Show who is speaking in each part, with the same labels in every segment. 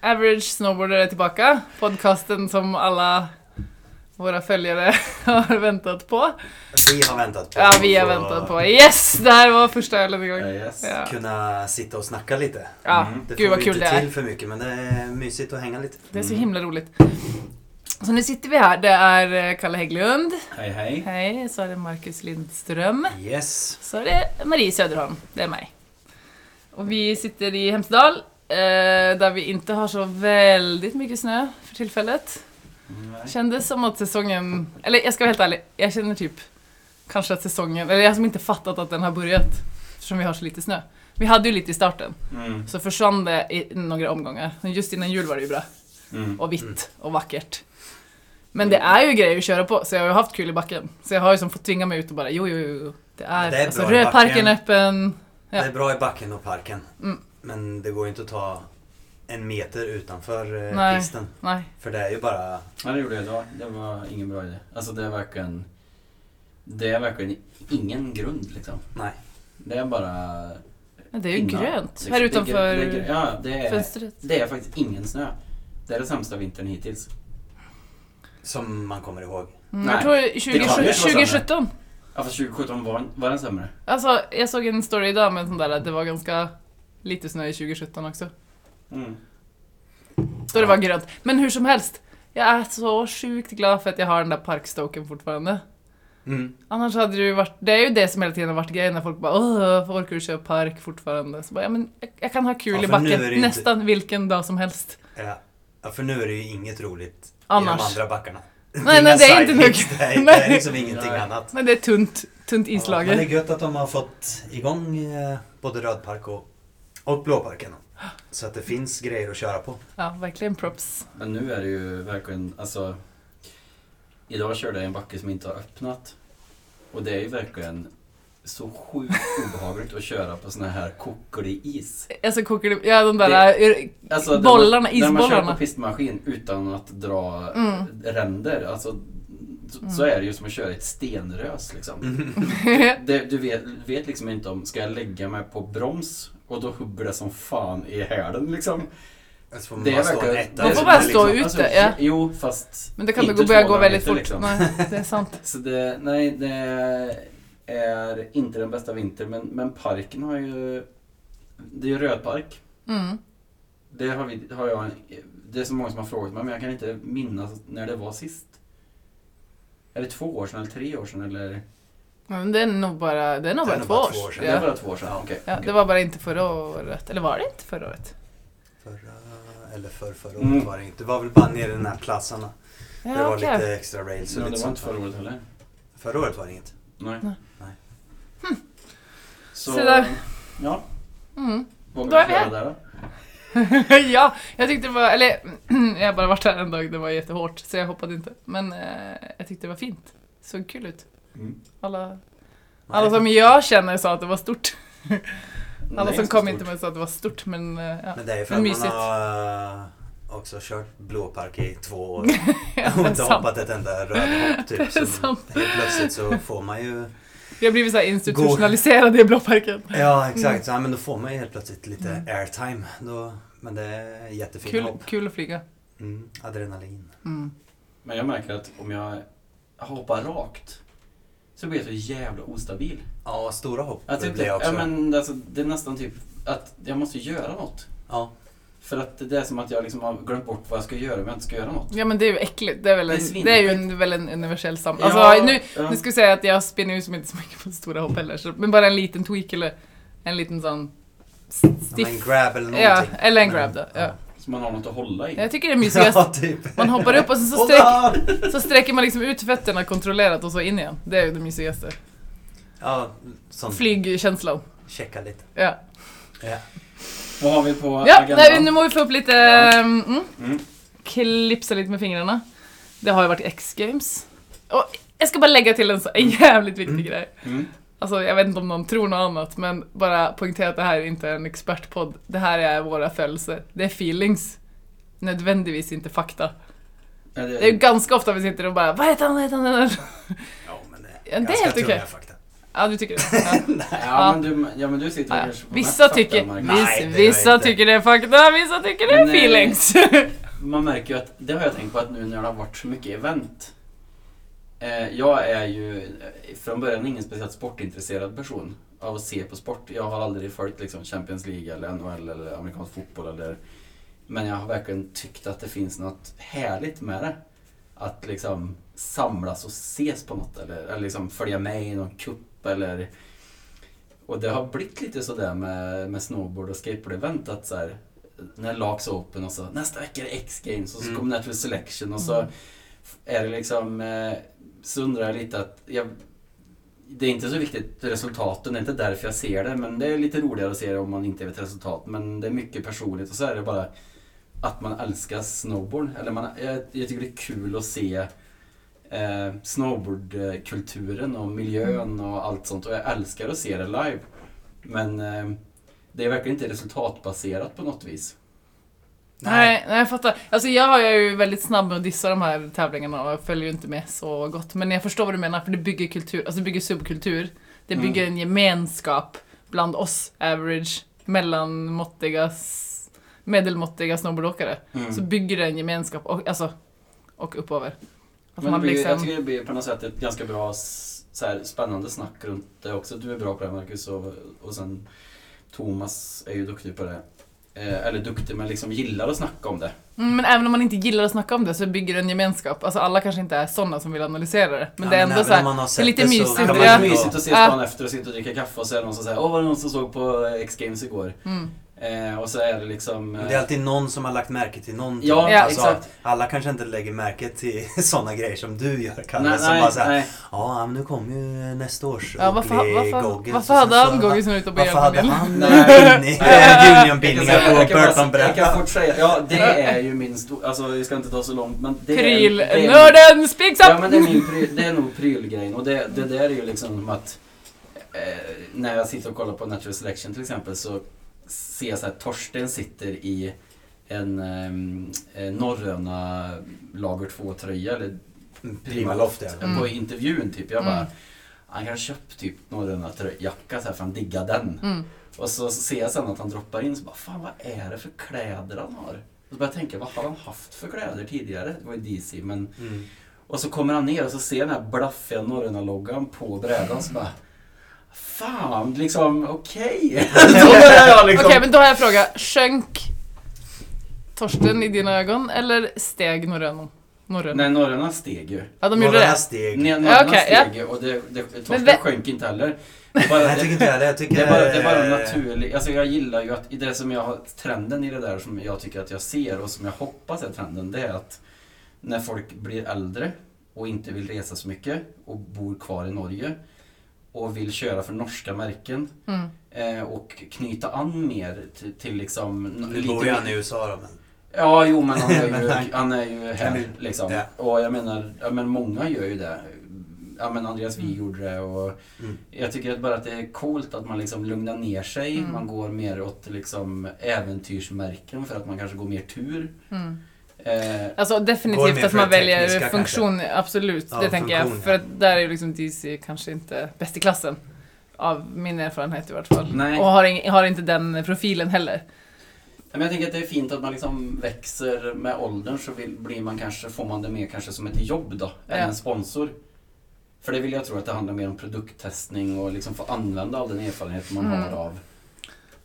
Speaker 1: Average Snowboarder är tillbaka. Podcasten som alla våra följare har väntat på.
Speaker 2: Vi har väntat på
Speaker 1: Ja, vi har
Speaker 2: att
Speaker 1: väntat på. Yes! Det här var första ölen igång.
Speaker 3: Ja, yes.
Speaker 1: Ja.
Speaker 2: kunna sitta och snacka lite.
Speaker 1: Ja,
Speaker 3: Mm.
Speaker 2: Det
Speaker 1: gud
Speaker 2: får
Speaker 1: vad
Speaker 2: vi
Speaker 1: kul det
Speaker 2: inte
Speaker 1: är.
Speaker 2: till Mm. för mycket men det är mysigt att hänga lite.
Speaker 1: Det är så himla roligt. Så nu sitter vi här. Det är eh, Kalle Hägglund.
Speaker 3: Hej hej.
Speaker 1: Hej. Så är det Marcus Lindström.
Speaker 2: Yes.
Speaker 1: Så är det Marie Söderholm. Det är mig. Och vi sitter i Hemsedal. eh, Där vi inte har så väldigt mycket snö för tillfället. Kändes som att säsongen, eller jag ska vara helt ärlig, jag känner typ kanske att säsongen, eller jag som inte fattat att den har börjat eftersom vi har så lite snö. Vi hade ju lite i starten,
Speaker 3: Mm.
Speaker 1: så försvann det i några omgångar. Men just innan jul var det ju bra,
Speaker 3: Mm.
Speaker 1: och vitt och vackert. Men det är ju grejer att köra på, så jag har ju haft kul i backen. Så jag har ju som fått tvinga mig ut och bara jo, jo, jo. Det är,
Speaker 2: Det är
Speaker 1: alltså,
Speaker 2: bra i backen.
Speaker 1: rödparken är öppen. Ja.
Speaker 2: Det är bra i backen och parken.
Speaker 1: Mm.
Speaker 2: Men det går ju inte att ta en meter utanför eh,
Speaker 1: Nej.
Speaker 2: pisten.
Speaker 1: Nej,
Speaker 2: För det är ju bara...
Speaker 3: Ja, det gjorde jag idag. Det var ingen bra idé. Alltså det är verkligen... Det är verkligen ingen grund liksom.
Speaker 2: Nej.
Speaker 3: Det är bara...
Speaker 1: men det är ju
Speaker 3: pinnar,
Speaker 1: grönt
Speaker 3: liksom.
Speaker 1: här
Speaker 3: Det är
Speaker 1: utanför
Speaker 3: grö- det är grö- ja, det är,
Speaker 1: fönstret.
Speaker 3: det är faktiskt ingen snö. Det är det sämsta vintern hittills.
Speaker 2: Som man kommer ihåg.
Speaker 1: Mm,
Speaker 3: Nej,
Speaker 1: jag tror
Speaker 3: kan ju inte vara
Speaker 1: 20,
Speaker 3: sämre.
Speaker 1: 2017.
Speaker 3: Ja fast 2017 var, var den sämre.
Speaker 1: Alltså, jag såg en story idag med en sån där att det var ganska lite snö i 2017 också.
Speaker 3: Mm.
Speaker 1: Då det var grönt. Men hur som helst, jag är så sjukt glad för att jag har den där parkstoken fortfarande.
Speaker 2: Mm.
Speaker 1: Annars hade det ju varit, det är ju det som hela tiden har varit grejen när folk bara åh, orkar du köra park fortfarande? Så bara, ja men jag, jag kan ha kul
Speaker 2: Ja,
Speaker 1: i
Speaker 2: för nu är
Speaker 1: backen
Speaker 2: det ju inte-
Speaker 1: nästan vilken dag som helst.
Speaker 2: Ja. ja, för nu är det ju inget roligt i de
Speaker 1: Annars.
Speaker 2: andra backarna.
Speaker 1: Nej, nej, det är inte nog.
Speaker 2: Nej, det
Speaker 1: Nej.
Speaker 2: är liksom ingenting
Speaker 3: Nej.
Speaker 2: annat.
Speaker 1: Men det är tunt, tunt
Speaker 2: Ja, Men det
Speaker 1: inslaget.
Speaker 2: är gött att de har fått igång eh, både Rödpark och, och Blåparken. Så att det finns grejer att köra på.
Speaker 1: Ja, verkligen props.
Speaker 3: Men nu är det ju verkligen, alltså... Idag körde jag en backe som inte har öppnat. Och det är ju verkligen så sjukt obehagligt att köra på sån här koklig is.
Speaker 1: Alltså kokar det, ja de där
Speaker 3: Alltså, där
Speaker 1: bollarna,
Speaker 3: man, När man kör
Speaker 1: isbollarna.
Speaker 3: på pistmaskin utan att dra
Speaker 1: Mm.
Speaker 3: ränder, alltså, så, så är det ju som att köra i ett stenrös liksom.
Speaker 2: Mm.
Speaker 3: Det, du vet, vet liksom inte om, ska jag lägga mig på broms och då hubbar det som fan i hälen liksom.
Speaker 2: Så får man
Speaker 3: Det är
Speaker 2: bara stå liksom.
Speaker 3: verkligen-
Speaker 2: en etta
Speaker 3: Man
Speaker 2: i den
Speaker 3: får bara
Speaker 2: där
Speaker 1: stå ut.
Speaker 3: Alltså,
Speaker 1: Ute, ja.
Speaker 3: Jo, fast
Speaker 1: Men det kan
Speaker 3: inte
Speaker 1: det börja gå
Speaker 3: 200
Speaker 1: väldigt
Speaker 3: meter,
Speaker 1: fort.
Speaker 2: liksom.
Speaker 1: Nej, det är sant.
Speaker 3: Så det, nej, det är inte den bästa vintern, men, men parken har ju... Det är ju rödpark.
Speaker 1: Mm.
Speaker 3: Det har, vi, har jag... Det är så många som har frågat mig, men jag kan inte minnas när det var sist. Är det två år sedan eller tre år sedan eller?
Speaker 1: Ja, Men det är nog bara, det är nog
Speaker 2: Det
Speaker 1: bara,
Speaker 2: är nog
Speaker 1: två,
Speaker 2: bara
Speaker 1: år
Speaker 2: två år
Speaker 1: sedan.
Speaker 2: sedan.
Speaker 3: Det är
Speaker 1: Ja.
Speaker 3: bara två år sedan, Ah, okej.
Speaker 1: Ja, det var bara inte förra året. Eller var det inte förra året?
Speaker 2: Förra, eller för, förra året
Speaker 3: Mm.
Speaker 2: var det inte. Det var väl bara nere i den här plassen.
Speaker 1: Ja,
Speaker 2: det var
Speaker 1: okej.
Speaker 2: lite extra rails och
Speaker 3: Ja,
Speaker 2: lite
Speaker 3: det var
Speaker 2: sånt.
Speaker 3: inte förra året heller.
Speaker 2: Förra året var det inget.
Speaker 3: Nej.
Speaker 1: Nej.
Speaker 2: Nej.
Speaker 3: Så,
Speaker 1: Så där.
Speaker 3: ja.
Speaker 1: Mm.
Speaker 3: Vad
Speaker 1: Då är
Speaker 3: vill
Speaker 1: vi
Speaker 3: vi
Speaker 1: här.
Speaker 3: göra där då?
Speaker 1: ja, jag tyckte det var, eller jag har bara varit här en dag, det var jättehårt så jag hoppade inte. Men eh, jag tyckte det var fint. Såg kul ut.
Speaker 3: Mm.
Speaker 1: Alla, alla som jag känner sa att det var stort. Alla
Speaker 3: Nej,
Speaker 1: som
Speaker 3: så
Speaker 1: kom
Speaker 3: stort.
Speaker 1: inte med sa att det var stort men eh, ja.
Speaker 2: Men det är ju för
Speaker 1: Men
Speaker 2: att man
Speaker 1: mysigt.
Speaker 2: har eh, också kört blåpark i två år
Speaker 1: ja
Speaker 2: och
Speaker 1: det är
Speaker 2: inte
Speaker 1: sant.
Speaker 2: hoppat ett enda rödhopp
Speaker 1: Det
Speaker 2: typ.
Speaker 1: är
Speaker 2: Så
Speaker 1: sant.
Speaker 2: helt plötsligt så får man ju...
Speaker 1: Vi har blivit så här institutionaliserade i Blåparken.
Speaker 2: Ja exakt, ja, men då får man ju helt plötsligt lite
Speaker 1: Mm.
Speaker 2: airtime. Då, men det är jättefina
Speaker 1: Kul,
Speaker 2: hopp.
Speaker 1: kul att flyga.
Speaker 2: Mm, adrenalin.
Speaker 1: Mm.
Speaker 3: Men jag märker att om jag hoppar rakt så blir jag så jävla ostabil.
Speaker 2: Ja, stora hopp
Speaker 3: Att
Speaker 2: det
Speaker 3: typ,
Speaker 2: blir jag
Speaker 3: ja,
Speaker 2: också.
Speaker 3: men, alltså, det är nästan typ att jag måste göra något.
Speaker 2: Ja,
Speaker 3: För att det är som att jag liksom har glömt bort vad jag ska göra om jag inte ska göra något.
Speaker 1: Ja men det är ju äckligt, det är väl
Speaker 3: Det
Speaker 1: en,
Speaker 3: är
Speaker 1: det är
Speaker 3: svinäckligt.
Speaker 1: ju en, väl en universell sam...
Speaker 3: Ja,
Speaker 1: alltså, nu,
Speaker 3: ja.
Speaker 1: nu ska jag säga att jag spinner ju som inte så mycket på stora hopp heller, så, men bara en liten tweak eller en liten sån s-
Speaker 2: ja, men
Speaker 1: stiff...
Speaker 2: grab eller
Speaker 1: Ja,
Speaker 2: någonting.
Speaker 1: eller en
Speaker 2: Men-
Speaker 1: grab då. Ja.
Speaker 3: Så man har något att hålla i.
Speaker 1: Jag tycker det är mysigast.
Speaker 2: Ja, typ.
Speaker 1: Man hoppar upp och sen så, sträck,
Speaker 2: Hola!
Speaker 1: så sträcker man liksom ut fötterna kontrollerat och så in igen. Det är ju det mysigaste.
Speaker 2: Ja, sån
Speaker 1: Flygkänslan.
Speaker 2: checka lite.
Speaker 1: Ja,
Speaker 2: Ja.
Speaker 3: Vad har vi på
Speaker 1: ja
Speaker 3: agendan?
Speaker 1: nej, nu må vi få upp lite...
Speaker 3: Ja.
Speaker 1: Mm,
Speaker 3: Mm.
Speaker 1: klipsa lite med fingrarna. Det har ju varit X-games. Och jag ska bara lägga till en, så, en jävligt viktig
Speaker 2: Mm.
Speaker 1: grej.
Speaker 3: Mm.
Speaker 1: Alltså jag vet inte om någon tror något annat men bara poängtera att det här är inte en expertpodd. Det här är våra födelser. Det är feelings. Nödvändigtvis inte fakta.
Speaker 3: Ja,
Speaker 1: Det är ju ganska ofta vi sitter och bara Vad heter han? Vad heter han?
Speaker 2: Ja, men det
Speaker 1: Ja, det är
Speaker 2: ganska
Speaker 1: helt
Speaker 2: tunga
Speaker 1: okej.
Speaker 2: fakta.
Speaker 1: Ja, du tycker det? Ja.
Speaker 3: Nej, ja,
Speaker 1: Ja.
Speaker 3: Men du, ja men du sitter
Speaker 1: Ja,
Speaker 3: ja.
Speaker 1: ja.
Speaker 3: kanske på
Speaker 1: Vissa
Speaker 3: mest fakta,
Speaker 1: tycker,
Speaker 3: Marcus.
Speaker 2: Nej,
Speaker 1: vissa,
Speaker 2: det gör
Speaker 1: vissa
Speaker 2: jag inte.
Speaker 1: tycker det är fakta, vissa tycker det är
Speaker 3: Nej.
Speaker 1: feelings.
Speaker 3: Man märker ju att, det har jag tänkt på att nu när det har varit så mycket event. Eh, jag är ju eh, från början ingen speciellt sportintresserad person av att se på sport. Jag har aldrig följt liksom Champions League eller NHL eller amerikansk fotboll eller Men jag har verkligen tyckt att det finns något härligt med det. Att liksom samlas och ses på något eller, eller liksom följa med i någon cup eller och det har blivit lite sådär med, med snowboard och skateboard-event att så här, när Laks Open och så nästa vecka är det X-games och så
Speaker 2: Mm.
Speaker 3: kommer Natural Selection och så
Speaker 1: Mm.
Speaker 3: är det liksom eh, så undrar jag lite att jag, det är inte så viktigt resultaten, det är inte därför jag ser det men det är lite roligare att se det om man inte vet resultat men det är mycket personligt och så är det bara att man älskar snowboard. Eller man, jag, jag tycker det är kul att se eh, snowboardkulturen och miljön och allt sånt. Och jag älskar att se det live. Men eh, det är verkligen inte resultatbaserat på något vis.
Speaker 1: Nej, nej, jag fattar. Alltså jag har ju väldigt snabb med att dissa de här tävlingarna och jag följer ju inte med så gott. Men jag förstår vad du menar, för det bygger kultur, alltså det bygger subkultur. Det bygger en gemenskap bland oss average, mellanmåttiga, s- medelmåttiga snowboardåkare.
Speaker 3: Mm.
Speaker 1: Så bygger det en gemenskap, och, alltså, och uppöver. Att
Speaker 3: Men det
Speaker 1: man
Speaker 3: blir, jag
Speaker 1: liksom...
Speaker 3: tycker det blir på något sätt ett ganska bra s- så här, spännande snack runt det också. Du är bra på det Marcus och, och sen Thomas är ju duktig på det. Eh, eller duktig men liksom gillar att snacka om det.
Speaker 1: Mm, men även om man inte gillar att snacka om det så bygger det en gemenskap. Alltså alla kanske inte är sådana som vill analysera det. Men det är ändå så här, det är lite mysigt.
Speaker 3: Det
Speaker 1: Det
Speaker 3: kan
Speaker 1: är-
Speaker 3: vara mysigt att ses
Speaker 1: Ja.
Speaker 3: dagen efter och sitta och dricka kaffe och så är det någon som säger Åh, var det någon som såg på X-Games igår?
Speaker 1: Mm.
Speaker 3: Eh, och så är det liksom... eh,
Speaker 2: Men det är alltid någon som har lagt märke till någonting. Alltså,
Speaker 3: Ja,
Speaker 1: Ja,
Speaker 3: exakt.
Speaker 2: Alla kanske inte lägger märke till sådana grejer som du gör, Kalle.
Speaker 3: nej,
Speaker 2: som
Speaker 3: nej,
Speaker 2: bara så här,
Speaker 3: nej.
Speaker 2: ja, men nu kommer ju nästa års
Speaker 1: Ja, varför,
Speaker 2: Oakley
Speaker 1: varför,
Speaker 2: Goggins."
Speaker 1: varför
Speaker 2: Och
Speaker 1: hade
Speaker 2: sen så-
Speaker 1: han Goggins som var ute och
Speaker 2: Varför
Speaker 1: begärde
Speaker 2: hade
Speaker 1: bilen?
Speaker 2: han
Speaker 3: Nej.
Speaker 2: bindning- eh,
Speaker 3: Jag kan säga-
Speaker 2: Unionbindningar
Speaker 3: jag
Speaker 2: på
Speaker 3: kan bara- Jag kan
Speaker 2: Burton-brädan?
Speaker 3: fort säga, ja det är ju min stor... Alltså vi ska inte ta så långt men det är... det är-
Speaker 1: Prylnörden speaks up!
Speaker 3: Ja men det är, min pry, det är nog prylgrejen och det, det där är ju liksom som att eh, när jag sitter och kollar på Natural Selection till exempel så ser jag så här Torsten sitter i en eh, Norröna lager 2 tröja eller
Speaker 2: Prima Loft, ja.
Speaker 1: Mm.
Speaker 3: på intervjun typ. Jag bara,
Speaker 1: Mm.
Speaker 3: han kan köpa typ Norröna trö- jacka så här för han diggar den.
Speaker 1: Mm.
Speaker 3: Och så, så ser jag sen att han droppar in så bara, fan vad är det för kläder han har? Och så börjar jag tänka, vad har han haft för kläder tidigare? Det var ju DC men
Speaker 2: Mm.
Speaker 3: och så kommer han ner och så ser jag den här blaffiga Norrena-loggan på brädan så bara Fan, liksom okej. Då börjar jag
Speaker 1: Okej,
Speaker 3: liksom...
Speaker 1: men då har jag en fråga. Sjönk Torsten i dina ögon eller steg Norrön? Norrön?
Speaker 3: Nej, Norrena steg ju.
Speaker 1: Ja, de gjorde
Speaker 2: Några
Speaker 1: det.
Speaker 2: steg. Nej,
Speaker 3: Nej, Norrena
Speaker 1: Okej, ja.
Speaker 3: steg ju och det, det,
Speaker 1: Men
Speaker 3: torsken
Speaker 1: vä-
Speaker 3: sjönk inte heller. Det bara-
Speaker 2: jag tycker inte jag det. Jag tycker
Speaker 3: Det är bara, det är bara naturligt. Alltså jag gillar ju att i det som jag har, trenden i det där som jag tycker att jag ser och som jag hoppas är trenden, det är att när folk blir äldre och inte vill resa så mycket och bor kvar i Norge och vill köra för norska märken
Speaker 1: Mm.
Speaker 3: eh, och knyta an mer till, till liksom...
Speaker 2: Nu bor ju han i USA då, men...
Speaker 3: Ja, jo men han är
Speaker 2: Men
Speaker 3: ju,
Speaker 2: han-
Speaker 3: han är ju
Speaker 2: Kan
Speaker 3: här
Speaker 2: ju-
Speaker 3: liksom.
Speaker 2: ja.
Speaker 3: Och jag menar, ja, men många gör ju det. Ja men Andreas vi
Speaker 1: Mm.
Speaker 3: gjorde det och
Speaker 2: Mm.
Speaker 3: jag tycker att bara att det är coolt att man liksom lugnar ner sig.
Speaker 1: Mm.
Speaker 3: Man går mer åt liksom äventyrsmärken för att man kanske går mer tur.
Speaker 1: Mm.
Speaker 3: Eh,
Speaker 1: Alltså
Speaker 2: Går mer
Speaker 1: definitivt att
Speaker 2: för
Speaker 1: man
Speaker 2: det
Speaker 1: väljer
Speaker 2: tekniska,
Speaker 1: funktion, absolut.
Speaker 2: Ja,
Speaker 1: det tänker jag.
Speaker 2: funktion, ja.
Speaker 1: För att där är ju liksom DC kanske inte bäst i klassen. Av min erfarenhet i vart fall.
Speaker 3: Nej.
Speaker 1: Och har, ing- har inte den profilen heller.
Speaker 3: men jag tänker att det är fint att man liksom växer med åldern så vill, blir man kanske, får man det mer kanske som ett jobb då, än
Speaker 1: Ja.
Speaker 3: en sponsor. För det vill jag tro att det handlar mer om produkttestning och liksom få använda all den erfarenhet man
Speaker 1: Mm.
Speaker 3: har av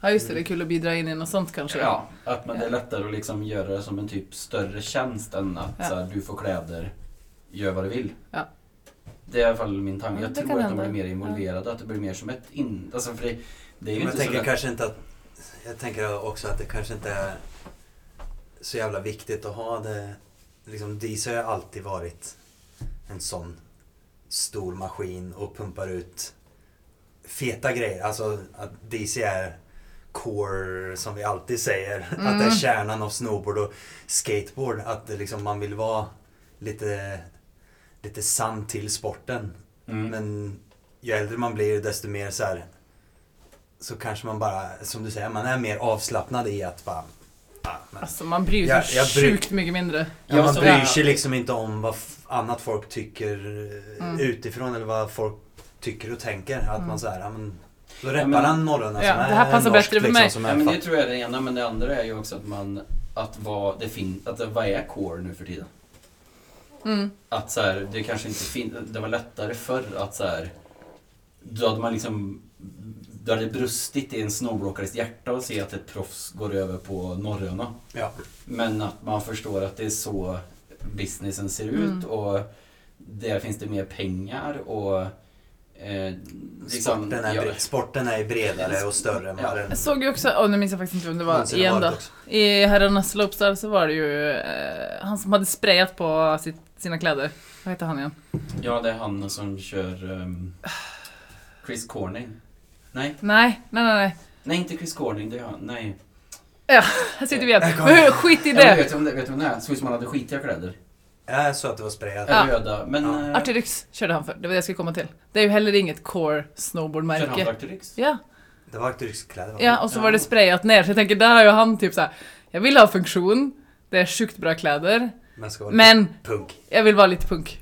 Speaker 1: Ja, just det. Det är kul att bidra in i något sånt kanske.
Speaker 3: Ja, att man, det är
Speaker 1: Ja.
Speaker 3: lättare att liksom göra det som en typ större tjänst än att
Speaker 1: Ja.
Speaker 3: så här, du får kläder, gör vad du vill.
Speaker 1: Ja.
Speaker 3: Det är i alla fall min tanke.
Speaker 1: Ja,
Speaker 3: Jag
Speaker 1: det
Speaker 3: tror
Speaker 1: kan
Speaker 3: att de blir
Speaker 1: hända.
Speaker 3: mer involverade, att det blir mer som ett in... Alltså för det, det är
Speaker 2: Men
Speaker 3: ju
Speaker 2: jag
Speaker 3: inte så
Speaker 2: tänker
Speaker 3: lätt.
Speaker 2: kanske inte att... Jag tänker också att det kanske inte är så jävla viktigt att ha det... Liksom, Deezer har ju alltid varit en sån stor maskin och pumpar ut feta grejer. Alltså att DC är core som vi alltid säger. Att det är kärnan av snowboard och skateboard. Att det liksom, man vill vara lite, lite sann till sporten.
Speaker 3: Mm.
Speaker 2: Men ju äldre man blir desto mer så här så kanske man bara, som du säger, man är mer avslappnad i att bara... "Ah, men-
Speaker 1: Alltså man bryr sig
Speaker 2: Jag- jag bryr-
Speaker 1: sjukt mycket mindre.
Speaker 2: Ja, man
Speaker 3: så-
Speaker 2: bryr sig liksom inte om vad f- annat folk tycker eh,
Speaker 1: Mm.
Speaker 2: utifrån eller vad folk tycker och tänker. Att
Speaker 1: Mm.
Speaker 2: man så här, ja, men, då
Speaker 3: Ja,
Speaker 2: reppar
Speaker 3: men-
Speaker 2: han norrarna
Speaker 1: Ja,
Speaker 2: som är
Speaker 1: det här passar
Speaker 2: norskt,
Speaker 1: bättre för
Speaker 2: liksom,
Speaker 1: mig.
Speaker 2: Som
Speaker 3: Ja,
Speaker 2: är
Speaker 3: men
Speaker 2: fa-
Speaker 3: det tror jag är det ena, men det andra är ju också att man... Att vad, det fin, att det, vad är core nu för tiden?
Speaker 1: Mm.
Speaker 3: Att så här, det kanske inte fin, Det var lättare förr att så här... Då hade man liksom... Då hade det brustit i en snowbrokares hjärta att se att ett proffs går över på norröna.
Speaker 2: ja.
Speaker 3: Men att man förstår att det är så businessen ser
Speaker 1: Mm.
Speaker 3: ut och där finns det mer pengar och... Eh, liksom,
Speaker 2: sporten, är,
Speaker 3: ja,
Speaker 2: bre- sporten är bredare och större än
Speaker 3: Ja.
Speaker 2: vad den
Speaker 1: Jag såg ju också, åh nu minns jag faktiskt inte vem det var
Speaker 2: någonsin har
Speaker 1: igen
Speaker 2: varit
Speaker 1: då.
Speaker 2: också.
Speaker 1: I herrarnas slopestyle så var det ju eh, han som hade sprayat på sitt, sina kläder. Vad heter han igen?
Speaker 3: ja, det är han som kör ehm, Chris Corning. Nej,
Speaker 1: Nej, nej, nej, nej.
Speaker 3: nej inte Chris Corning, det är han. Nej.
Speaker 1: Här sitter vi igen.
Speaker 2: Där kom
Speaker 1: Men hur-
Speaker 2: jag.
Speaker 1: Skit i
Speaker 3: Ja, men
Speaker 1: det!
Speaker 3: vet du vem det vet du vem det är? Såg ut som han hade skitiga kläder.
Speaker 2: Jag såg att det var sprayat.
Speaker 1: Ja.
Speaker 3: Röda. Men...
Speaker 2: Ja.
Speaker 3: eh,
Speaker 1: Artirux körde han för, det var det jag skulle komma till. Det är ju heller inget core
Speaker 3: kör han
Speaker 1: snowboardmärke.
Speaker 3: Arcteryx?
Speaker 1: Ja,
Speaker 2: Det var akterykskläder va?
Speaker 1: ja, och så var det
Speaker 3: Ja.
Speaker 1: sprayat ner, så jag tänker där har ju han typ såhär, jag vill ha funktion, det är sjukt bra kläder,
Speaker 2: Men ska vara lite
Speaker 1: men
Speaker 2: punk.
Speaker 1: jag vill vara lite punk.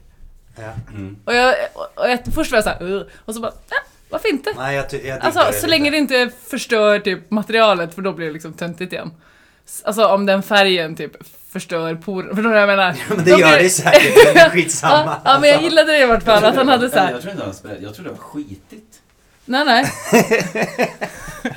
Speaker 2: Ja.
Speaker 3: Mm.
Speaker 1: Och jag, och och jag, först var jag såhär, "Ugh", och så bara, ja, varför inte?
Speaker 2: Nej, jag, ty- jag
Speaker 1: Alltså så länge det inte förstör typ materialet för då blir det liksom töntigt igen. S- Alltså om den färgen typ förstör poren, förstår du vad jag menar?
Speaker 2: Men det
Speaker 1: Då blir
Speaker 2: gör det säkert, men det är skitsamma. Alltså,
Speaker 1: Ja, ja men jag gillade det i vart fall, att han hade
Speaker 3: Eller,
Speaker 1: såhär,
Speaker 3: Jag tror inte han spelade, jag trodde det var skitigt.
Speaker 1: nej nej,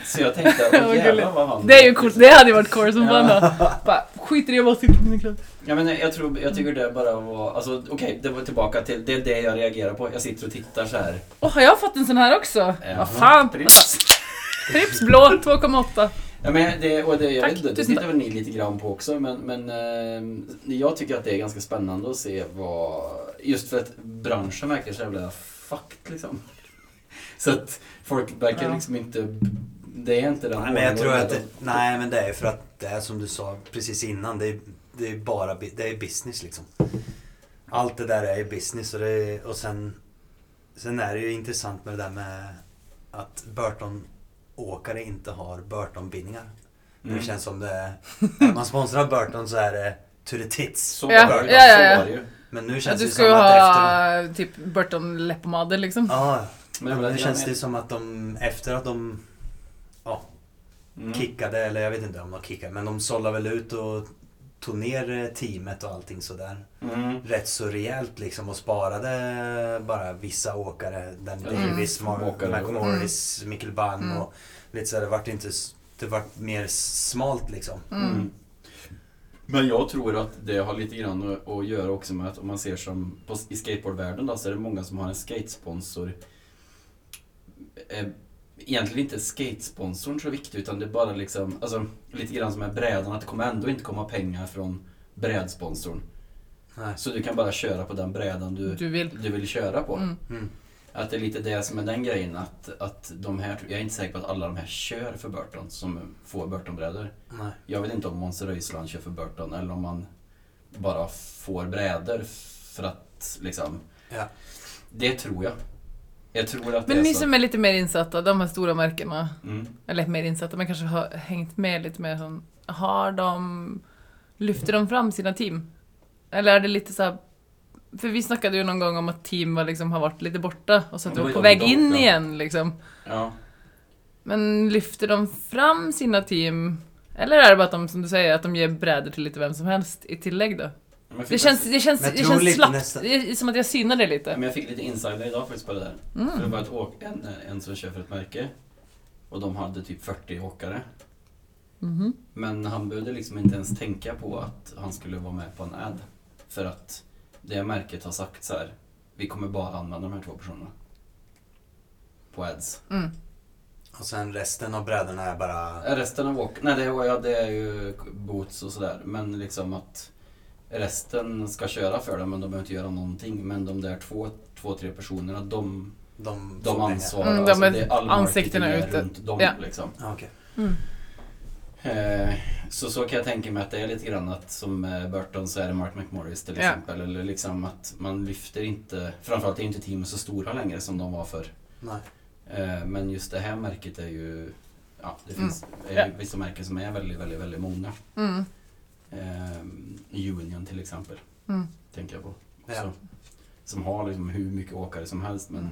Speaker 3: Så jag tänkte, åh
Speaker 1: Vad
Speaker 3: jävlar
Speaker 1: gulligt.
Speaker 3: vad han...
Speaker 1: det är ju coolt, det hade ju varit core som
Speaker 3: Ja.
Speaker 1: fan då. Bara, skiter i jag bara sitter på mina kläder.
Speaker 3: Ja, men jag, tror, jag tycker det bara var... Alltså, Okej, det var tillbaka till... Det är det jag reagerar på. Jag sitter och tittar så här.
Speaker 1: Åh, har jag fått en sån här också?
Speaker 3: Jaha.
Speaker 1: Vad fan!
Speaker 3: Prips.
Speaker 1: Alltså, Prips blå 2,8.
Speaker 3: Ja, men det, och det, jag
Speaker 1: Tack,
Speaker 3: vet inte, det
Speaker 1: tusen
Speaker 3: tittar väl ni lite grann på också, men, men eh, jag tycker att det är ganska spännande att se vad... Just för att branschen verkar så jävla fucked liksom. Så att folk verkar
Speaker 1: Ja.
Speaker 3: liksom inte... Det är inte den
Speaker 2: Nej, men jag
Speaker 3: ordningen
Speaker 2: tror
Speaker 3: och
Speaker 2: att det,
Speaker 3: den-
Speaker 2: nej, men det är för att det är som du sa precis innan. Det är, det är bara bi- det är business liksom. Allt det där är ju business och, det är, och sen, sen är det ju intressant med det där med att Burton-åkare inte har Burton-bindningar. Men
Speaker 3: Mm.
Speaker 2: Det känns som det är, är man sponsrar Burton så är det to the tits.
Speaker 3: Så
Speaker 1: Ja,
Speaker 3: var det,
Speaker 1: ja, ja,
Speaker 3: så
Speaker 1: ja.
Speaker 3: var det ju.
Speaker 2: Men nu
Speaker 1: Ja,
Speaker 2: känns det
Speaker 1: du
Speaker 2: ju
Speaker 1: ska
Speaker 2: som
Speaker 1: ju
Speaker 2: att efter...
Speaker 1: ha typ Burton läpppomader liksom.
Speaker 2: Ja,
Speaker 3: Men jag
Speaker 2: men
Speaker 3: menar,
Speaker 2: nu
Speaker 3: jag
Speaker 2: känns det
Speaker 3: menar-
Speaker 2: ju som att de efter att de
Speaker 3: Mm.
Speaker 2: kickade, eller jag vet inte om de kickade, men de sållade väl ut och tog ner eh, teamet och allting sådär.
Speaker 3: Mm.
Speaker 2: Rätt så rejält liksom och sparade bara vissa åkare. Den
Speaker 3: Ja,
Speaker 2: Davis,
Speaker 3: mm.
Speaker 2: Mar-
Speaker 3: Åkare.
Speaker 2: McMorris, Mikkel Bang
Speaker 1: Mm.
Speaker 2: och lite sådär. Det vart inte, s- det vart mer smalt liksom.
Speaker 1: Mm.
Speaker 3: Men jag tror att det har lite grann att, att göra också med att om man ser som på, i skateboardvärlden då, så är det många som har en skatesponsor. Eh, Egentligen inte skatesponsorn så viktig utan det är bara liksom, alltså lite grann som med brädan att det kommer ändå inte komma pengar från brädsponsorn.
Speaker 2: Nej.
Speaker 3: Så du kan bara köra på den brädan du,
Speaker 1: Du vill.
Speaker 3: du vill köra på.
Speaker 1: Mm.
Speaker 2: Mm.
Speaker 3: Att det är lite det som är den grejen att, att de här, jag är inte säker på att alla de här kör för Burton som får Burton-brädor.
Speaker 2: Nej.
Speaker 3: Jag vet inte om Måns Röisland kör för Burton eller om man bara får brädor för att liksom...
Speaker 2: Ja.
Speaker 3: Det tror jag. Jag tror att det
Speaker 1: Men
Speaker 3: är
Speaker 1: ni
Speaker 3: så.
Speaker 1: som är lite mer insatta, de här stora märkena,
Speaker 3: Mm.
Speaker 1: eller mer insatta, men kanske har hängt med lite mer sån, har de, lyfter de fram sina team? Eller är det lite så här, för vi snackade ju någon gång om att team var liksom, har varit lite borta och så att
Speaker 3: Det
Speaker 1: de
Speaker 3: var
Speaker 1: var
Speaker 3: ju
Speaker 1: på
Speaker 3: de
Speaker 1: väg
Speaker 3: då,
Speaker 1: in
Speaker 3: ja.
Speaker 1: igen liksom.
Speaker 3: Ja.
Speaker 1: Men lyfter de fram sina team? Eller är det bara att de, som du säger, att de ger brädor till lite vem som helst i tillägg då?
Speaker 3: Typ. Men jag fick
Speaker 1: Det känns, det känns,
Speaker 2: Men jag
Speaker 1: det
Speaker 2: tror
Speaker 1: känns
Speaker 2: lite
Speaker 1: slappt.
Speaker 2: nästan-
Speaker 1: Det är som att jag synar det
Speaker 3: lite, men
Speaker 1: lite.
Speaker 3: jag fick lite insider idag faktiskt på det där.
Speaker 1: Mm.
Speaker 3: För det var ett åk, en, en som kör för ett märke och de hade typ 40 åkare.
Speaker 1: Mhm.
Speaker 3: Men han behövde liksom inte ens tänka på att han skulle vara med på en ad. För att det märket har sagt så här, vi kommer bara använda de här två personerna. På ads.
Speaker 1: Mm.
Speaker 2: Och sen resten av brädorna är bara...
Speaker 3: Resten av åk... Nej, det, var- ja, det är ju boots och sådär. Men liksom att resten ska köra för dem, men de behöver inte göra någonting. Men de där två, två tre personerna, de,
Speaker 2: De,
Speaker 3: de ansvarar. Alltså,
Speaker 1: Mm, de är-
Speaker 3: det all marketing
Speaker 1: ansiktena
Speaker 3: är
Speaker 1: ute.
Speaker 3: runt dem
Speaker 1: Ja.
Speaker 3: liksom.
Speaker 2: Ja, okej.
Speaker 1: Mm.
Speaker 3: Eh, så, så kan jag tänka mig att det är lite grann att som eh, Burton så är det Mark McMorris till
Speaker 1: Ja.
Speaker 3: exempel. Eller liksom att man lyfter inte, framförallt är inte teamen så stora längre som de var förr.
Speaker 2: Nej.
Speaker 3: Eh, Men just det här märket är ju... Ja, det
Speaker 1: Mm.
Speaker 3: finns är ju vissa märken som är väldigt, väldigt, väldigt många.
Speaker 1: Mm.
Speaker 3: Eh, Union till exempel,
Speaker 1: Mm.
Speaker 3: tänker jag på.
Speaker 2: Ja.
Speaker 3: Också. Som har liksom hur mycket åkare som helst, men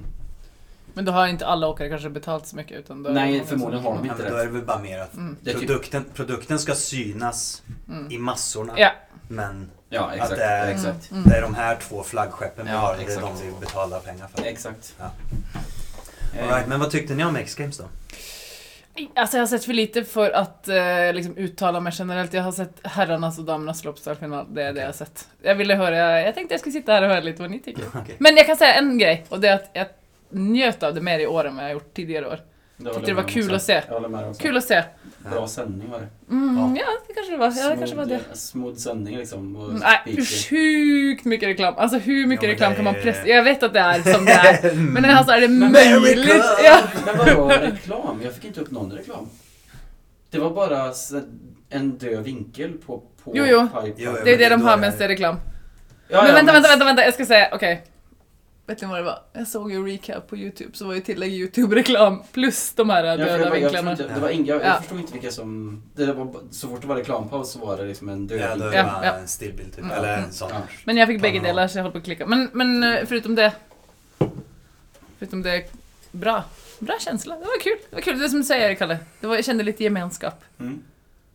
Speaker 1: Men då har inte alla åkare kanske betalt så mycket utan då är det
Speaker 3: Nej,
Speaker 1: många som-
Speaker 3: förmodligen har de
Speaker 2: Ja,
Speaker 3: inte
Speaker 2: men då
Speaker 3: det.
Speaker 2: är det väl bara mer att
Speaker 1: Mm.
Speaker 3: Det är typ-
Speaker 2: produkten, produkten ska synas i massorna.
Speaker 1: Ja,
Speaker 2: Men
Speaker 3: Ja, exakt.
Speaker 2: Att det är-
Speaker 3: exakt.
Speaker 1: Mm.
Speaker 2: det är de här två flaggskeppen vi
Speaker 3: Ja,
Speaker 2: har, det är
Speaker 3: exakt.
Speaker 2: de vi betalar pengar för.
Speaker 3: Exakt.
Speaker 2: Ja.
Speaker 3: Eh,
Speaker 2: All right, men vad tyckte ni om X Games då?
Speaker 1: alltså jag har sett för lite för att eh, liksom uttala mig generellt. Jag har sett herrarnas och damernas loppstallfinal, det är det jag har sett. Jag ville höra, jag tänkte jag skulle sitta här och höra lite vad ni tycker.
Speaker 2: Okej.
Speaker 1: Men jag kan säga en grej, och det är att jag njöt av det mer i år än vad jag har gjort tidigare år.
Speaker 3: det
Speaker 1: Tyckte
Speaker 3: håller
Speaker 1: det var
Speaker 3: jag med
Speaker 1: kul
Speaker 3: också.
Speaker 1: att se.
Speaker 3: Jag håller med också.
Speaker 1: Kul att se.
Speaker 3: Bra sändning var det.
Speaker 1: Mm, ja. det kanske det var. Ja, det kanske var det.
Speaker 3: Smooth- Smooth sändning liksom. och
Speaker 1: Mm, Nej,
Speaker 3: speaker.
Speaker 1: usch, sjukt mycket reklam. Alltså hur mycket
Speaker 2: Ja, men
Speaker 1: reklam
Speaker 2: det
Speaker 1: kan man
Speaker 2: är-
Speaker 1: pressa? Jag vet att det är som det är.
Speaker 2: Mm.
Speaker 1: Men alltså är det
Speaker 3: Men-
Speaker 1: möjligt?
Speaker 2: America!
Speaker 1: Ja.
Speaker 3: Men vadå reklam? Jag fick inte upp någon reklam. Det var bara s- en död vinkel på, på
Speaker 1: Jo, jo.
Speaker 3: pipe.
Speaker 2: Jo, jo.
Speaker 1: Det är det de
Speaker 2: Då
Speaker 1: har
Speaker 2: är-
Speaker 1: medan det är reklam.
Speaker 3: Ja,
Speaker 1: men
Speaker 3: ja,
Speaker 1: vänta, vänta, vänta, vänta, jag ska säga, okej. Vet ni vad det var? Jag såg ju recap på YouTube, så var ju tillägg YouTube-reklam plus de här
Speaker 3: Ja, för
Speaker 1: döda
Speaker 3: jag, jag,
Speaker 1: vinklarna.
Speaker 3: jag, det var inga, jag
Speaker 1: Ja.
Speaker 3: förstod inte vilka som... Det där var, så fort det var reklampaus så var det liksom en död
Speaker 2: Ja, då är
Speaker 3: vinkel.
Speaker 2: det
Speaker 1: Ja,
Speaker 2: bara
Speaker 1: ja.
Speaker 2: en stillbild typ,
Speaker 1: Mm.
Speaker 2: eller en sån.
Speaker 3: Ja.
Speaker 1: Men jag fick bägge
Speaker 2: Panorama.
Speaker 1: delar så jag håller på att klicka. Men, men eh, förutom det... Förutom det, bra. Bra känsla, det var kul. Det var kul, det är som du säger Kalle. Det var, jag kände lite gemenskap.
Speaker 3: Mm.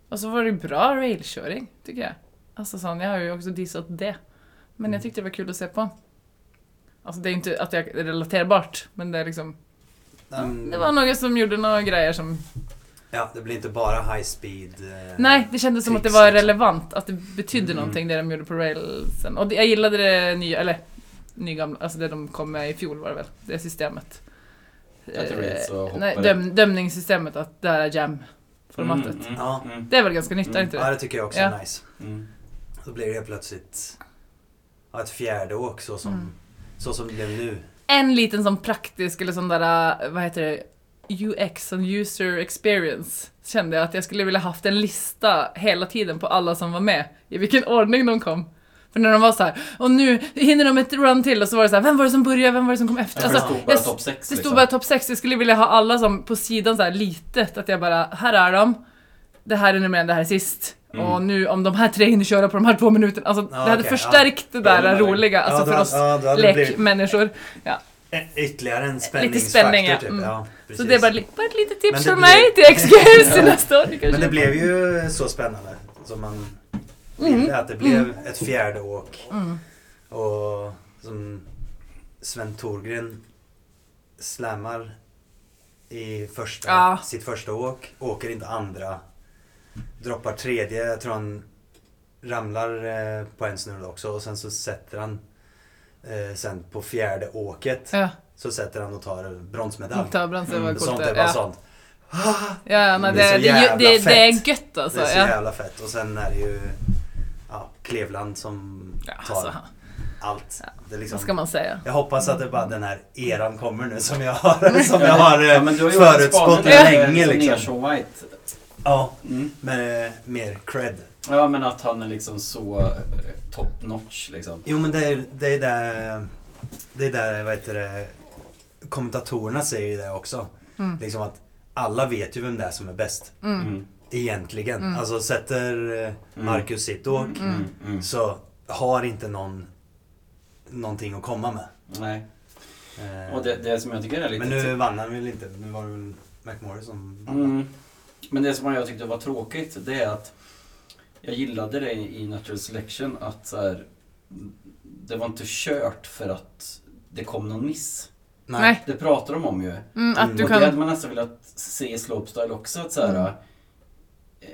Speaker 1: Och så var det bra railkörning, tycker jag. Alltså sån, jag har ju också dissat det. Men
Speaker 3: Mm.
Speaker 1: jag tyckte det var kul att se på. Alltså det är inte att jag är relaterbart, men det är liksom...
Speaker 2: Mm,
Speaker 1: Det var några som gjorde några grejer som...
Speaker 2: Ja, det blir inte bara high speed. eh,
Speaker 1: Nej, det kändes som att det
Speaker 2: tricks,
Speaker 1: var
Speaker 2: liksom.
Speaker 1: relevant, att det betydde
Speaker 2: Mm.
Speaker 1: någonting det de gjorde på railsen. Och det- jag gillade det nya, eller nygamla, alltså det de kom med i fjol var det väl, det systemet.
Speaker 3: Att det blir så
Speaker 1: Eh,
Speaker 3: hoppar
Speaker 1: Nej,
Speaker 3: det.
Speaker 1: döm, dömningssystemet, att där är jam-formatet.
Speaker 3: Mm, mm,
Speaker 2: Ja.
Speaker 3: mm,
Speaker 1: Det är väl ganska nytt, är
Speaker 3: Mm.
Speaker 1: inte det?
Speaker 2: Ja, det tycker jag också
Speaker 1: Ja.
Speaker 2: är nice.
Speaker 3: mm.
Speaker 2: Då blir det helt plötsligt ja, ett fjärde åk så som,
Speaker 1: Mm.
Speaker 2: så som det blev nu.
Speaker 1: En liten sån praktisk, eller sån där, eh, vad heter det, UX, som user experience, kände jag att jag skulle vilja haft en lista hela tiden på alla som var med, i vilken ordning de kom. För när de var så här, och nu hinner de ett run till, och så var det så här, vem var det som började, vem var det som kom efter?
Speaker 3: Ja, för
Speaker 1: Alltså,
Speaker 3: det stod
Speaker 1: jag
Speaker 3: bara
Speaker 1: s-
Speaker 3: topp liksom. 6
Speaker 1: det stod bara topp 6, jag skulle vilja ha alla som på sidan så här litet, att jag bara, här är de, det här är nummer en, det här är sist.
Speaker 3: Mm.
Speaker 1: Och nu om de här tre hinner köra på de här två minuterna, alltså det
Speaker 2: Ja,
Speaker 1: hade
Speaker 2: okej,
Speaker 1: förstärkt det där
Speaker 3: Ja, det menar jag.
Speaker 1: roliga, alltså
Speaker 2: ja, då-
Speaker 1: för oss
Speaker 2: ja, då hade det blivit
Speaker 1: lekmänniskor. Ja.
Speaker 2: ä- ytterligare en
Speaker 1: spänning,
Speaker 2: spänningsfaktor
Speaker 1: ja.
Speaker 2: typ.
Speaker 1: Mm.
Speaker 2: Ja,
Speaker 1: Så
Speaker 2: precis.
Speaker 1: det är bara, li- bara ett litet tips
Speaker 2: Men det
Speaker 1: från
Speaker 2: blev-
Speaker 1: mig till X-Games till nästa år. kanske.
Speaker 2: Men det blev
Speaker 1: Mm.
Speaker 2: ju så spännande som man ville att det blev ett fjärde åk.
Speaker 1: Mm.
Speaker 2: Och som Sven Thorgren slammar i första,
Speaker 1: Ja.
Speaker 2: sitt första åk, åker inte andra, droppar tredje, jag tror han ramlar eh, på en snurra också och sen så sätter han eh, sen på fjärde åket
Speaker 1: Ja,
Speaker 2: så sätter han och tar bronsmedalj.
Speaker 1: Mokta Brandsen var
Speaker 3: Mm,
Speaker 1: coolt.
Speaker 2: Sånt är
Speaker 1: det.
Speaker 2: bara
Speaker 1: Ja,
Speaker 2: sånt.
Speaker 1: ja nej,
Speaker 2: Det är
Speaker 1: det,
Speaker 2: så
Speaker 1: det,
Speaker 2: jävla
Speaker 1: det, det är
Speaker 2: fett.
Speaker 1: gött alltså.
Speaker 2: det är så
Speaker 1: Ja.
Speaker 2: jävla fett. Och sen är det ju ja, Cleveland som
Speaker 1: Ja,
Speaker 2: tar
Speaker 1: alltså,
Speaker 2: allt. Det är liksom,
Speaker 1: vad ska man säga?
Speaker 2: Jag hoppas att det är bara den här eran kommer nu som jag
Speaker 1: Mm.
Speaker 2: har, som
Speaker 3: Ja,
Speaker 2: jag har, eh,
Speaker 3: ja, men du har ju
Speaker 2: förutspått
Speaker 3: spaningen där,
Speaker 2: länge.
Speaker 3: liksom. ner
Speaker 2: Liksom.
Speaker 3: Shaun White.
Speaker 2: Ja,
Speaker 3: Mm.
Speaker 2: men eh, mer cred.
Speaker 3: Ja, men att han är liksom så eh, top notch liksom.
Speaker 2: Jo men det är det är där, det är där vad heter det, kommentatorerna säger ju det också.
Speaker 1: Mm.
Speaker 2: Liksom att alla vet ju vem det är som är bäst.
Speaker 1: Mm.
Speaker 3: Mm.
Speaker 2: Egentligen.
Speaker 1: Mm.
Speaker 2: Alltså sätter eh, Marcus sitt åk
Speaker 3: Mm. Mm.
Speaker 2: så har inte någon någonting att komma med.
Speaker 3: Nej.
Speaker 2: Eh,
Speaker 3: Och det, det som jag tycker är lite... typ-
Speaker 2: men nu vann han väl inte. Nu var det väl McMorris som vann.
Speaker 3: Mm. Men det som jag tyckte var tråkigt, det är att jag gillade det i Natural Selection att så här, det var inte kört för att det kom någon miss.
Speaker 1: Nej.
Speaker 3: Det pratar de om ju.
Speaker 1: Mm, att du
Speaker 3: och det hade
Speaker 1: kan...
Speaker 3: man nästan velat se i Slopestyle också. Att så här,
Speaker 1: Mm.
Speaker 3: eh,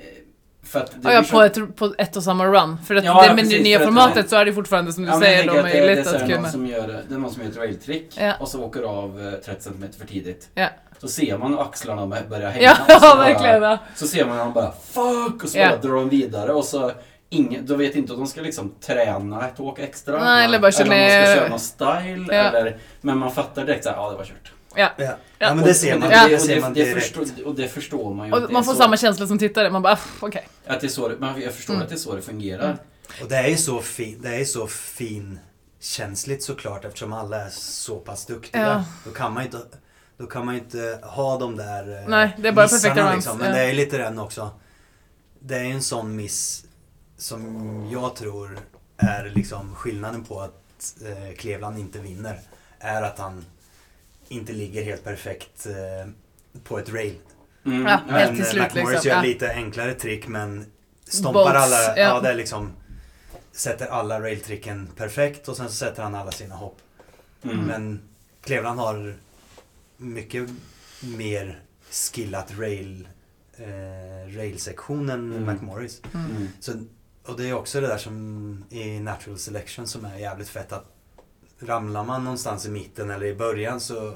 Speaker 3: för att det
Speaker 1: Ja, ja,
Speaker 3: blir så-
Speaker 1: på, ett, på ett och samma run. För att
Speaker 3: Ja,
Speaker 1: det, med det
Speaker 3: precis,
Speaker 1: nya
Speaker 3: för att-
Speaker 1: formatet så är det fortfarande som du
Speaker 3: Ja, men jag
Speaker 1: säger
Speaker 3: tänker
Speaker 1: då
Speaker 3: att det-
Speaker 1: möjligt
Speaker 3: det är så
Speaker 1: att
Speaker 3: här någon
Speaker 1: kunna...
Speaker 3: som gör, Det är någon som gör ett railtrick
Speaker 1: Ja.
Speaker 3: och så åker av eh, 30 cm för tidigt.
Speaker 1: Ja.
Speaker 3: Så ser man axlarna bör- börja hänga.
Speaker 1: Ja,
Speaker 3: och så bara-
Speaker 1: verkligen. Ja.
Speaker 3: Så ser man honom bara fuck och så
Speaker 1: Ja.
Speaker 3: bara drar de vidare och så ingen, då vet inte om de ska liksom träna ett åk extra.
Speaker 1: Nej, eller bara köra
Speaker 3: om de ska
Speaker 1: ner.
Speaker 3: köra någon style
Speaker 1: Ja.
Speaker 3: eller, men man fattar direkt såhär, ja det var kört.
Speaker 2: Ja. Ja. men det ser
Speaker 3: Och-
Speaker 2: man,
Speaker 3: och
Speaker 2: det
Speaker 3: och
Speaker 2: ser man
Speaker 3: det
Speaker 2: direkt.
Speaker 3: förstår, och det förstår man ju. att
Speaker 1: Och
Speaker 3: det
Speaker 1: man
Speaker 3: är
Speaker 1: får
Speaker 3: så-
Speaker 1: samma känsla som tittare, man bara "Ah, okej.
Speaker 3: Att det är så, det- man, jag förstår
Speaker 1: Mm.
Speaker 3: att det är så det fungerar.
Speaker 1: Mm.
Speaker 2: Och det är ju så, fi, det är så fin känsligt såklart eftersom alla är så pass duktiga.
Speaker 1: Ja.
Speaker 2: Då kan man ju inte då kan man ju inte ha de där eh,
Speaker 1: Nej, det är bara
Speaker 2: missarna
Speaker 1: perfekta runs,
Speaker 2: liksom. Men
Speaker 1: ja.
Speaker 2: det är lite den också. Det är ju en sån miss som jag tror är liksom skillnaden på att eh, Cleveland inte vinner. Är att han inte ligger helt perfekt eh, på ett rail.
Speaker 3: Mm.
Speaker 1: Ja,
Speaker 3: ja,
Speaker 1: helt
Speaker 2: Men
Speaker 1: till
Speaker 2: eh,
Speaker 1: slut,
Speaker 2: McMorris
Speaker 1: liksom,
Speaker 2: gör
Speaker 1: ja.
Speaker 2: lite enklare trick men stompar
Speaker 1: Bolts,
Speaker 2: alla, ja.
Speaker 1: ja.
Speaker 2: det är liksom sätter alla railtricken perfekt och sen så sätter han alla sina hopp.
Speaker 3: Mm.
Speaker 2: Men Cleveland har mycket mer skillat rail, eh, railsektionen
Speaker 3: Mm.
Speaker 2: McMorris.
Speaker 1: Mm.
Speaker 3: Mm.
Speaker 2: Så, och det är också det där som i natural selection som är jävligt fett att ramlar man någonstans i mitten eller i början så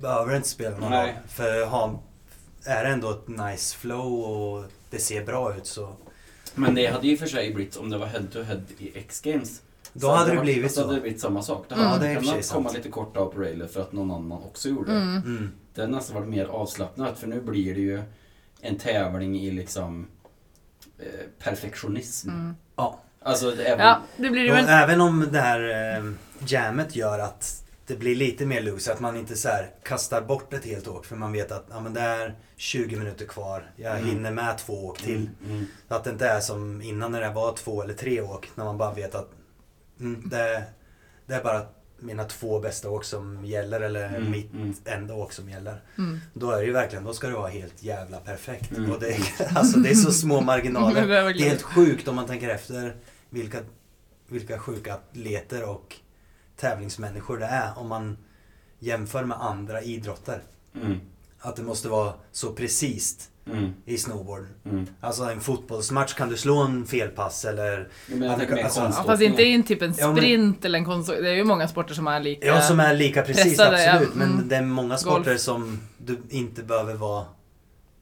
Speaker 2: behöver det inte spela någon roll.
Speaker 3: Nej.
Speaker 2: För ha, är det ändå ett nice flow och det ser bra ut så
Speaker 3: Men det hade ju i och för sig blivit om det var head to head i X-games.
Speaker 2: då
Speaker 3: Så
Speaker 2: hade det
Speaker 3: varit-
Speaker 2: blivit
Speaker 3: Då hade det
Speaker 2: så.
Speaker 3: blivit samma sak. Det
Speaker 1: Mm.
Speaker 2: Ja, det
Speaker 3: hade
Speaker 2: är i och för sig
Speaker 3: kunnat komma
Speaker 2: sant.
Speaker 3: lite kort av på railen för att någon annan också gjorde det.
Speaker 1: Mm.
Speaker 2: Mm.
Speaker 3: Det hade nästan varit mer avslappnat för nu blir det ju en tävling i liksom eh, perfektionism.
Speaker 1: Mm.
Speaker 3: Alltså det är
Speaker 1: Ja, det blir det.
Speaker 2: Och
Speaker 1: Men,
Speaker 2: även om det här eh, jammet gör att det blir lite mer loose, att man inte så här kastar bort ett helt åk för man vet att ja, men det är 20 minuter kvar, jag
Speaker 3: Mm.
Speaker 2: hinner med två åk till.
Speaker 3: Mm.
Speaker 2: Så att det inte är som innan när det var två eller tre åk, när man bara vet att mm, det, det är bara mina två bästa åk som gäller eller
Speaker 3: Mm,
Speaker 2: mitt
Speaker 3: mm.
Speaker 2: enda åk som gäller.
Speaker 1: mm.
Speaker 2: Då är det ju verkligen, då ska det vara helt jävla perfekt.
Speaker 3: Mm.
Speaker 2: Och det, alltså, det är så små marginaler.
Speaker 1: Det är
Speaker 2: Det
Speaker 1: verkligen-
Speaker 2: är helt sjukt om man tänker efter vilka, vilka sjuka atleter och tävlingsmänniskor det är om man jämför med andra idrotter.
Speaker 3: Mm.
Speaker 2: Att det måste vara så precis
Speaker 3: Mm.
Speaker 2: i snowboard.
Speaker 3: Mm.
Speaker 2: Alltså en fotbollsmatch kan du slå en felpass eller...
Speaker 3: Jag menar, jag tänker mer
Speaker 2: Alltså,
Speaker 1: Ja,
Speaker 3: konståkning.
Speaker 1: fast inte i en typ en
Speaker 2: Ja, men-
Speaker 1: sprint eller en konsol. Det är ju många sporter som är lika.
Speaker 2: Ja, som är lika precis,
Speaker 1: Pressade, ja.
Speaker 2: absolut.
Speaker 1: Mm.
Speaker 2: Men det är många
Speaker 1: Golf.
Speaker 2: sporter som du inte behöver vara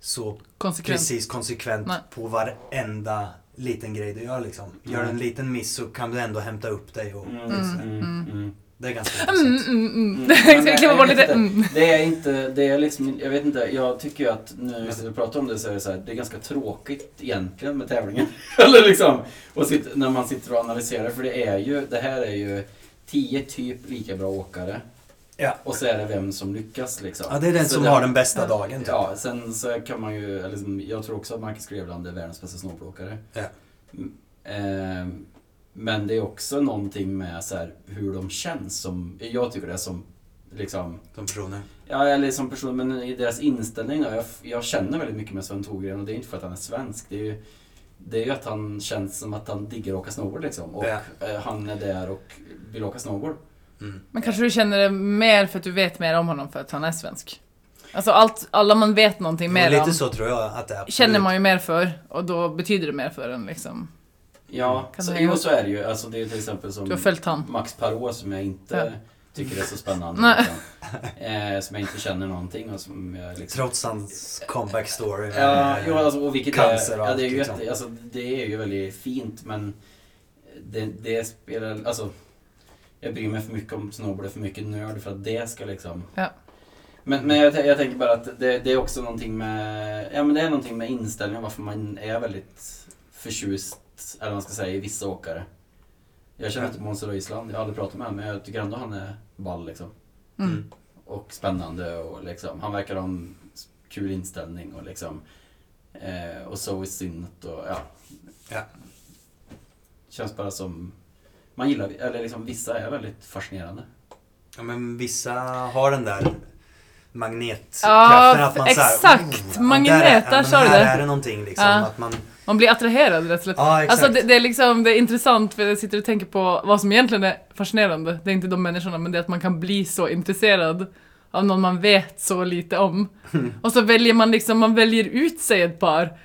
Speaker 2: så
Speaker 1: konsekvent.
Speaker 2: precis konsekvent
Speaker 1: Nej.
Speaker 2: på varenda liten grej du gör liksom. Gör du en
Speaker 3: Mm.
Speaker 2: liten miss så kan du ändå hämta upp dig och...
Speaker 3: Mm.
Speaker 1: Mm,
Speaker 3: Mm.
Speaker 1: mm.
Speaker 3: Mm.
Speaker 2: Det är ganska
Speaker 1: Mm,
Speaker 2: intressant.
Speaker 1: mm, mm.
Speaker 3: Mm.
Speaker 1: Jag ska
Speaker 3: Men,
Speaker 1: klippa
Speaker 3: jag
Speaker 1: bort
Speaker 3: vet
Speaker 1: lite.
Speaker 3: inte.
Speaker 1: Mm.
Speaker 3: Det är inte, det är liksom, jag vet inte, jag tycker ju att nu när vi sitter och pratar om det så är det så här, det är ganska tråkigt egentligen med tävlingen. Eller liksom, och sitt, när man sitter och analyserar, för det är ju, det här är ju tio typ lika bra åkare.
Speaker 2: Ja.
Speaker 3: Och så är det vem som lyckas liksom.
Speaker 2: Ja, det är den
Speaker 3: Så
Speaker 2: som
Speaker 3: det-
Speaker 2: har den bästa dagen. Typ.
Speaker 3: Ja, sen så kan man ju, eller liksom, jag tror också att Marcus Grevland är världens bästa snowboardåkare.
Speaker 2: Ja.
Speaker 3: Mm, ehm, men det är också någonting med så här, hur de känns som, jag tycker det är som, liksom,
Speaker 2: De personer.
Speaker 3: ja eller som person, men i deras inställning då, jag, jag känner väldigt mycket med Sven Thorgren och det är inte för att han är svensk, det är ju det är ju att han känns som att han diggar att åka snowboard liksom. Och
Speaker 2: Ja.
Speaker 3: eh, han är där och vill åka snowboard.
Speaker 2: Mm.
Speaker 1: Men kanske du känner det mer för att du vet mer om honom för att han är svensk. Alltså allt, alla man vet någonting
Speaker 2: Men
Speaker 1: mer
Speaker 2: lite
Speaker 1: om
Speaker 2: så tror jag att det är. absolut.
Speaker 1: känner man ju mer för och då betyder det mer för en liksom.
Speaker 3: Ja,
Speaker 1: Kan
Speaker 3: så,
Speaker 1: du hänga
Speaker 3: jo
Speaker 1: upp?
Speaker 3: så är det ju. Alltså, det är till exempel som
Speaker 1: Du
Speaker 2: Mm.
Speaker 1: har följt han.
Speaker 3: Max Parot som jag inte
Speaker 1: Ja.
Speaker 3: tycker är så spännande.
Speaker 1: Nej.
Speaker 3: utan, eh, som jag inte känner någonting och som jag liksom...
Speaker 2: Trots hans comeback story.
Speaker 3: Ja,
Speaker 2: Eh,
Speaker 3: jo, alltså, och vilket
Speaker 2: Cancer
Speaker 3: är,
Speaker 2: och
Speaker 3: ja, det är ju
Speaker 2: allt, liksom.
Speaker 3: jätte, alltså, det är ju väldigt fint men det, det spelar, alltså jag bryr mig för mycket om snowboard, för mycket nörd för att det ska liksom
Speaker 1: Ja.
Speaker 3: Men, men jag, tän- jag tänker bara att det, det är också någonting med, ja men det är någonting med inställningen varför man är väldigt förtjust, eller vad man ska säga, i vissa åkare. Jag känner
Speaker 2: Ja.
Speaker 3: inte Måns Röisland, jag har aldrig pratat med honom, men jag tycker ändå han är ball liksom.
Speaker 1: Mm.
Speaker 3: Och spännande och liksom, han verkar ha en kul inställning och liksom eh, Och så är synd och ja.
Speaker 2: Ja.
Speaker 3: Känns bara som Man gillar, eller liksom vissa är väldigt fascinerande.
Speaker 2: ja, men vissa har den där magnetkraften.
Speaker 1: Ja,
Speaker 2: att man Så här,
Speaker 1: exakt.
Speaker 2: ja,
Speaker 1: Magnet,
Speaker 2: där är-
Speaker 1: där
Speaker 2: men
Speaker 1: sa du det.
Speaker 2: Här är det någonting liksom.
Speaker 1: Ja.
Speaker 2: Att man,
Speaker 1: Man blir attraherad rätt slätt.
Speaker 2: ja, exakt.
Speaker 1: Alltså det, det är liksom, det är intressant för jag sitter och tänker på vad som egentligen är fascinerande. Det är inte de människorna men det är att man kan bli så intresserad av någon man vet så lite om. Och så väljer man liksom, man väljer ut sig ett par.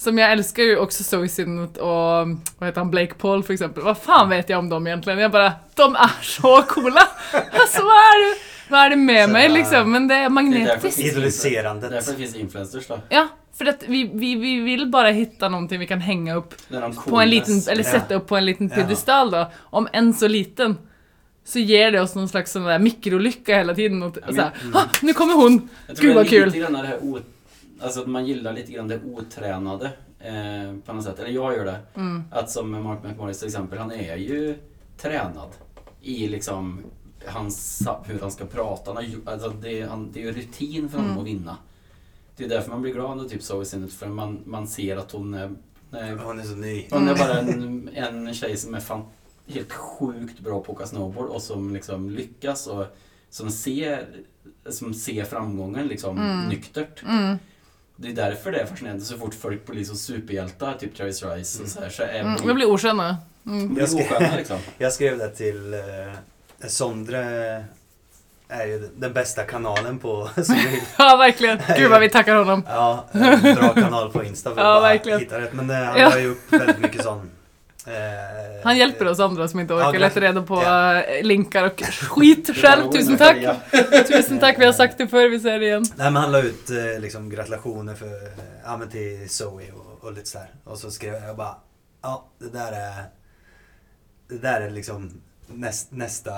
Speaker 1: Som jag älskar ju också Soisinnet och vad heter han, Blake Paul för exempel. Vad fan vet jag om dem egentligen? Jag bara, de är så coola! Alltså vad är det, vad är det med
Speaker 2: Så
Speaker 1: mig
Speaker 2: där.
Speaker 1: liksom? Men det är magnetiskt.
Speaker 2: Idoliserandet.
Speaker 3: Därför finns influencers då.
Speaker 1: Ja, för att vi, vi, vi vill bara hitta någonting vi kan hänga upp
Speaker 3: När de
Speaker 1: på en liten,
Speaker 3: coolas-
Speaker 1: eller
Speaker 2: Ja.
Speaker 1: sätta upp på en liten
Speaker 2: Ja.
Speaker 1: piedestal då, om en så liten. Så ger det oss någon slags sån där mikrolycka hela tiden. Och, och
Speaker 3: men-
Speaker 1: så här,
Speaker 2: mm.
Speaker 1: "Ah, nu kommer hon!
Speaker 3: Jag
Speaker 1: Gud,
Speaker 3: tror det
Speaker 1: vad
Speaker 3: är
Speaker 1: kul.
Speaker 3: lite grann det här o, Alltså att man gillar lite grann det otränade eh, på något sätt. Eller jag gör det.
Speaker 1: Mm.
Speaker 3: Att som Mark McMorris till exempel, han är ju tränad i liksom hans, hur han ska prata. Han har, ju- alltså det, han, det är ju rutin för honom
Speaker 1: Mm.
Speaker 3: att vinna. Det är därför man blir glad när typ Zoe Sinnott, för man, man ser att hon är, är
Speaker 2: Hon är så ny.
Speaker 3: hon är bara en, en tjej som är fan, helt sjukt bra på att åka snowboard och som liksom lyckas och som ser, som ser framgången liksom
Speaker 1: Mm.
Speaker 3: nyktert.
Speaker 1: Mm.
Speaker 3: Det är därför det är fascinerande så fort folk blir så superhjältar, typ Travis Rice och så här, så är
Speaker 1: Mm.
Speaker 3: de
Speaker 1: Jag blir okända. Mm.
Speaker 3: de är
Speaker 2: Jag ska-
Speaker 3: osköna liksom.
Speaker 2: Jag skrev det till eh, Sondre är ju den bästa kanalen på som vi-
Speaker 1: Ja, verkligen. Gud vad vi tackar honom.
Speaker 2: Ja, en bra kanal på Insta för att
Speaker 1: Ja,
Speaker 2: bara
Speaker 1: verkligen.
Speaker 2: hitta rätt. Men eh, han
Speaker 1: Ja.
Speaker 2: la ju upp väldigt mycket sån... eh,
Speaker 1: Han hjälper oss andra som inte
Speaker 2: Ja,
Speaker 1: orkar
Speaker 2: det-
Speaker 1: leta reda på
Speaker 2: ja.
Speaker 1: eh, länkar och skit själv. Tusen tack! Tusen tack, vi har sagt det förr, vi säger det igen.
Speaker 2: Nej men han la ut eh, liksom gratulationer för, eh, ja, men till Zoe och, och lite sådär. Och så skrev jag bara, ja det där är, det där är liksom näst, nästa,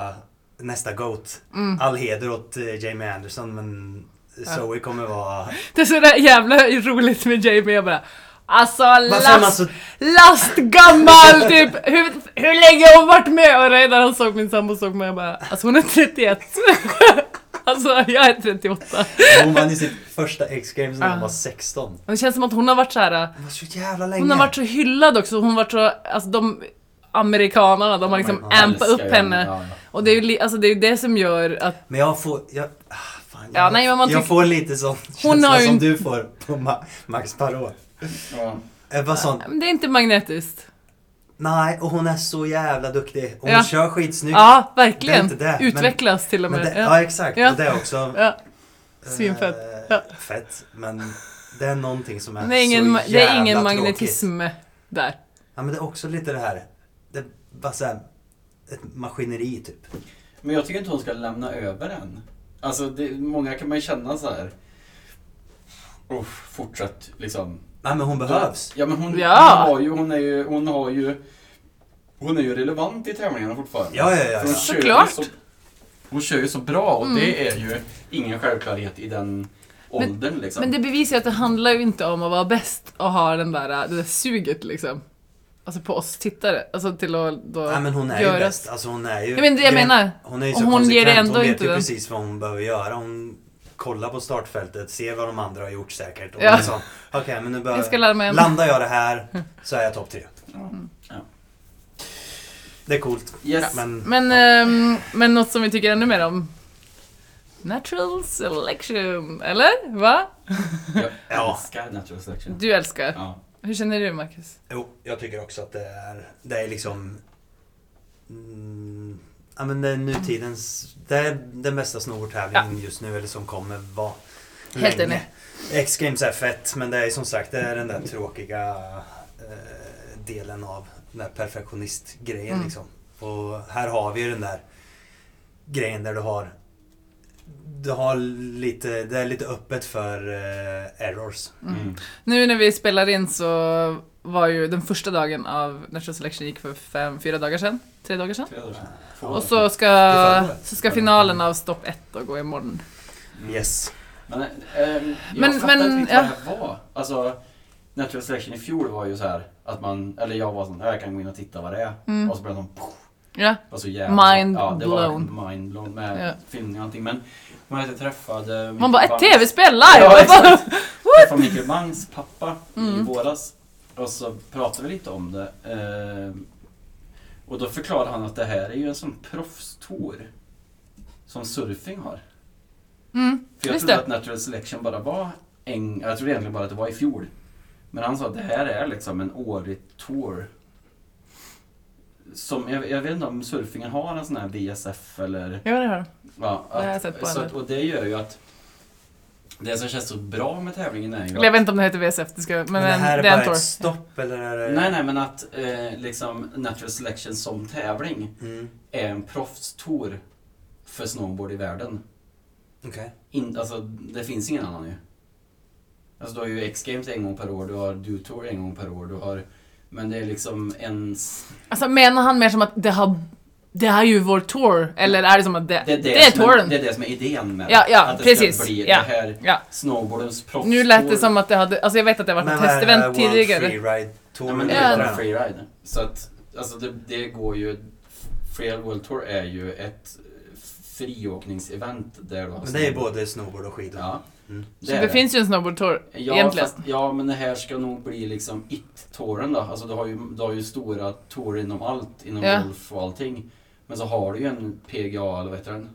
Speaker 2: nästa GOAT.
Speaker 1: Mm.
Speaker 2: All heder åt eh, Jamie Anderson men
Speaker 1: Ja.
Speaker 2: Zoe kommer vara...
Speaker 1: Det är så där jävla roligt med Jamie, jag bara Alltså
Speaker 2: Varför är man
Speaker 1: last,
Speaker 2: så...
Speaker 1: lastgammal typ! Hur, hur länge har hon varit med? Och redan han såg min sambo såg mig jag bara Alltså hon är 31 Alltså jag är 38
Speaker 2: Hon vann ju sitt första X-Games när hon
Speaker 1: Ja.
Speaker 2: var 16.
Speaker 1: Och det känns som att hon har varit så här.
Speaker 2: Hon var så jävla länge.
Speaker 1: Hon har varit så hyllad också, hon har varit så, alltså de Amerikanerna, de har liksom
Speaker 2: Ja,
Speaker 1: ampat upp
Speaker 3: Älskar henne,
Speaker 1: henne
Speaker 3: ja, ja.
Speaker 1: Och det är ju li- alltså det, är ju det som gör att
Speaker 2: Men jag får... Jag, ah, fan,
Speaker 1: Ja,
Speaker 2: jag,
Speaker 1: nej, men man
Speaker 2: jag
Speaker 1: tycker-
Speaker 2: får lite sån
Speaker 1: Hon har
Speaker 2: känsla
Speaker 1: ju
Speaker 2: som
Speaker 1: inte-
Speaker 2: du får på Ma- Max Parot.
Speaker 3: Ja.
Speaker 2: Eh, Vad sånt.
Speaker 1: men det är inte magnetiskt
Speaker 2: Nej, och hon är så jävla duktig. Och hon
Speaker 1: Ja.
Speaker 2: kör skitsnyggt.
Speaker 1: Ja,
Speaker 2: Det är
Speaker 1: verkligen!
Speaker 2: inte det, men-
Speaker 1: Utvecklas till och
Speaker 2: men
Speaker 1: med
Speaker 2: det,
Speaker 1: Ja,
Speaker 2: ja, exakt.
Speaker 1: Ja.
Speaker 2: Och det är också...
Speaker 1: ja.
Speaker 2: eh,
Speaker 1: Svinfett. Ja.
Speaker 2: Fett. Men det är någonting som är,
Speaker 1: Det är ingen,
Speaker 2: så jävla
Speaker 1: det är ingen
Speaker 2: tråkigt.
Speaker 1: magnetism där
Speaker 2: Ja, men det är också lite det här... Det är bara så här, ett maskineri typ.
Speaker 3: Men jag tycker inte hon ska lämna över än. Alltså, det, många kan man ju känna så här. Uff, fortsätt liksom.
Speaker 2: Nej, men hon behövs.
Speaker 3: Ja, men hon,
Speaker 1: Ja.
Speaker 3: hon har ju, hon är ju, hon har ju, hon är ju relevant i tävlingarna fortfarande.
Speaker 2: Ja, ja, ja,
Speaker 3: För
Speaker 2: ja.
Speaker 3: Hon kör ju
Speaker 1: Såklart. Mm.
Speaker 3: Så, hon kör ju så bra och det är ju ingen självklarhet i den åldern liksom.
Speaker 1: Men det bevisar ju att det handlar ju inte om att vara bäst och ha den där, äh, det där suget liksom Alltså på oss tittare, alltså till att då
Speaker 2: Nej, men hon är ju
Speaker 1: göra-
Speaker 2: bäst. Alltså hon är ju...
Speaker 1: Ja, men det jag
Speaker 2: gre-
Speaker 1: menar.
Speaker 2: Hon är ju
Speaker 1: Och
Speaker 2: så
Speaker 1: hon ger
Speaker 2: konsekvent.
Speaker 1: det ändå
Speaker 2: hon vet
Speaker 1: inte
Speaker 2: ju
Speaker 1: den.
Speaker 2: precis vad hon behöver göra. Hon kollar på startfältet, ser vad de andra har gjort säkert. Och
Speaker 1: Ja.
Speaker 2: liksom, okej men nu
Speaker 1: Jag ska
Speaker 2: behöver...
Speaker 1: lära mig en... Mm.
Speaker 2: Landar jag det här så är jag topp tre. Det är coolt.
Speaker 3: Yes.
Speaker 2: Men,
Speaker 1: Men,
Speaker 2: ja.
Speaker 1: ehm, men något som vi tycker ännu mer om? Natural selection, eller? Va?
Speaker 3: Jag
Speaker 2: Ja.
Speaker 3: älskar natural selection.
Speaker 1: Du älskar.
Speaker 3: Ja.
Speaker 1: Hur känner du Marcus?
Speaker 2: Jo, jag tycker också att det är, det är liksom... Mm, ja men det är nutidens... Det är den bästa snortävlingen just nu, eller som kommer vara.
Speaker 1: Helt
Speaker 2: länge.
Speaker 1: enig.
Speaker 2: X-Games är fett, men det är som sagt det är den där tråkiga eh, delen av den där perfektionistgrejen
Speaker 1: Mm.
Speaker 2: liksom. Och här har vi ju den där grejen där du har... Du har lite, det är lite öppet för eh, errors.
Speaker 3: Mm.
Speaker 1: Nu när vi spelar in så var ju den första dagen av Natural Selection gick för fem, fyra dagar sedan. Tre dagar sedan.
Speaker 3: Tre år sedan. Två år
Speaker 1: Och
Speaker 3: sedan.
Speaker 1: så ska, så ska finalen av stopp 1 då gå imorgon.
Speaker 3: Mm.
Speaker 2: Yes.
Speaker 3: Men, ehm, jag
Speaker 1: Men-
Speaker 3: fattar
Speaker 1: men,
Speaker 3: inte riktigt
Speaker 1: ja.
Speaker 3: vad det här var. Alltså, Natural Selection i fjol var ju så här att man, eller jag var sån, "Ja, jag kan gå in och titta vad det är.
Speaker 1: Mm.
Speaker 3: Och så blev de, poff,
Speaker 1: Ja.
Speaker 3: var så Alltså, jävla...
Speaker 1: Mind
Speaker 3: ja, det var
Speaker 1: blown.
Speaker 3: verkligen Mind blown med
Speaker 1: Ja.
Speaker 3: filmning och allting. Men man vet, jag träffade...
Speaker 1: Man bara,
Speaker 3: Mikael
Speaker 1: ett
Speaker 3: Bangs-
Speaker 1: tv-spel
Speaker 3: Ja,
Speaker 1: live!
Speaker 3: exakt. Jag träffade Mikael Bangs pappa i
Speaker 1: Mm.
Speaker 3: våras. Och så pratade vi lite om det. ehm, och då förklarade han att det här är ju en sån proffstour som surfing har.
Speaker 1: Mm,
Speaker 3: För jag
Speaker 1: Just
Speaker 3: trodde
Speaker 1: det.
Speaker 3: att natural selection bara var en... Jag trodde egentligen bara att det var i fjol. Men han sa att det här är liksom en årlig tour. Som, jag, jag vet inte om surfingen har en sån här VSF eller...
Speaker 1: ja det har de.
Speaker 3: Ja,
Speaker 1: Det har jag sett på
Speaker 3: så
Speaker 1: henne.
Speaker 3: att, och det gör ju att... Det som känns så bra med tävlingen är ju
Speaker 1: Eller jag
Speaker 3: att,
Speaker 1: vet inte om det heter VSF, det ska, men,
Speaker 2: Men, det
Speaker 1: en,
Speaker 2: här är
Speaker 1: det är en
Speaker 2: bara
Speaker 1: torr.
Speaker 2: ett stopp eller är det...
Speaker 3: Nej, nej, men att eh, liksom natural selection som tävling
Speaker 2: Mm,
Speaker 3: är en proffstour för snowboard i världen.
Speaker 2: okej.
Speaker 3: In, alltså, det finns ingen annan ju. Alltså, du har ju X-Games en gång per år, du har Dutour en gång per år, du har... Men det är liksom en... s-
Speaker 1: Alltså menar han mer som att det har, det här är ju vår tour? Eller är det som att det,
Speaker 3: Det är det, som är,
Speaker 1: touren?
Speaker 3: det är det som är idén med
Speaker 1: Ja, ja,
Speaker 3: Att det
Speaker 1: precis.
Speaker 3: ska bli
Speaker 1: Ja.
Speaker 3: det här
Speaker 1: Ja.
Speaker 3: snowboardens proffs
Speaker 1: Nu lät det som att det hade, alltså jag vet att det har varit
Speaker 2: Men
Speaker 1: ett
Speaker 2: vad är det här,
Speaker 1: testevent
Speaker 2: World
Speaker 1: tidigare.
Speaker 2: Freeride Tour?
Speaker 3: Nej, men det
Speaker 1: Ja.
Speaker 3: är bara freeride. Så att, alltså det, det går ju... Freeride World Tour är ju ett friåkningsevent där du har
Speaker 2: Men det är ju
Speaker 3: snowboard.
Speaker 2: både snowboard och skidor.
Speaker 3: Ja.
Speaker 2: Mm.
Speaker 1: Så det finns ju en snowboardtour.
Speaker 3: Ja,
Speaker 1: Egentligen.
Speaker 3: Fast, ja, men det här ska nog bli liksom it-touren då. Alltså du har ju, du har ju stora tourer inom allt, inom
Speaker 1: Ja.
Speaker 3: golf och allting. Men så har du ju en PGA, eller vad heter den?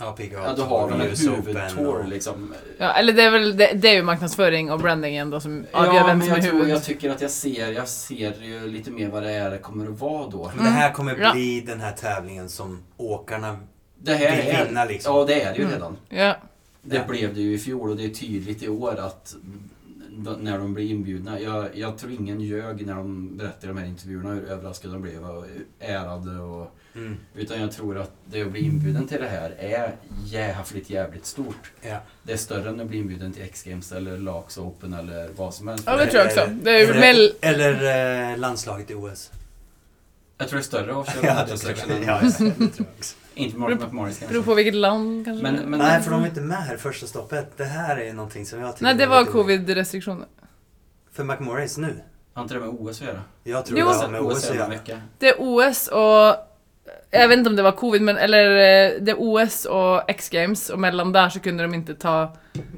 Speaker 2: Ja, pigga
Speaker 3: Ja, då har de en
Speaker 2: ljusopen
Speaker 3: huvudtour
Speaker 2: och-
Speaker 3: liksom.
Speaker 1: Ja, eller det är väl det, det är ju marknadsföring och brandingen då som avgör
Speaker 3: ja,
Speaker 1: vem
Speaker 3: men
Speaker 1: som är
Speaker 3: jag, tror,
Speaker 1: huvud.
Speaker 3: jag tycker att jag ser, jag ser ju lite mer vad det är det kommer att vara då.
Speaker 2: Men det här kommer
Speaker 1: Mm. Ja.
Speaker 2: bli den här tävlingen som åkarna...
Speaker 3: Det här
Speaker 2: Vill
Speaker 3: är,
Speaker 2: vinna, liksom.
Speaker 3: Ja, det är det ju
Speaker 1: Mm.
Speaker 3: redan.
Speaker 1: Ja.
Speaker 3: Det
Speaker 2: Ja.
Speaker 3: blev det ju i fjol och det är tydligt i år att de- när de blir inbjudna. Jag, jag tror ingen ljög när de berättade i de här intervjuerna hur överraskade de blev och ärade. Och,
Speaker 2: Mm,
Speaker 3: utan jag tror att det att bli inbjuden till det här är jävligt, jävligt stort.
Speaker 2: ja.
Speaker 3: Det är större än att bli inbjuden till X-Games eller Lax Open eller vad som helst.
Speaker 1: Ja, det tror jag också. Det är ju
Speaker 2: eller,
Speaker 1: väl-
Speaker 2: eller eh, landslaget i OS.
Speaker 3: Jag tror det är större att köra
Speaker 2: Ja, det tror
Speaker 3: Intersection
Speaker 2: jag.
Speaker 3: än
Speaker 2: Ja, ja, det tror jag också.
Speaker 3: Inte Mark McMorris
Speaker 1: Beror
Speaker 3: kanske.
Speaker 1: på vilket land kanske.
Speaker 3: Men, men,
Speaker 2: Nej, för de är inte med här första stoppet. Det här är någonting som jag tycker
Speaker 1: Nej, det
Speaker 2: är
Speaker 1: var
Speaker 2: lite-
Speaker 1: covid-restriktioner.
Speaker 2: För McMorris nu.
Speaker 3: har inte det med OS att göra?
Speaker 2: Jag tror
Speaker 1: Jo.
Speaker 2: det har med OS att
Speaker 3: är om en
Speaker 2: göra.
Speaker 3: vecka.
Speaker 1: Det är OS och... Jag vet inte om det var covid, men eller eh, det är OS och X-games och mellan där så kunde de inte ta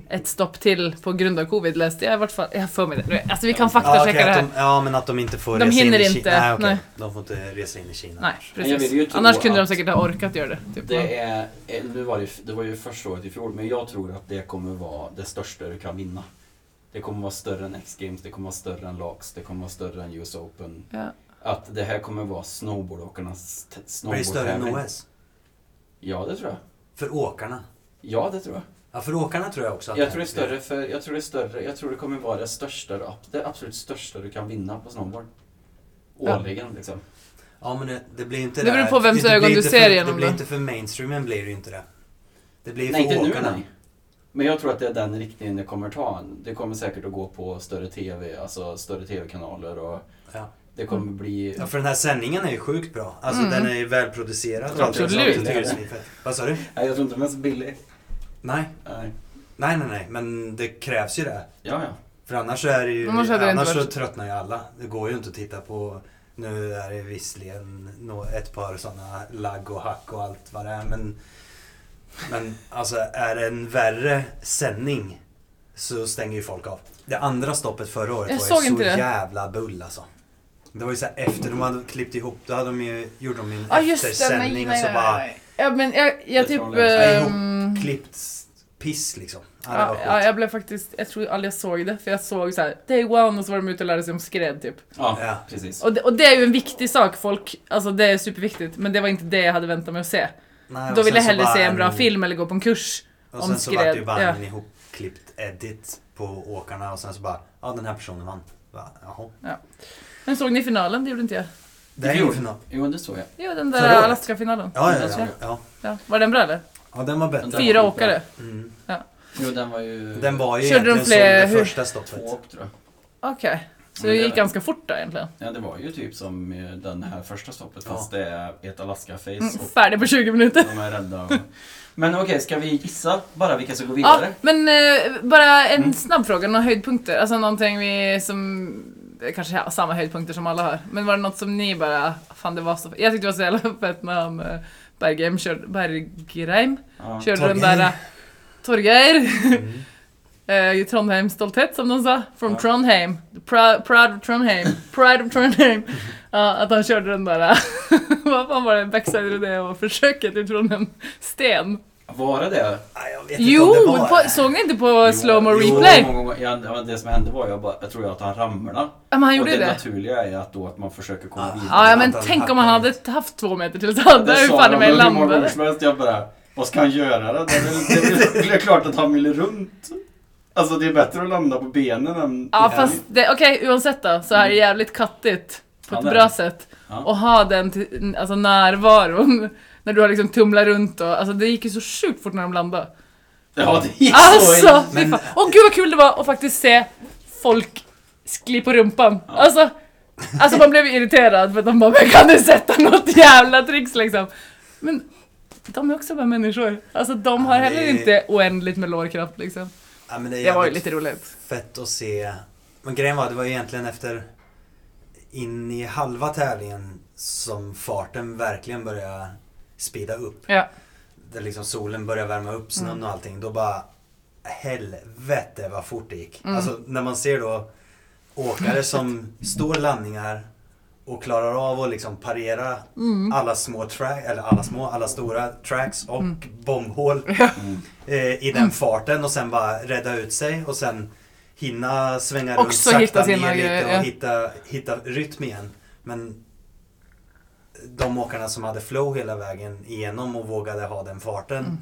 Speaker 1: ett stopp till på grund av covid läste jag i vart fall. Jag har för mig det. Alltså vi kan
Speaker 2: Ja,
Speaker 1: faktachecka
Speaker 2: okej,
Speaker 1: det
Speaker 2: att
Speaker 1: här.
Speaker 2: de, ja, men att de inte får
Speaker 1: De
Speaker 2: resa
Speaker 1: hinner
Speaker 2: in i
Speaker 1: inte,
Speaker 2: Kina. Nej, okej.
Speaker 1: nej.
Speaker 2: De får inte resa in i Kina.
Speaker 1: Nej,
Speaker 3: Men jag vill ju
Speaker 1: precis.
Speaker 3: tro
Speaker 1: Annars kunde de
Speaker 3: att-
Speaker 1: säkert ha orkat göra det. Typ.
Speaker 3: Det är, eh, nu var det, ju- det var ju första året i fjol, men jag tror att det kommer vara det största du kan vinna. Det kommer vara större än X-Games, det kommer vara större än LAX, det kommer vara större än US Open.
Speaker 1: Ja.
Speaker 3: Att det här kommer vara snowboardåkarnas t-
Speaker 2: Blir det större än
Speaker 3: snowboardtävling.
Speaker 2: OS?
Speaker 3: Ja, det tror jag.
Speaker 2: För åkarna?
Speaker 3: Ja, det tror jag.
Speaker 2: Ja, för åkarna tror jag också att
Speaker 3: Jag tror det är större för, jag tror det är större, jag tror det kommer vara det största, du- det absolut största du kan vinna på snowboard.
Speaker 1: Ja.
Speaker 3: Årligen liksom.
Speaker 2: Ja, men det, det blir ju inte
Speaker 1: Det beror
Speaker 2: där.
Speaker 1: på vems
Speaker 2: Det blir
Speaker 1: ögon du
Speaker 2: inte
Speaker 1: ser
Speaker 2: för,
Speaker 1: genom
Speaker 2: Det blir
Speaker 1: det.
Speaker 2: inte för mainstreamen blir det ju inte det. Det blir ju
Speaker 3: Nej,
Speaker 2: för
Speaker 3: inte nu
Speaker 2: åkarna.
Speaker 3: nej. Men jag tror att det är den riktningen det kommer ta. Det kommer säkert att gå på större TV, alltså större TV-kanaler och
Speaker 2: Ja.
Speaker 3: det kommer bli...
Speaker 2: Ja, för den här sändningen är ju sjukt bra. Alltså
Speaker 1: Mm.
Speaker 2: den är ju välproducerad.
Speaker 3: Absolut.
Speaker 2: Jag tycker det är svinfett. Vad sa du?
Speaker 3: Nej, jag tror inte den är så billig.
Speaker 2: Nej.
Speaker 3: Nej.
Speaker 2: Nej, nej, nej. Men det krävs ju det.
Speaker 3: Ja, ja.
Speaker 2: För annars så är det ju...
Speaker 1: Annars
Speaker 2: Annars,
Speaker 1: hade det inte
Speaker 2: så
Speaker 1: varit-
Speaker 2: tröttnar ju alla. Det går ju inte att titta på... Nu är det visserligen nå- ett par sådana lagg och hack och allt vad det är, men... Men alltså, är det en värre sändning så stänger ju folk av. Det andra stoppet förra året
Speaker 1: Jag
Speaker 2: var
Speaker 1: såg
Speaker 2: ju så
Speaker 1: inte det.
Speaker 2: jävla bull alltså. Det var ju så här efter de hade klippt ihop, då hade de ju, gjorde de ju en
Speaker 1: Ja just det, nej,
Speaker 2: eftersändning
Speaker 1: nej,
Speaker 2: och så
Speaker 1: nej,
Speaker 2: bara...
Speaker 1: nej. Ja men jag, jag
Speaker 3: Jag
Speaker 1: typ...
Speaker 3: tror det
Speaker 2: är så.
Speaker 1: ehm,
Speaker 2: klippt piss liksom. Ja, det var
Speaker 1: Ja,
Speaker 2: sjukt.
Speaker 1: ja, jag blev faktiskt, jag tror aldrig jag såg det, för jag såg så här, day one och så var de ute och lärde sig om skred typ.
Speaker 3: Ja,
Speaker 2: Ja.
Speaker 3: precis.
Speaker 1: Och det, och det är ju en viktig sak folk, alltså det är superviktigt, men det var inte det jag hade väntat mig att se.
Speaker 2: Nej, och
Speaker 1: Då ville jag
Speaker 2: sen så
Speaker 1: hellre
Speaker 2: bara
Speaker 1: se en bra film eller gå på en kurs.
Speaker 2: Och
Speaker 1: om
Speaker 2: sen så
Speaker 1: skred,
Speaker 2: var det ju bara
Speaker 1: ja.
Speaker 2: en ihopklippt edit på åkarna och sen så bara, ja den här personen vann. Bara, Jaha.
Speaker 1: Men såg ni finalen? Det gjorde inte jag.
Speaker 2: Det är ju
Speaker 3: fjol.
Speaker 2: final.
Speaker 3: Jo, det såg jag.
Speaker 1: Jo, den
Speaker 2: Förra
Speaker 1: där
Speaker 2: året?
Speaker 1: Alaska-finalen.
Speaker 2: Ja, ja,
Speaker 3: Den såg
Speaker 2: ja,
Speaker 3: jag.
Speaker 2: ja.
Speaker 1: Ja. Var den bra eller?
Speaker 2: Ja, den var
Speaker 3: Den
Speaker 2: bättre.
Speaker 3: där
Speaker 1: Fyra
Speaker 3: var skitbra.
Speaker 1: åkare.
Speaker 2: Mm.
Speaker 3: Jo, den var ju
Speaker 2: Den var ju
Speaker 1: Körde de
Speaker 2: egentligen
Speaker 1: fler-
Speaker 2: som
Speaker 1: hur-
Speaker 2: det första
Speaker 3: två
Speaker 2: stoppet.
Speaker 3: åk, tror jag.
Speaker 1: Okej. Så
Speaker 3: Men
Speaker 1: det
Speaker 3: det
Speaker 1: gick
Speaker 3: var-
Speaker 1: ganska fort där egentligen.
Speaker 3: Ja, det var ju typ som eh, den här första stoppet,
Speaker 2: Ja.
Speaker 3: fast det är ett Alaska-face
Speaker 1: Mm,
Speaker 3: och
Speaker 1: färdig på 20 minuter.
Speaker 3: de är rädda. Och... Men okej, ska vi gissa bara vilka som går
Speaker 1: Ja,
Speaker 3: vidare?
Speaker 1: men eh, bara en
Speaker 3: Mm.
Speaker 1: snabb fråga, några höjdpunkter? Alltså någonting vi som... Kanske har samma höjdpunkter som alla har. Men var det något som ni bara... Fan det var så... Jag tyckte det var så jävla fett när han eh, Bergheim körde... Bergheim?
Speaker 3: Ja.
Speaker 1: Körde den
Speaker 2: Torgeir.
Speaker 1: där... eh, Torgeir!
Speaker 2: Mm.
Speaker 1: Eh, Trondheim stolthet som de sa. From
Speaker 3: Ja.
Speaker 1: Trondheim. Prou- proud of Trondheim. Pride of Trondheim. Ja, att han körde den där... eh, Vad fan var det? Backside of det och försöket utifrån en sten.
Speaker 3: Var det det?
Speaker 2: Nej, Ah, jag vet
Speaker 1: Jo!
Speaker 2: inte om det var
Speaker 1: På,
Speaker 2: det.
Speaker 1: såg ni inte på slow mo
Speaker 3: jo,
Speaker 1: replay?
Speaker 3: många gånger. Ja, det var det som hände var jag, bara, jag tror att han ramlade.
Speaker 1: Ja, men han
Speaker 3: och
Speaker 1: gjorde
Speaker 3: det,
Speaker 1: det.
Speaker 3: naturliga är att då att man försöker komma
Speaker 2: Ah.
Speaker 3: vidare.
Speaker 1: Ja, ja men
Speaker 2: Att han
Speaker 1: tänk om han
Speaker 2: hackade.
Speaker 1: hade haft två meter till så hade
Speaker 3: det
Speaker 1: han ju
Speaker 3: sa
Speaker 1: fan i
Speaker 3: de
Speaker 1: mig
Speaker 3: hur många gånger
Speaker 1: landat.
Speaker 3: som helst. Jag bara, vad ska han göra? Det är väl, det är väl klart att han vill runt. Alltså det är bättre att landa på benen än...
Speaker 1: Ja fast det- okej oavsett då så är det
Speaker 3: Mm.
Speaker 1: jävligt kattigt på
Speaker 3: Ja,
Speaker 1: ett
Speaker 3: det är
Speaker 1: bra
Speaker 3: det.
Speaker 1: sätt.
Speaker 3: Ja.
Speaker 1: Och ha den till, alltså närvaron när du har liksom tumlat runt och alltså det gick ju så sjukt fort när de landade.
Speaker 3: Ja, det gick så.
Speaker 1: Alltså! fy
Speaker 2: Men-
Speaker 1: fan. Åh gud vad kul det var att faktiskt se folk skli på rumpan. Alltså, alltså man blev irriterad för att de bara men kan du sätta något jävla tricks liksom. Men de är också bara människor. Alltså de har
Speaker 2: Ja, det-
Speaker 1: heller inte oändligt med lårkraft liksom.
Speaker 2: Ja, men det,
Speaker 1: Det var ju
Speaker 2: jävligt
Speaker 1: lite roligt.
Speaker 2: fett att se. Men grejen var, det var egentligen efter in i halva tävlingen som farten verkligen började speeda upp.
Speaker 1: Ja.
Speaker 2: där liksom solen börjar värma upp snön
Speaker 1: Mm.
Speaker 2: och allting, då bara helvete vad
Speaker 1: Mm.
Speaker 2: fort det gick. Alltså när man ser då åkare som står landningar och klarar av att liksom parera
Speaker 1: Mm.
Speaker 2: alla små track, eller alla små, alla stora tracks och
Speaker 1: Mm.
Speaker 2: bombhål eh, i den farten och sen bara rädda ut sig och sen hinna svänga runt
Speaker 1: Också
Speaker 2: sakta
Speaker 1: hitta sina
Speaker 2: ner lite
Speaker 1: grejer,
Speaker 2: och
Speaker 1: ja.
Speaker 2: hitta, hitta rytm igen. Men de åkarna som hade flow hela vägen igenom och vågade ha den farten.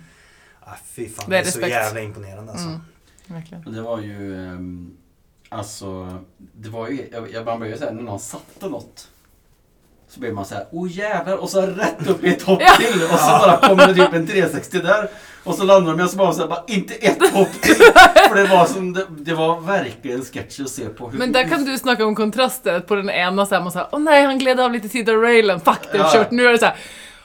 Speaker 2: Ah, fy fan,
Speaker 1: Det
Speaker 2: det
Speaker 1: är
Speaker 2: är, så
Speaker 1: Mm. respekt.
Speaker 2: jävla imponerande alltså.
Speaker 1: Mm. Verkligen.
Speaker 3: Och Det var ju, ehm, alltså, det var ju, jag, jag man blev ju såhär, när någon satte något. Så blev man såhär, oh jävlar, och så rätt upp i ett hopp
Speaker 1: Ja.
Speaker 3: till. Och så bara kommer det typ en 360 där. Och så landar de, jag så bara, så här, bara inte ett hopp till. För det var som, det, det var verkligen sketch att se på. Hur,
Speaker 1: Men där kan du snacka om kontraster, att på den ena så här, man såhär åh nej han gled av lite tid av railen, fuck det är
Speaker 3: Ja.
Speaker 1: kört, nu är det såhär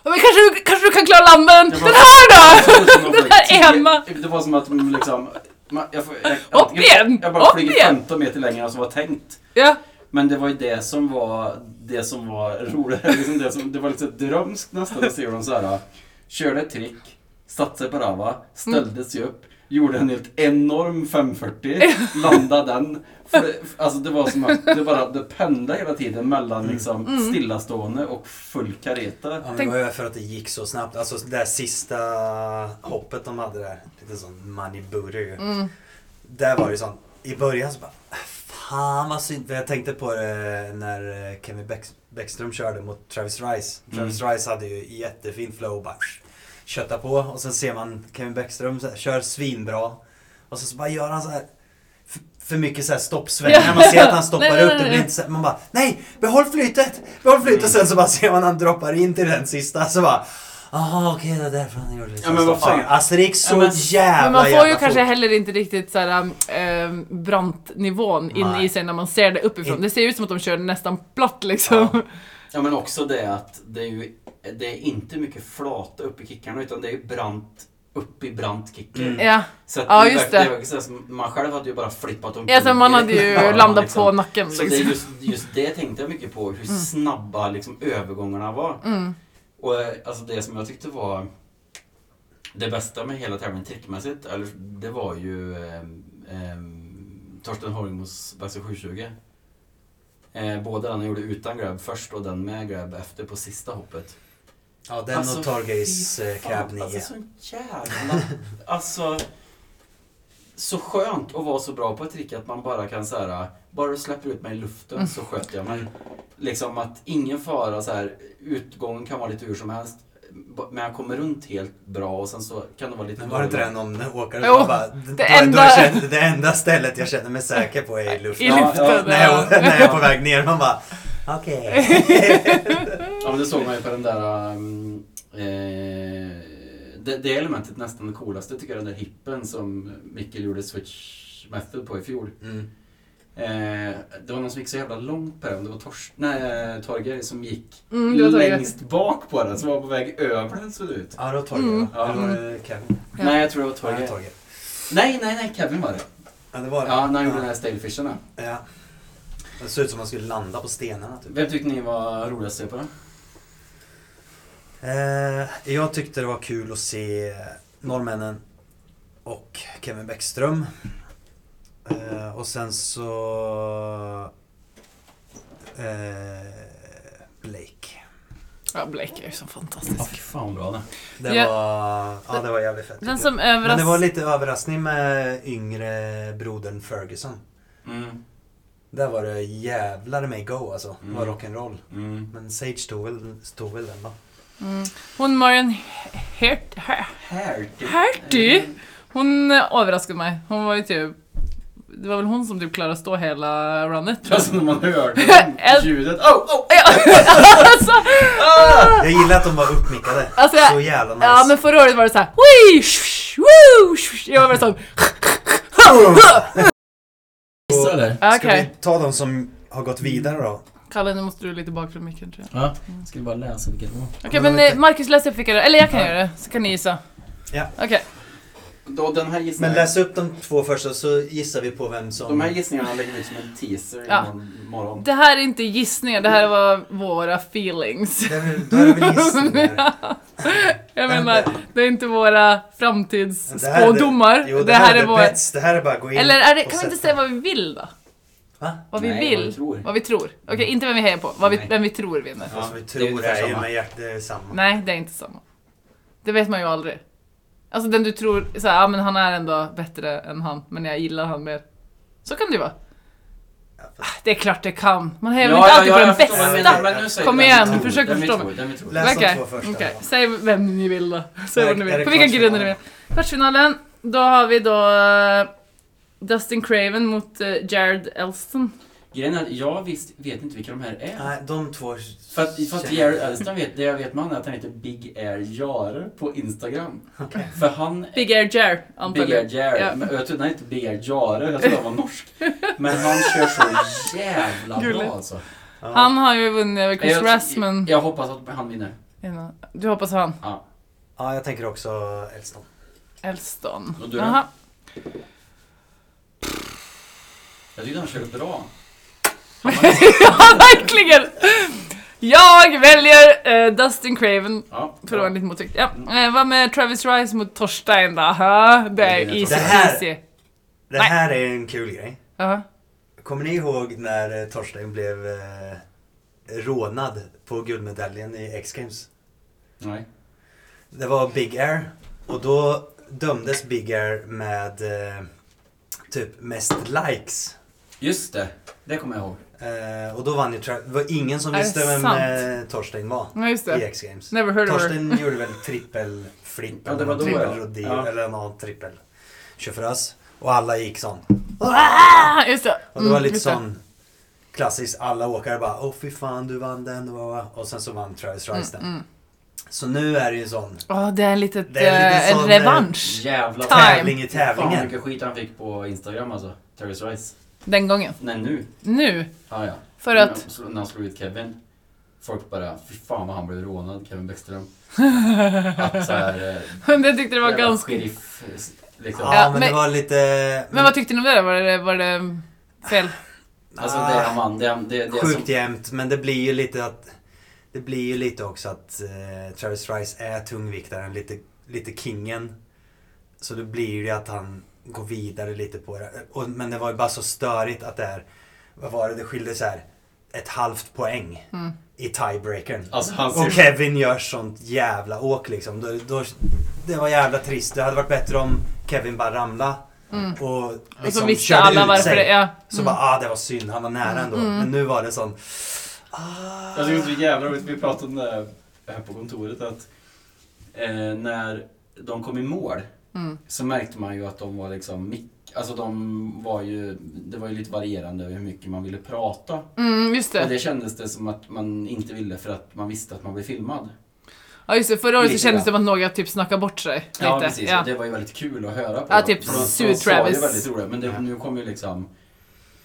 Speaker 1: men kanske, du- kanske du kan klara landen,
Speaker 3: Det
Speaker 1: den
Speaker 3: var-
Speaker 1: här då!
Speaker 3: Den
Speaker 1: där Emma.
Speaker 3: Det var som att de liksom, man, jag, får, jag,
Speaker 1: Upp igen!
Speaker 3: jag bara
Speaker 1: Upp
Speaker 3: flyger
Speaker 1: igen!
Speaker 3: 15 meter längre än vad som var tänkt.
Speaker 1: Ja,
Speaker 3: Men det var ju det som var det som var roligt. Liksom det, som, det var lite drömskt nästan att se hur de så här, körde ett trick, satte sig på rava, ställde sig upp, gjorde en helt enorm 540, landade den. För det, alltså det var som att det bara det pendlade hela tiden mellan liksom stillastående och full kareta.
Speaker 2: Ja, men
Speaker 1: Tänk-
Speaker 2: Det var ju för att det gick så snabbt. Alltså det där sista hoppet de hade där. Lite sån money booter ju.
Speaker 1: Mm.
Speaker 2: Där var det ju sånt. I början så bara, fan vad synd. Jag tänkte på det när eh, Kevin Bäck, Bäckström körde mot Travis Rice. Travis Rice hade ju jättefin flow. Bara, kötta på och sen ser man Kevin Bäckström så här, kör svinbra. Och sen så bara gör han så här f- för mycket så här stoppsvängar, man ser att han stoppar
Speaker 1: Nej, nej,
Speaker 2: upp,
Speaker 1: nej,
Speaker 2: det blir
Speaker 1: nej.
Speaker 2: inte så här, man bara Nej! Behåll flytet! Behåll flytet! Och sen så bara ser man han droppar in till den sista, så bara Jaha okej det var därför han gjorde det
Speaker 3: Ja, men vad fan.
Speaker 2: Alltså det gick så
Speaker 3: Ja, men-
Speaker 2: jävla
Speaker 1: men man får
Speaker 2: jävla
Speaker 1: ju kanske
Speaker 2: fort.
Speaker 1: heller inte riktigt så här, ähm, brantnivån in
Speaker 2: Nej.
Speaker 1: i sig när man ser det uppifrån.
Speaker 2: In-
Speaker 1: Det ser ju ut som att de kör nästan platt liksom.
Speaker 2: Ja.
Speaker 3: Ja men också det att det är ju det är inte mycket flata upp i kickarna utan det är ju brant upp i brant kicker.
Speaker 1: Ja,
Speaker 3: Så att
Speaker 1: Ja,
Speaker 3: det är
Speaker 1: just
Speaker 3: verkligen-
Speaker 1: det.
Speaker 3: det. är verkligen så här, man själv hade ju bara flippat om
Speaker 1: ja så man hade ju
Speaker 2: liksom.
Speaker 1: landat på Mm. nacken
Speaker 3: Så det är
Speaker 1: liksom.
Speaker 3: just, just det tänkte jag mycket på, hur snabba liksom, övergångarna var.
Speaker 1: Mm.
Speaker 3: Och eh, alltså det som jag tyckte var det bästa med hela tävlingen trickmässigt, eller, det var ju eh, eh, Torsten Holmos Baxter 720. Eh, båda den han gjorde utan grab först och den med grab efter på sista hoppet.
Speaker 2: Ja den och Torgeis eh, cab 9.
Speaker 3: Alltså så jävla... alltså... Så skönt att vara så bra på ett trick att man bara kan så här, bara du släpper ut mig i luften
Speaker 2: Mm.
Speaker 3: så sköter jag mig. Liksom att ingen fara så här, utgången kan vara lite hur som helst. b- Men jag kommer runt helt bra och sen så kan det vara lite
Speaker 2: Men var det inte
Speaker 3: dåligt.
Speaker 2: den om åkaren
Speaker 1: Jo,
Speaker 2: som bara,
Speaker 1: det
Speaker 2: det, enda...
Speaker 1: enda-
Speaker 2: Då kände, det enda stället jag känner mig säker på är i luften.
Speaker 1: I luften,
Speaker 3: ja.
Speaker 2: när, jag,
Speaker 1: ja.
Speaker 2: när jag är på väg ner, man bara okej.
Speaker 3: Ja men det såg man ju på den där... Um, eh, det, det elementet nästan det coolaste tycker jag, den där hippen som Mikkel gjorde switch method på i fjol.
Speaker 2: Mm.
Speaker 3: Eh, det var någon som gick så jävla långt på den. Det var Tors- nej, eh, Torgeir som gick
Speaker 1: Mm, det var Torgeir.
Speaker 3: längst bak på den, som var på väg över den såg det ut.
Speaker 2: Ja det var Torgej
Speaker 1: Mm.
Speaker 2: va? Eller var det Kevin?
Speaker 1: Ja.
Speaker 3: Nej, jag tror det var
Speaker 2: Ja, det var
Speaker 3: Torgeir.
Speaker 2: Torgej.
Speaker 3: Nej, nej, nej, Kevin var det.
Speaker 2: Ja det var det.
Speaker 3: Ja, när han gjorde den här stalefishen.
Speaker 2: Ja. Det såg ut som man skulle landa på stenarna typ.
Speaker 3: Vem tyckte ni var roligast att se på?
Speaker 2: Eh, jag tyckte det var kul att se norrmännen och Kevin Bäckström. Eh, och sen så... Eh, Blake.
Speaker 1: Ja, Blake är ju så fantastisk.
Speaker 3: Fy fan bra det.
Speaker 2: Det
Speaker 1: Ja.
Speaker 2: var... Ja det var jävligt fett.
Speaker 1: Den som
Speaker 2: Men det var
Speaker 1: överraskar...
Speaker 2: lite överraskning med yngre brodern Ferguson.
Speaker 3: Mm,
Speaker 2: Där var det jävlar mig go alltså. Det var
Speaker 3: Mm.
Speaker 2: rock'n'roll.
Speaker 3: mm.
Speaker 2: Men Sage tog väl, tog väl den va?
Speaker 1: Mm. Hon Marion Hert... Her-
Speaker 3: Härty.
Speaker 1: Herty?
Speaker 3: Mm.
Speaker 1: Hon eh, överraskade mig. Hon var ju typ... Det var väl hon som typ klarade stå hela runnet. tror jag.
Speaker 3: Alltså när man hörde den, ljudet. Oh, oh,
Speaker 1: Ja, alltså,
Speaker 2: Jag gillar att de var uppmickade.
Speaker 1: Alltså, jag-
Speaker 2: Ah! så jävla nice.
Speaker 1: ja men förra året var det såhär... Wii! shh, woo, shh. Jag var väl sån...
Speaker 4: Gissa eller?
Speaker 1: Okej,
Speaker 2: Ska vi ta de som har gått vidare då?
Speaker 1: Kalle nu måste du lite bak från micken tror jag.
Speaker 4: Ja, jag skulle bara läsa vilket det var.
Speaker 1: Okej men eh, Marcus läs upp vilka det Eller jag kan göra det, så kan ni gissa.
Speaker 2: Ja.
Speaker 1: Okej.
Speaker 3: Då, den här
Speaker 2: Men
Speaker 3: gissningen,
Speaker 2: läs upp de två första så gissar vi på vem som...
Speaker 3: de här gissningarna lägger vi ut som en teaser
Speaker 1: Ja.
Speaker 3: imorgon morgon.
Speaker 1: Det här är inte gissningar, det här var våra feelings.
Speaker 2: Det är väl- Då är det väl gissningar?
Speaker 1: Jag menar, det är inte våra framtidsspådomar.
Speaker 2: Jo, det, här är, bets. Det här är bara att gå in
Speaker 1: Eller är det,
Speaker 2: och
Speaker 1: kan vi inte
Speaker 2: sätta.
Speaker 1: säga vad vi vill då?
Speaker 2: Va?
Speaker 1: Vad vi
Speaker 3: Nej,
Speaker 1: vill.
Speaker 3: vad vi tror.
Speaker 1: Vad vi tror. Okej, inte vem vi hejar på. Vad vi,
Speaker 3: Nej.
Speaker 1: vem vi tror vinner.
Speaker 3: Ja,
Speaker 2: Fast vi
Speaker 3: det är
Speaker 2: tror
Speaker 3: ungefär
Speaker 2: är ju
Speaker 3: samma.
Speaker 2: med hjärtat det är samma.
Speaker 1: Nej, det är inte samma. Det vet man ju aldrig. Alltså den du tror, såhär, ja men han är ändå bättre än han, men jag gillar han mer. Så kan det ju vara. Ah, Det är klart det kan. Man hejar väl inte alltid på den
Speaker 2: förstår vad du
Speaker 1: bästa.
Speaker 2: menar.
Speaker 1: Kom igen, försök förstå
Speaker 3: mig.
Speaker 1: mig.
Speaker 3: Den vi tror.
Speaker 2: Läs de
Speaker 1: Okej,
Speaker 2: två första.
Speaker 1: okej. Säg vem ni vill då. Säg
Speaker 2: Är-
Speaker 1: vad ni
Speaker 2: är
Speaker 1: vill.
Speaker 2: det
Speaker 1: På vilka
Speaker 2: kvartsfinalen?
Speaker 1: grunder ni vill. Kvartsfinalen, då har vi då eh, Dustin Craven mot eh, Jared Elston.
Speaker 3: Grejen är att jag visst, vet inte vilka de här är.
Speaker 2: Nej, de två...
Speaker 3: För att, för att Jared Elston vet, det jag vet med han är att han heter Big Air Jare på Instagram. För han...
Speaker 1: Big Air Jar,
Speaker 3: Big Air
Speaker 1: antagligen.
Speaker 3: Jare.
Speaker 1: Ja.
Speaker 3: Men jag trodde han hette Big Air Jare, jag trodde han var norsk. Men han kör så jävla
Speaker 1: Gulligt.
Speaker 3: bra alltså.
Speaker 2: Ja.
Speaker 1: Han har ju vunnit över Chris
Speaker 3: jag,
Speaker 1: Rass, men...
Speaker 3: jag hoppas att han vinner.
Speaker 1: Du hoppas han?
Speaker 3: Ja.
Speaker 2: Ja, jag tänker också Elston.
Speaker 1: Elston.
Speaker 3: Och du då?
Speaker 1: Jaha.
Speaker 3: Jag tycker han kör bra.
Speaker 1: Ja, verkligen! Jag väljer eh, Dustin Craven.
Speaker 3: Ja,
Speaker 1: För det var
Speaker 3: bra.
Speaker 1: lite mottryckt. Ja.
Speaker 3: Mm.
Speaker 1: Eh, vad med Travis Rice mot Torstein då? Aha, det är
Speaker 3: Det
Speaker 1: easy
Speaker 2: här-
Speaker 1: peasy.
Speaker 2: Det
Speaker 1: Nej.
Speaker 2: här är en kul grej.
Speaker 1: Aha.
Speaker 2: Kommer ni ihåg när eh, Torstein blev eh, rånad på guldmedaljen i X-Games?
Speaker 3: Nej.
Speaker 2: Det var Big Air och då dömdes Big Air med eh, typ mest likes.
Speaker 3: Just det, det kommer jag ihåg.
Speaker 2: Eh, och då vann ju Tra- Det var ingen som
Speaker 1: Är det
Speaker 2: visste vem
Speaker 1: sant?
Speaker 2: eh, Torstein var
Speaker 1: Ja, just
Speaker 2: i
Speaker 1: det.
Speaker 2: X-Games.
Speaker 1: Never heard of her.
Speaker 2: Torsten gjorde väl trippelflipp
Speaker 3: Ja, det
Speaker 2: eller
Speaker 3: var
Speaker 2: någon
Speaker 3: då, ja.
Speaker 2: trippelrodeo
Speaker 3: Ja.
Speaker 2: eller någon trippel tjofräs. Och alla gick sån.
Speaker 1: Ah, just det.
Speaker 2: Och det var
Speaker 1: Mm,
Speaker 2: lite
Speaker 1: just det.
Speaker 2: sån klassiskt, alla åkare bara åh fy fan du vann den och, och sen så vann Travis
Speaker 1: Mm,
Speaker 2: Rice den. Så nu är det ju sån
Speaker 1: Ja, det är en litet
Speaker 2: Det är lite
Speaker 1: eh, en
Speaker 2: sån, eh,
Speaker 1: revansch.
Speaker 3: Jävla
Speaker 1: Time.
Speaker 2: tävling i
Speaker 3: Fan vad
Speaker 2: tävlingen.
Speaker 3: mycket skit han fick på Instagram alltså. Terrence Rice.
Speaker 1: Den gången.
Speaker 3: Nej nu.
Speaker 1: Nu.
Speaker 3: Ah, Ja, ja.
Speaker 1: För att...
Speaker 3: När han- När han slog ut Kevin. Folk bara, fy fan vad han blev rånad, Kevin Bäckström. Att såhär...
Speaker 1: det tyckte det var ganska...
Speaker 3: Sheriff, liksom.
Speaker 2: Ja,
Speaker 1: Ja,
Speaker 2: men,
Speaker 1: men-
Speaker 2: det var lite...
Speaker 1: Men vad tyckte ni om det? Var det, var det fel?
Speaker 3: Alltså det han vann, det, det, det
Speaker 2: Sjukt
Speaker 3: som...
Speaker 2: jämnt, men det blir ju lite att... Det blir ju lite också att eh, Travis Rice är tungviktaren, lite, lite kingen. Så det blir ju att han går vidare lite på det. Och, men det var ju bara så störigt att det är... Vad var det? Det skilde så här ett halvt poäng
Speaker 1: Mm.
Speaker 2: i tiebreakern.
Speaker 3: Alltså han ser...
Speaker 2: Och Kevin gör sånt jävla åk liksom. Då, då, det var jävla trist. Det hade varit bättre om Kevin bara ramlade. Och, liksom
Speaker 1: Mm. Och så visste
Speaker 2: körde
Speaker 1: alla
Speaker 2: ut
Speaker 1: varför
Speaker 2: sig.
Speaker 1: det... Ja.
Speaker 2: Så bara, ah det var synd, han var
Speaker 1: Mm.
Speaker 2: nära ändå. Men nu var det sån... Ah.
Speaker 3: Jag tycker det är så jävla roligt, vi pratade om det här- här på kontoret att eh, när de kom i mål
Speaker 1: Mm.
Speaker 3: så märkte man ju att de var liksom mick- Alltså de var ju, det var ju lite varierande över hur mycket man ville prata.
Speaker 1: Mm, just
Speaker 3: Och
Speaker 1: det.
Speaker 3: det kändes det som att man inte ville för att man visste att man blev filmad.
Speaker 1: Ja, just det. Förra året så
Speaker 3: Lite,
Speaker 1: kändes
Speaker 3: ja.
Speaker 1: det som att några typ snackade bort sig. Lite.
Speaker 3: Ja precis, och det var ju väldigt kul att höra på.
Speaker 1: Ja, typ
Speaker 3: För de- de
Speaker 1: Sue
Speaker 3: sa ju
Speaker 1: Travis.
Speaker 3: väldigt roligt, men det,
Speaker 2: Ja.
Speaker 3: nu kom ju liksom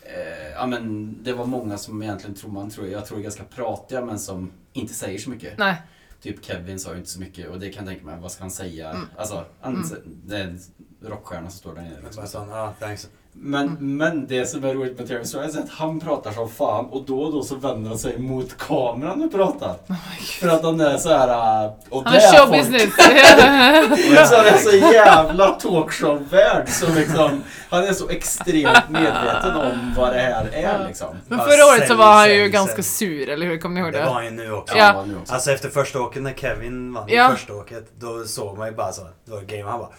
Speaker 3: eh, Ja men det var många som egentligen tror man tror, jag tror är ganska pratiga men som inte säger så mycket.
Speaker 1: Nej.
Speaker 3: Typ Kevin sa ju inte så mycket och det kan jag tänka mig, vad ska han säga?
Speaker 1: Mm.
Speaker 3: Alltså, han, det är en rockstjärna som står där nere.
Speaker 2: Bara
Speaker 3: Liksom.
Speaker 2: sån, ah thanks.
Speaker 3: Men,
Speaker 1: Mm.
Speaker 3: men det som är roligt med Travis Rice är att han pratar som fan och då och då så vänder han sig mot kameran och pratar. För att han är så här. äh, Och
Speaker 1: Oh Han
Speaker 3: det
Speaker 1: har
Speaker 3: är
Speaker 1: show
Speaker 3: folk.
Speaker 1: business.
Speaker 3: Så Alltså, han är så jävla talkshow-värd som liksom, han är så extremt medveten om vad det här är liksom.
Speaker 1: Men
Speaker 2: Ja,
Speaker 1: förra året så
Speaker 2: sälj,
Speaker 1: var han ju
Speaker 2: sälj,
Speaker 1: ganska
Speaker 2: sälj.
Speaker 1: sur, eller hur? Kommer ni ihåg
Speaker 2: Det
Speaker 1: det?
Speaker 2: var ju nu också.
Speaker 1: Ja.
Speaker 3: nu också.
Speaker 2: Alltså efter första åket när Kevin vann
Speaker 1: Ja.
Speaker 2: första åket, då såg man ju bara så, det var game, han bara...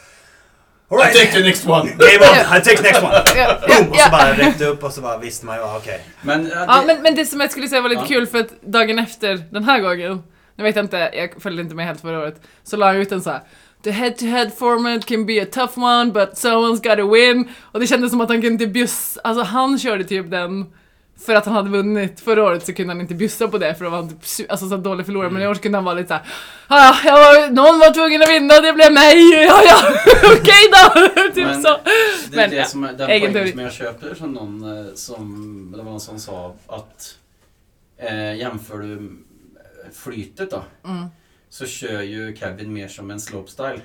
Speaker 3: I take
Speaker 2: Alright!
Speaker 3: the next one!
Speaker 2: Game on! I take next one!
Speaker 1: Ja,
Speaker 2: Boom! Och så
Speaker 1: ja.
Speaker 2: bara räckte upp och så bara visste man ju, ah, okej.
Speaker 3: Men, äh,
Speaker 1: ja
Speaker 3: det-
Speaker 1: men, men det som jag skulle säga var lite
Speaker 3: Ja.
Speaker 1: kul för att dagen efter, den här gången, nu vet jag inte, jag följde inte med helt förra året, så la han ut en så här. The head to head format can be a tough one but someone's gotta win. Och det kändes som att han kunde inte bjuss, alltså han körde typ den för att han hade vunnit förra året så kunde han inte bjussa på det för då var han typ su- alltså, så dålig förlorare
Speaker 3: Mm.
Speaker 1: men i år så kunde han vara lite såhär ah, jag var, någon var tvungen att vinna, det blev mig, ja ja, okej då! typ
Speaker 3: Men-
Speaker 1: så.
Speaker 3: Det är
Speaker 1: Men,
Speaker 3: det
Speaker 1: ja,
Speaker 3: som är, den
Speaker 1: egen
Speaker 3: poängen
Speaker 1: teori.
Speaker 3: som jag köper som någon eh, som, det var någon som sa att eh, jämför du eh, flytet då,
Speaker 1: Mm.
Speaker 3: så kör ju Kevin mer som en slopestyle.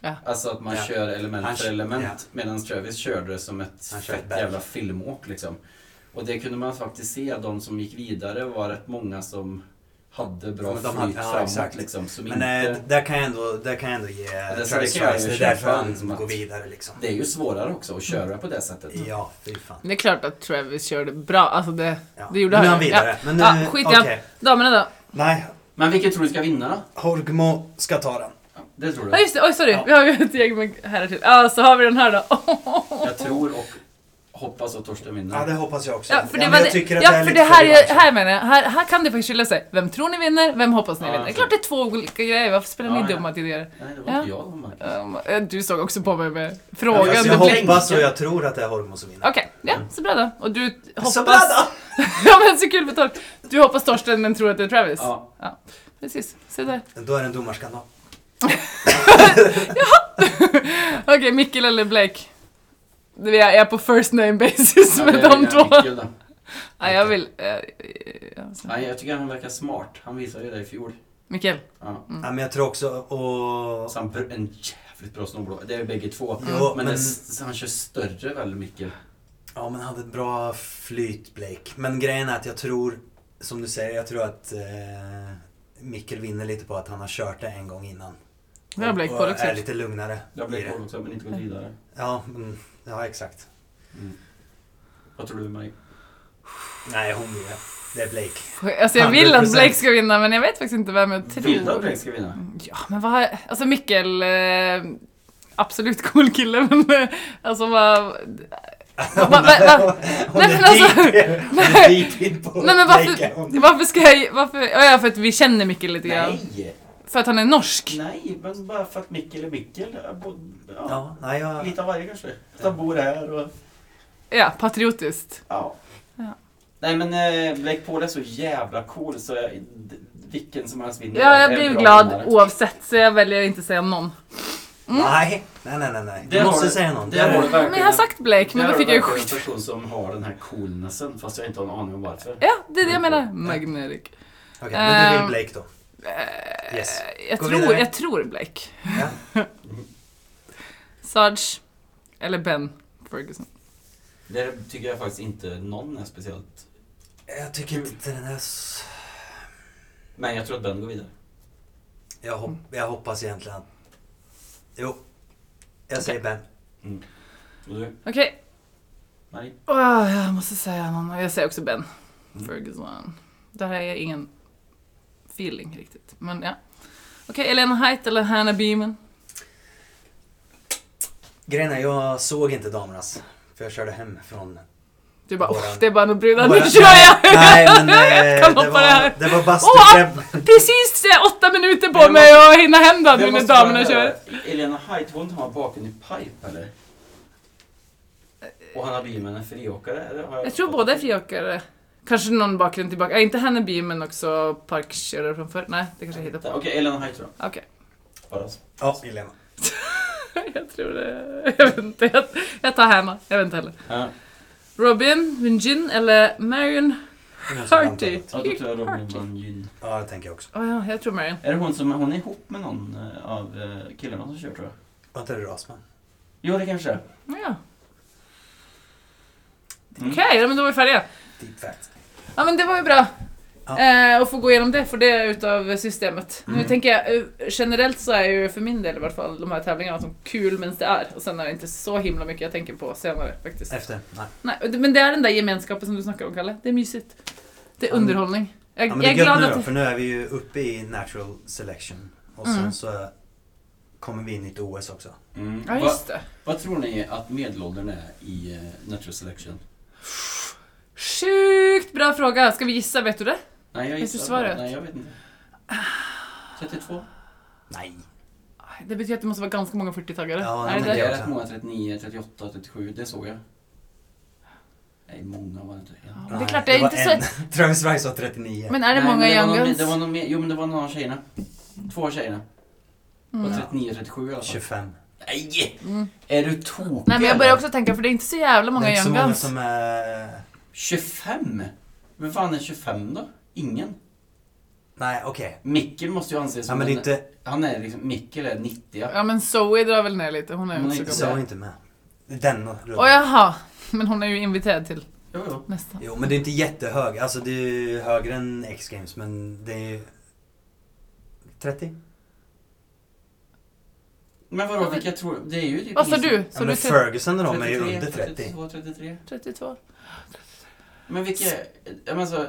Speaker 1: Ja.
Speaker 3: Alltså att man
Speaker 2: Ja.
Speaker 3: kör element
Speaker 2: Han
Speaker 3: för
Speaker 2: kör-
Speaker 3: element
Speaker 2: ja.
Speaker 3: medan Travis körde det som ett
Speaker 2: Han kör
Speaker 3: fett
Speaker 2: berg.
Speaker 3: jävla filmåk liksom. Och det kunde man faktiskt se, de som gick vidare var rätt många som hade bra
Speaker 2: Men de
Speaker 3: flyt
Speaker 2: hade- ja,
Speaker 3: framåt
Speaker 2: exakt.
Speaker 3: liksom. Som
Speaker 2: Men
Speaker 3: inte,
Speaker 2: eh, d- där, kan jag ändå, där kan jag ändå ge
Speaker 3: det-
Speaker 2: Travis
Speaker 3: så det kan jag
Speaker 2: Trice.
Speaker 3: ju
Speaker 2: Det är därför
Speaker 3: köpa,
Speaker 2: han
Speaker 3: liksom, att-
Speaker 2: går vidare liksom.
Speaker 3: det är ju svårare också att köra på det sättet.
Speaker 2: Ja, fy fan.
Speaker 1: Det är klart att Travis körde bra, alltså det...
Speaker 2: Ja.
Speaker 1: Det gjorde han
Speaker 2: nu är han
Speaker 1: ju.
Speaker 2: vidare. Men nu,
Speaker 1: Ja, skit i han.
Speaker 2: okej.
Speaker 1: Damerna då?
Speaker 2: Nej,
Speaker 3: Men vilken tror du ska vinna då?
Speaker 2: Horgmo ska ta den.
Speaker 3: Ja, Det tror
Speaker 1: Ja
Speaker 3: du?
Speaker 1: just det, oj sorry.
Speaker 2: Ja.
Speaker 1: Vi har ju ett gäng med herrar till. Ja, så har vi den här då.
Speaker 3: Jag tror och hoppas att Torsten vinner.
Speaker 2: Ja, det hoppas jag också.
Speaker 1: Ja, för det,
Speaker 2: men
Speaker 1: var
Speaker 2: jag
Speaker 1: det,
Speaker 2: tycker att
Speaker 1: ja,
Speaker 2: det är
Speaker 1: för
Speaker 2: lite
Speaker 1: det här, är,
Speaker 2: revansch.
Speaker 1: här menar jag, här, här kan det faktiskt skilja sig. Vem tror ni vinner? Vem hoppas ni
Speaker 3: Ja,
Speaker 1: vinner? Det är klart
Speaker 3: exakt.
Speaker 1: det är två olika grejer, varför spelar ni
Speaker 3: Ja, ja.
Speaker 1: dumma tidigare?
Speaker 3: Nej, det var
Speaker 1: Ja.
Speaker 3: inte jag. Marcus.
Speaker 1: Um, du såg också på mig med
Speaker 2: Ja,
Speaker 1: frågan.
Speaker 2: fast
Speaker 1: Det
Speaker 2: Alltså, jag
Speaker 1: blir-
Speaker 2: hoppas och jag tror att det är Horgmo som vinner.
Speaker 1: Okej, ja, så bra då. Och du hoppas...
Speaker 2: Så bra då!
Speaker 1: ja men så kul för Torsten. Du hoppas Torsten men tror att det är Travis.
Speaker 3: Ja.
Speaker 1: Precis, se där.
Speaker 2: Då är det en domarskandal.
Speaker 1: Okej, Mikkel eller Blake? Det- Jag är på first name basis
Speaker 3: Ja,
Speaker 1: med
Speaker 3: det är
Speaker 1: de
Speaker 3: en
Speaker 1: två.
Speaker 3: nyckel då.
Speaker 1: Ja, jag vill... eh, eh, alltså.
Speaker 3: Nej, jag tycker han verkar smart. Han visade ju det i fjol.
Speaker 1: Mikkel.
Speaker 3: Ja.
Speaker 1: Mm.
Speaker 2: Ja, men jag tror också och...
Speaker 3: Så han br- en jävligt bra snowboard. Det är bägge två.
Speaker 2: Jo,
Speaker 3: Men,
Speaker 2: men-
Speaker 3: det, s- han kör större väldigt mycket.
Speaker 2: Ja, men hade ett bra flyt Blake. Men grejen är att jag tror, som du säger, jag tror att eh, Mikkel vinner lite på att han har kört det en gång innan.
Speaker 1: Nu har Blake
Speaker 2: Och-
Speaker 1: koll
Speaker 2: Och
Speaker 1: också.
Speaker 2: är lite lugnare.
Speaker 3: Jag
Speaker 2: i
Speaker 3: blev
Speaker 2: det.
Speaker 3: cool också, men inte gått vidare. Mm.
Speaker 2: Ja, mm, ja, exakt.
Speaker 3: Vad tror du Maj?
Speaker 2: Nej, hon vinner. Det är Blake.
Speaker 1: Alltså jag vill att
Speaker 2: 100%.
Speaker 1: Blake ska vinna men jag vet faktiskt inte vem jag
Speaker 3: Vill du att
Speaker 1: tror.
Speaker 3: Blake ska vinna?
Speaker 1: Ja men vad, alltså Mikkel, eh, absolut cool kille men eh, alltså vad...
Speaker 2: Hon,
Speaker 1: va- va-
Speaker 2: hon
Speaker 1: Nej,
Speaker 2: är
Speaker 1: men alltså-
Speaker 2: deep, hon är
Speaker 1: Nej.
Speaker 2: deep in på
Speaker 1: Nej men
Speaker 2: Blake.
Speaker 1: varför,
Speaker 2: Hon-
Speaker 1: varför ska jag, varför, ja ja, för att vi känner Mikkel lite grann.
Speaker 3: Nej!
Speaker 1: För att han är norsk.
Speaker 3: Nej, men bara för att Mikkel är Mikkel. Jag bo- Ja.
Speaker 2: Ja, nej, jag...
Speaker 3: Lite av varje kanske. Att han bor här och...
Speaker 1: Ja, patriotiskt.
Speaker 3: Ja.
Speaker 1: Ja.
Speaker 3: Nej men eh, Blake Paul är så jävla cool så jag, d- vilken som helst vinner.
Speaker 1: Ja
Speaker 3: Det är
Speaker 1: jag
Speaker 3: en
Speaker 1: blir ju
Speaker 3: bra
Speaker 1: glad
Speaker 3: vinnare.
Speaker 1: oavsett så jag väljer att inte säga någon.
Speaker 2: Nej, nej, nej, nej, nej. Du
Speaker 3: Där
Speaker 2: måste
Speaker 3: har du-
Speaker 2: säga någon.
Speaker 3: där
Speaker 2: Där
Speaker 3: har
Speaker 2: har
Speaker 3: du-
Speaker 2: du-
Speaker 1: Men jag har sagt Blake men
Speaker 3: Där
Speaker 1: då
Speaker 3: har
Speaker 1: fick
Speaker 3: du
Speaker 1: jag ju
Speaker 3: verkligen
Speaker 1: skit.
Speaker 3: en person som har den här coolnessen fast jag inte har en aning om varför.
Speaker 1: Ja, det är det jag menar. Magnetic.
Speaker 2: Okej, men du
Speaker 1: Ehm.
Speaker 2: vill Blake då.
Speaker 1: Eh,
Speaker 2: Yes.
Speaker 1: Jag,
Speaker 2: Gå
Speaker 1: tror,
Speaker 2: vidare.
Speaker 1: jag tror Blake.
Speaker 2: Ja.
Speaker 1: Sarge, eller Ben Ferguson.
Speaker 3: Där tycker jag faktiskt inte någon är speciellt.
Speaker 2: Jag tycker
Speaker 1: Mm.
Speaker 2: inte den är så...
Speaker 3: Men jag tror att Ben går vidare.
Speaker 2: Jag, hop- jag hoppas egentligen att... Jo. Jag säger Ben.
Speaker 3: Och du?
Speaker 1: Okej,
Speaker 3: Nej.
Speaker 1: Åh, jag måste säga någon. Jag säger också Ben Mm. Ferguson. Där har jag ingen feeling riktigt. Men ja. Okej, Elena Height eller Hannah Beeman?
Speaker 2: Grejen är, jag såg inte damernas. För jag körde hem från...
Speaker 1: Du bara,
Speaker 2: Våran-
Speaker 1: oh, det är bara några brudar,
Speaker 2: Våra-
Speaker 1: nu kör jag!
Speaker 2: Nej men eh,
Speaker 1: kan
Speaker 2: det,
Speaker 1: hoppa det här.
Speaker 2: var, det var bastu...
Speaker 1: Åh!
Speaker 2: det-
Speaker 1: Precis eh, åtta minuter på
Speaker 3: Jag
Speaker 1: mig att hinna hem då nu
Speaker 3: Jag
Speaker 1: när
Speaker 3: måste
Speaker 1: damerna
Speaker 3: bara
Speaker 1: kör.
Speaker 3: höra, Elena Height, var inte han baken i pipe eller? Och Hanna Biman är friåkare? eller? Har
Speaker 1: Jag tror båda är friåkare. Kanske någon bakgrund tillbaka. Äh, inte Hannah Beeman också parkkörare från förr. Nej, det kanske jag hittar på.
Speaker 3: Okej, Elena Height då.
Speaker 1: Okej.
Speaker 3: Bara.
Speaker 2: Ja, Helena.
Speaker 1: Jag tror det. Jag vet inte. Jag, jag tar Hannah. Jag vet inte heller.
Speaker 3: Ja,
Speaker 1: Robin, Winjin eller Marion
Speaker 2: Jag såg
Speaker 1: Harty?
Speaker 2: antalet.
Speaker 3: ja, då tror jag Robin
Speaker 1: Harty.
Speaker 3: Van Gyn.
Speaker 2: Ja, det tänker jag också.
Speaker 1: Oh, ja, jag tror Marion.
Speaker 3: Är det hon som hon är ihop med någon eh, av eh, killarna som kör tror jag?
Speaker 2: Var inte det Rasman?
Speaker 3: Jo, det kanske är.
Speaker 1: Ja.
Speaker 3: Mm.
Speaker 1: Okej, ja, men då var vi färdiga.
Speaker 2: Deep fact.
Speaker 1: Ja men det var ju bra.
Speaker 2: Ja.
Speaker 1: Eh, att få gå igenom det, för det är utav systemet. Nu
Speaker 2: Mm.
Speaker 1: tänker jag, eh, generellt så är ju för min del i vart fall de här tävlingarna som kul medan det är. Och sen är det inte så himla mycket jag tänker på senare faktiskt.
Speaker 2: Efter? Nej.
Speaker 1: Nej, och det- men det är den där gemenskapen som du snackar om Kalle. Det är mysigt. Det är
Speaker 2: Ja, men-
Speaker 1: underhållning. Jag,
Speaker 2: Ja, men det
Speaker 1: jag
Speaker 2: är
Speaker 1: är glad
Speaker 2: gött nu då,
Speaker 1: att...
Speaker 2: för nu är vi ju uppe i natural selection. Och sen
Speaker 1: Mm.
Speaker 2: så kommer vi in i ett OS också.
Speaker 3: Mm.
Speaker 1: Ja
Speaker 3: Va,
Speaker 1: just det.
Speaker 3: vad tror ni att medelåldern är i eh, Natural Selection?
Speaker 1: Sjukt bra fråga. Ska vi gissa, vet du det?
Speaker 3: Nej, jag
Speaker 1: Vet du
Speaker 3: gissar.
Speaker 1: svaret? Ah.
Speaker 3: Nej, jag vet inte. 32?
Speaker 2: Nej.
Speaker 1: Aj, Det betyder att det måste vara ganska många 40-tagare.
Speaker 2: Ja,
Speaker 1: är
Speaker 2: men
Speaker 1: det
Speaker 3: Det
Speaker 1: det?
Speaker 3: är
Speaker 2: också.
Speaker 3: rätt många, 39, 38, 37, det såg jag. Nej, många var det inte. En.
Speaker 1: Ja, det är
Speaker 2: Nej,
Speaker 1: klart, det är
Speaker 2: var
Speaker 1: inte så...
Speaker 2: en. Travis Rice var 39.
Speaker 1: Men är det
Speaker 3: Nej,
Speaker 1: många
Speaker 3: men det
Speaker 1: young
Speaker 3: var någon,
Speaker 1: guns?
Speaker 3: Det var någon mer, jo men det var någon av tjejerna. Två av tjejerna.
Speaker 1: Mm.
Speaker 3: Och 39 och 37 i alla fall.
Speaker 2: 25.
Speaker 3: Nej!
Speaker 1: Mm.
Speaker 3: Är du tokig
Speaker 1: Nej men jag börjar
Speaker 3: eller?
Speaker 1: också tänka, för det är inte så jävla många
Speaker 2: det är inte så
Speaker 1: young
Speaker 2: många
Speaker 1: guns.
Speaker 2: som är...
Speaker 3: 25? Vem fan är 25 då? Ingen.
Speaker 2: Nej, okej.
Speaker 3: Mickel måste ju anses
Speaker 2: Ja,
Speaker 3: som
Speaker 2: men det är
Speaker 3: en-
Speaker 2: inte...
Speaker 3: Han är liksom, Mickel är 90 ja.
Speaker 1: Ja men Zoe drar väl ner lite, hon är
Speaker 3: Hon
Speaker 1: ju
Speaker 3: är
Speaker 1: inte så
Speaker 3: inte
Speaker 1: gammal.
Speaker 2: Så är inte med. Den
Speaker 1: Åh
Speaker 2: rundan.
Speaker 1: jaha, men hon är ju inviterad till.
Speaker 3: Jo, jo.
Speaker 1: Nästan.
Speaker 2: Jo, men det är inte jättehög. Alltså det är ju högre än X-Games, men det är ju... 30?
Speaker 3: Men vadå, vilka tror... Det är ju typ
Speaker 1: Vad sa
Speaker 3: ingen som-
Speaker 1: du?
Speaker 2: Ja,
Speaker 1: Så
Speaker 2: men
Speaker 1: du tre-
Speaker 2: Ferguson och de är ju
Speaker 3: 33,
Speaker 2: under 30.
Speaker 3: 32, 33.
Speaker 1: 32?
Speaker 3: Men vilka... Jag menar så...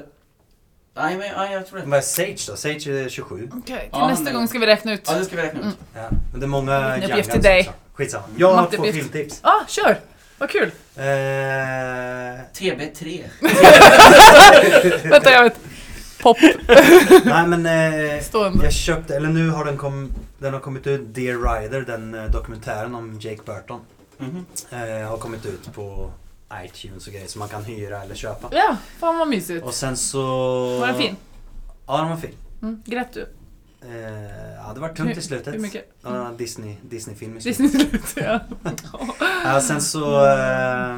Speaker 3: Nej, men ja, jag tror det.
Speaker 2: Vad är Sage då? Sage är 27.
Speaker 1: Okej, till
Speaker 3: Ja,
Speaker 1: nästa
Speaker 3: men-
Speaker 1: gång ska vi räkna ut.
Speaker 3: Ja, det ska vi räkna ut.
Speaker 2: Ja, men det är många
Speaker 1: Vilken uppgift
Speaker 2: Young
Speaker 1: till
Speaker 2: Guns
Speaker 1: dig.
Speaker 2: också. Skitsamma. Jag har två
Speaker 1: Matteuppgift.
Speaker 2: filmtips.
Speaker 1: Ah, kör! Vad kul!
Speaker 2: Eh,
Speaker 3: TB3.
Speaker 1: Vänta, jag vet. Pop
Speaker 2: nej men eh,
Speaker 1: stående.
Speaker 2: jag köpte, eller nu har den, kom, den har kommit ut, Dear Rider, den eh, dokumentären om Jake Burton.
Speaker 3: Mhm.
Speaker 2: Eh, har kommit ut på iTunes och grejer som man kan hyra eller köpa.
Speaker 1: Ja, fan vad mysigt.
Speaker 2: Och sen så...
Speaker 1: Mm. Var den fin?
Speaker 2: Ja, den var fin.
Speaker 1: Mm. Grät du?
Speaker 2: Eh, ja, det var tungt i slutet.
Speaker 1: Hur mycket?
Speaker 2: Det var en Disney, Disney-film i slutet.
Speaker 1: Disney-slut, ja.
Speaker 2: Ja, sen så... Eh,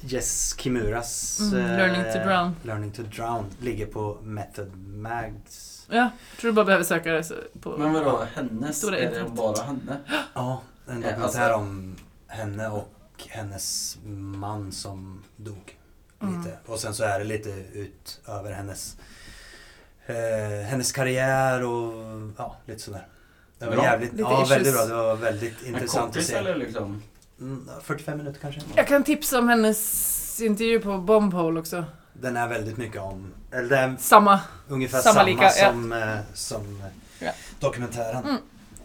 Speaker 2: Jess Kimuras... eh,
Speaker 1: Mm, Learning to Drown.
Speaker 2: Learning to Drown ligger på Method Mags.
Speaker 1: Ja, tror du bara behöver söka det så- på...
Speaker 3: Men vadå, hennes?
Speaker 1: Stora
Speaker 3: Är det
Speaker 1: internet.
Speaker 3: bara henne?
Speaker 2: Ja, en
Speaker 3: Eh,
Speaker 2: dokumentär
Speaker 3: alltså-
Speaker 2: om henne och hennes man som dog.
Speaker 1: Mm.
Speaker 2: Lite. Och sen så är det lite ut över hennes, eh, hennes karriär och ja, lite sådär. Det var
Speaker 3: Bra.
Speaker 2: jävligt,
Speaker 1: Lite
Speaker 2: ja, väldigt bra.
Speaker 1: issues.
Speaker 2: Det var väldigt
Speaker 3: En
Speaker 2: intressant att
Speaker 3: kompis
Speaker 2: se.
Speaker 3: eller liksom?
Speaker 2: Mm, 45 minuter kanske.
Speaker 1: Jag kan tipsa om hennes intervju på Bombhole också.
Speaker 2: Den är väldigt mycket om, eller det är
Speaker 1: Samma.
Speaker 2: ungefär
Speaker 1: Samma
Speaker 2: samma,
Speaker 1: lika, ja.
Speaker 2: som, eh, som eh,
Speaker 1: Ja.
Speaker 2: dokumentären.
Speaker 1: Mm.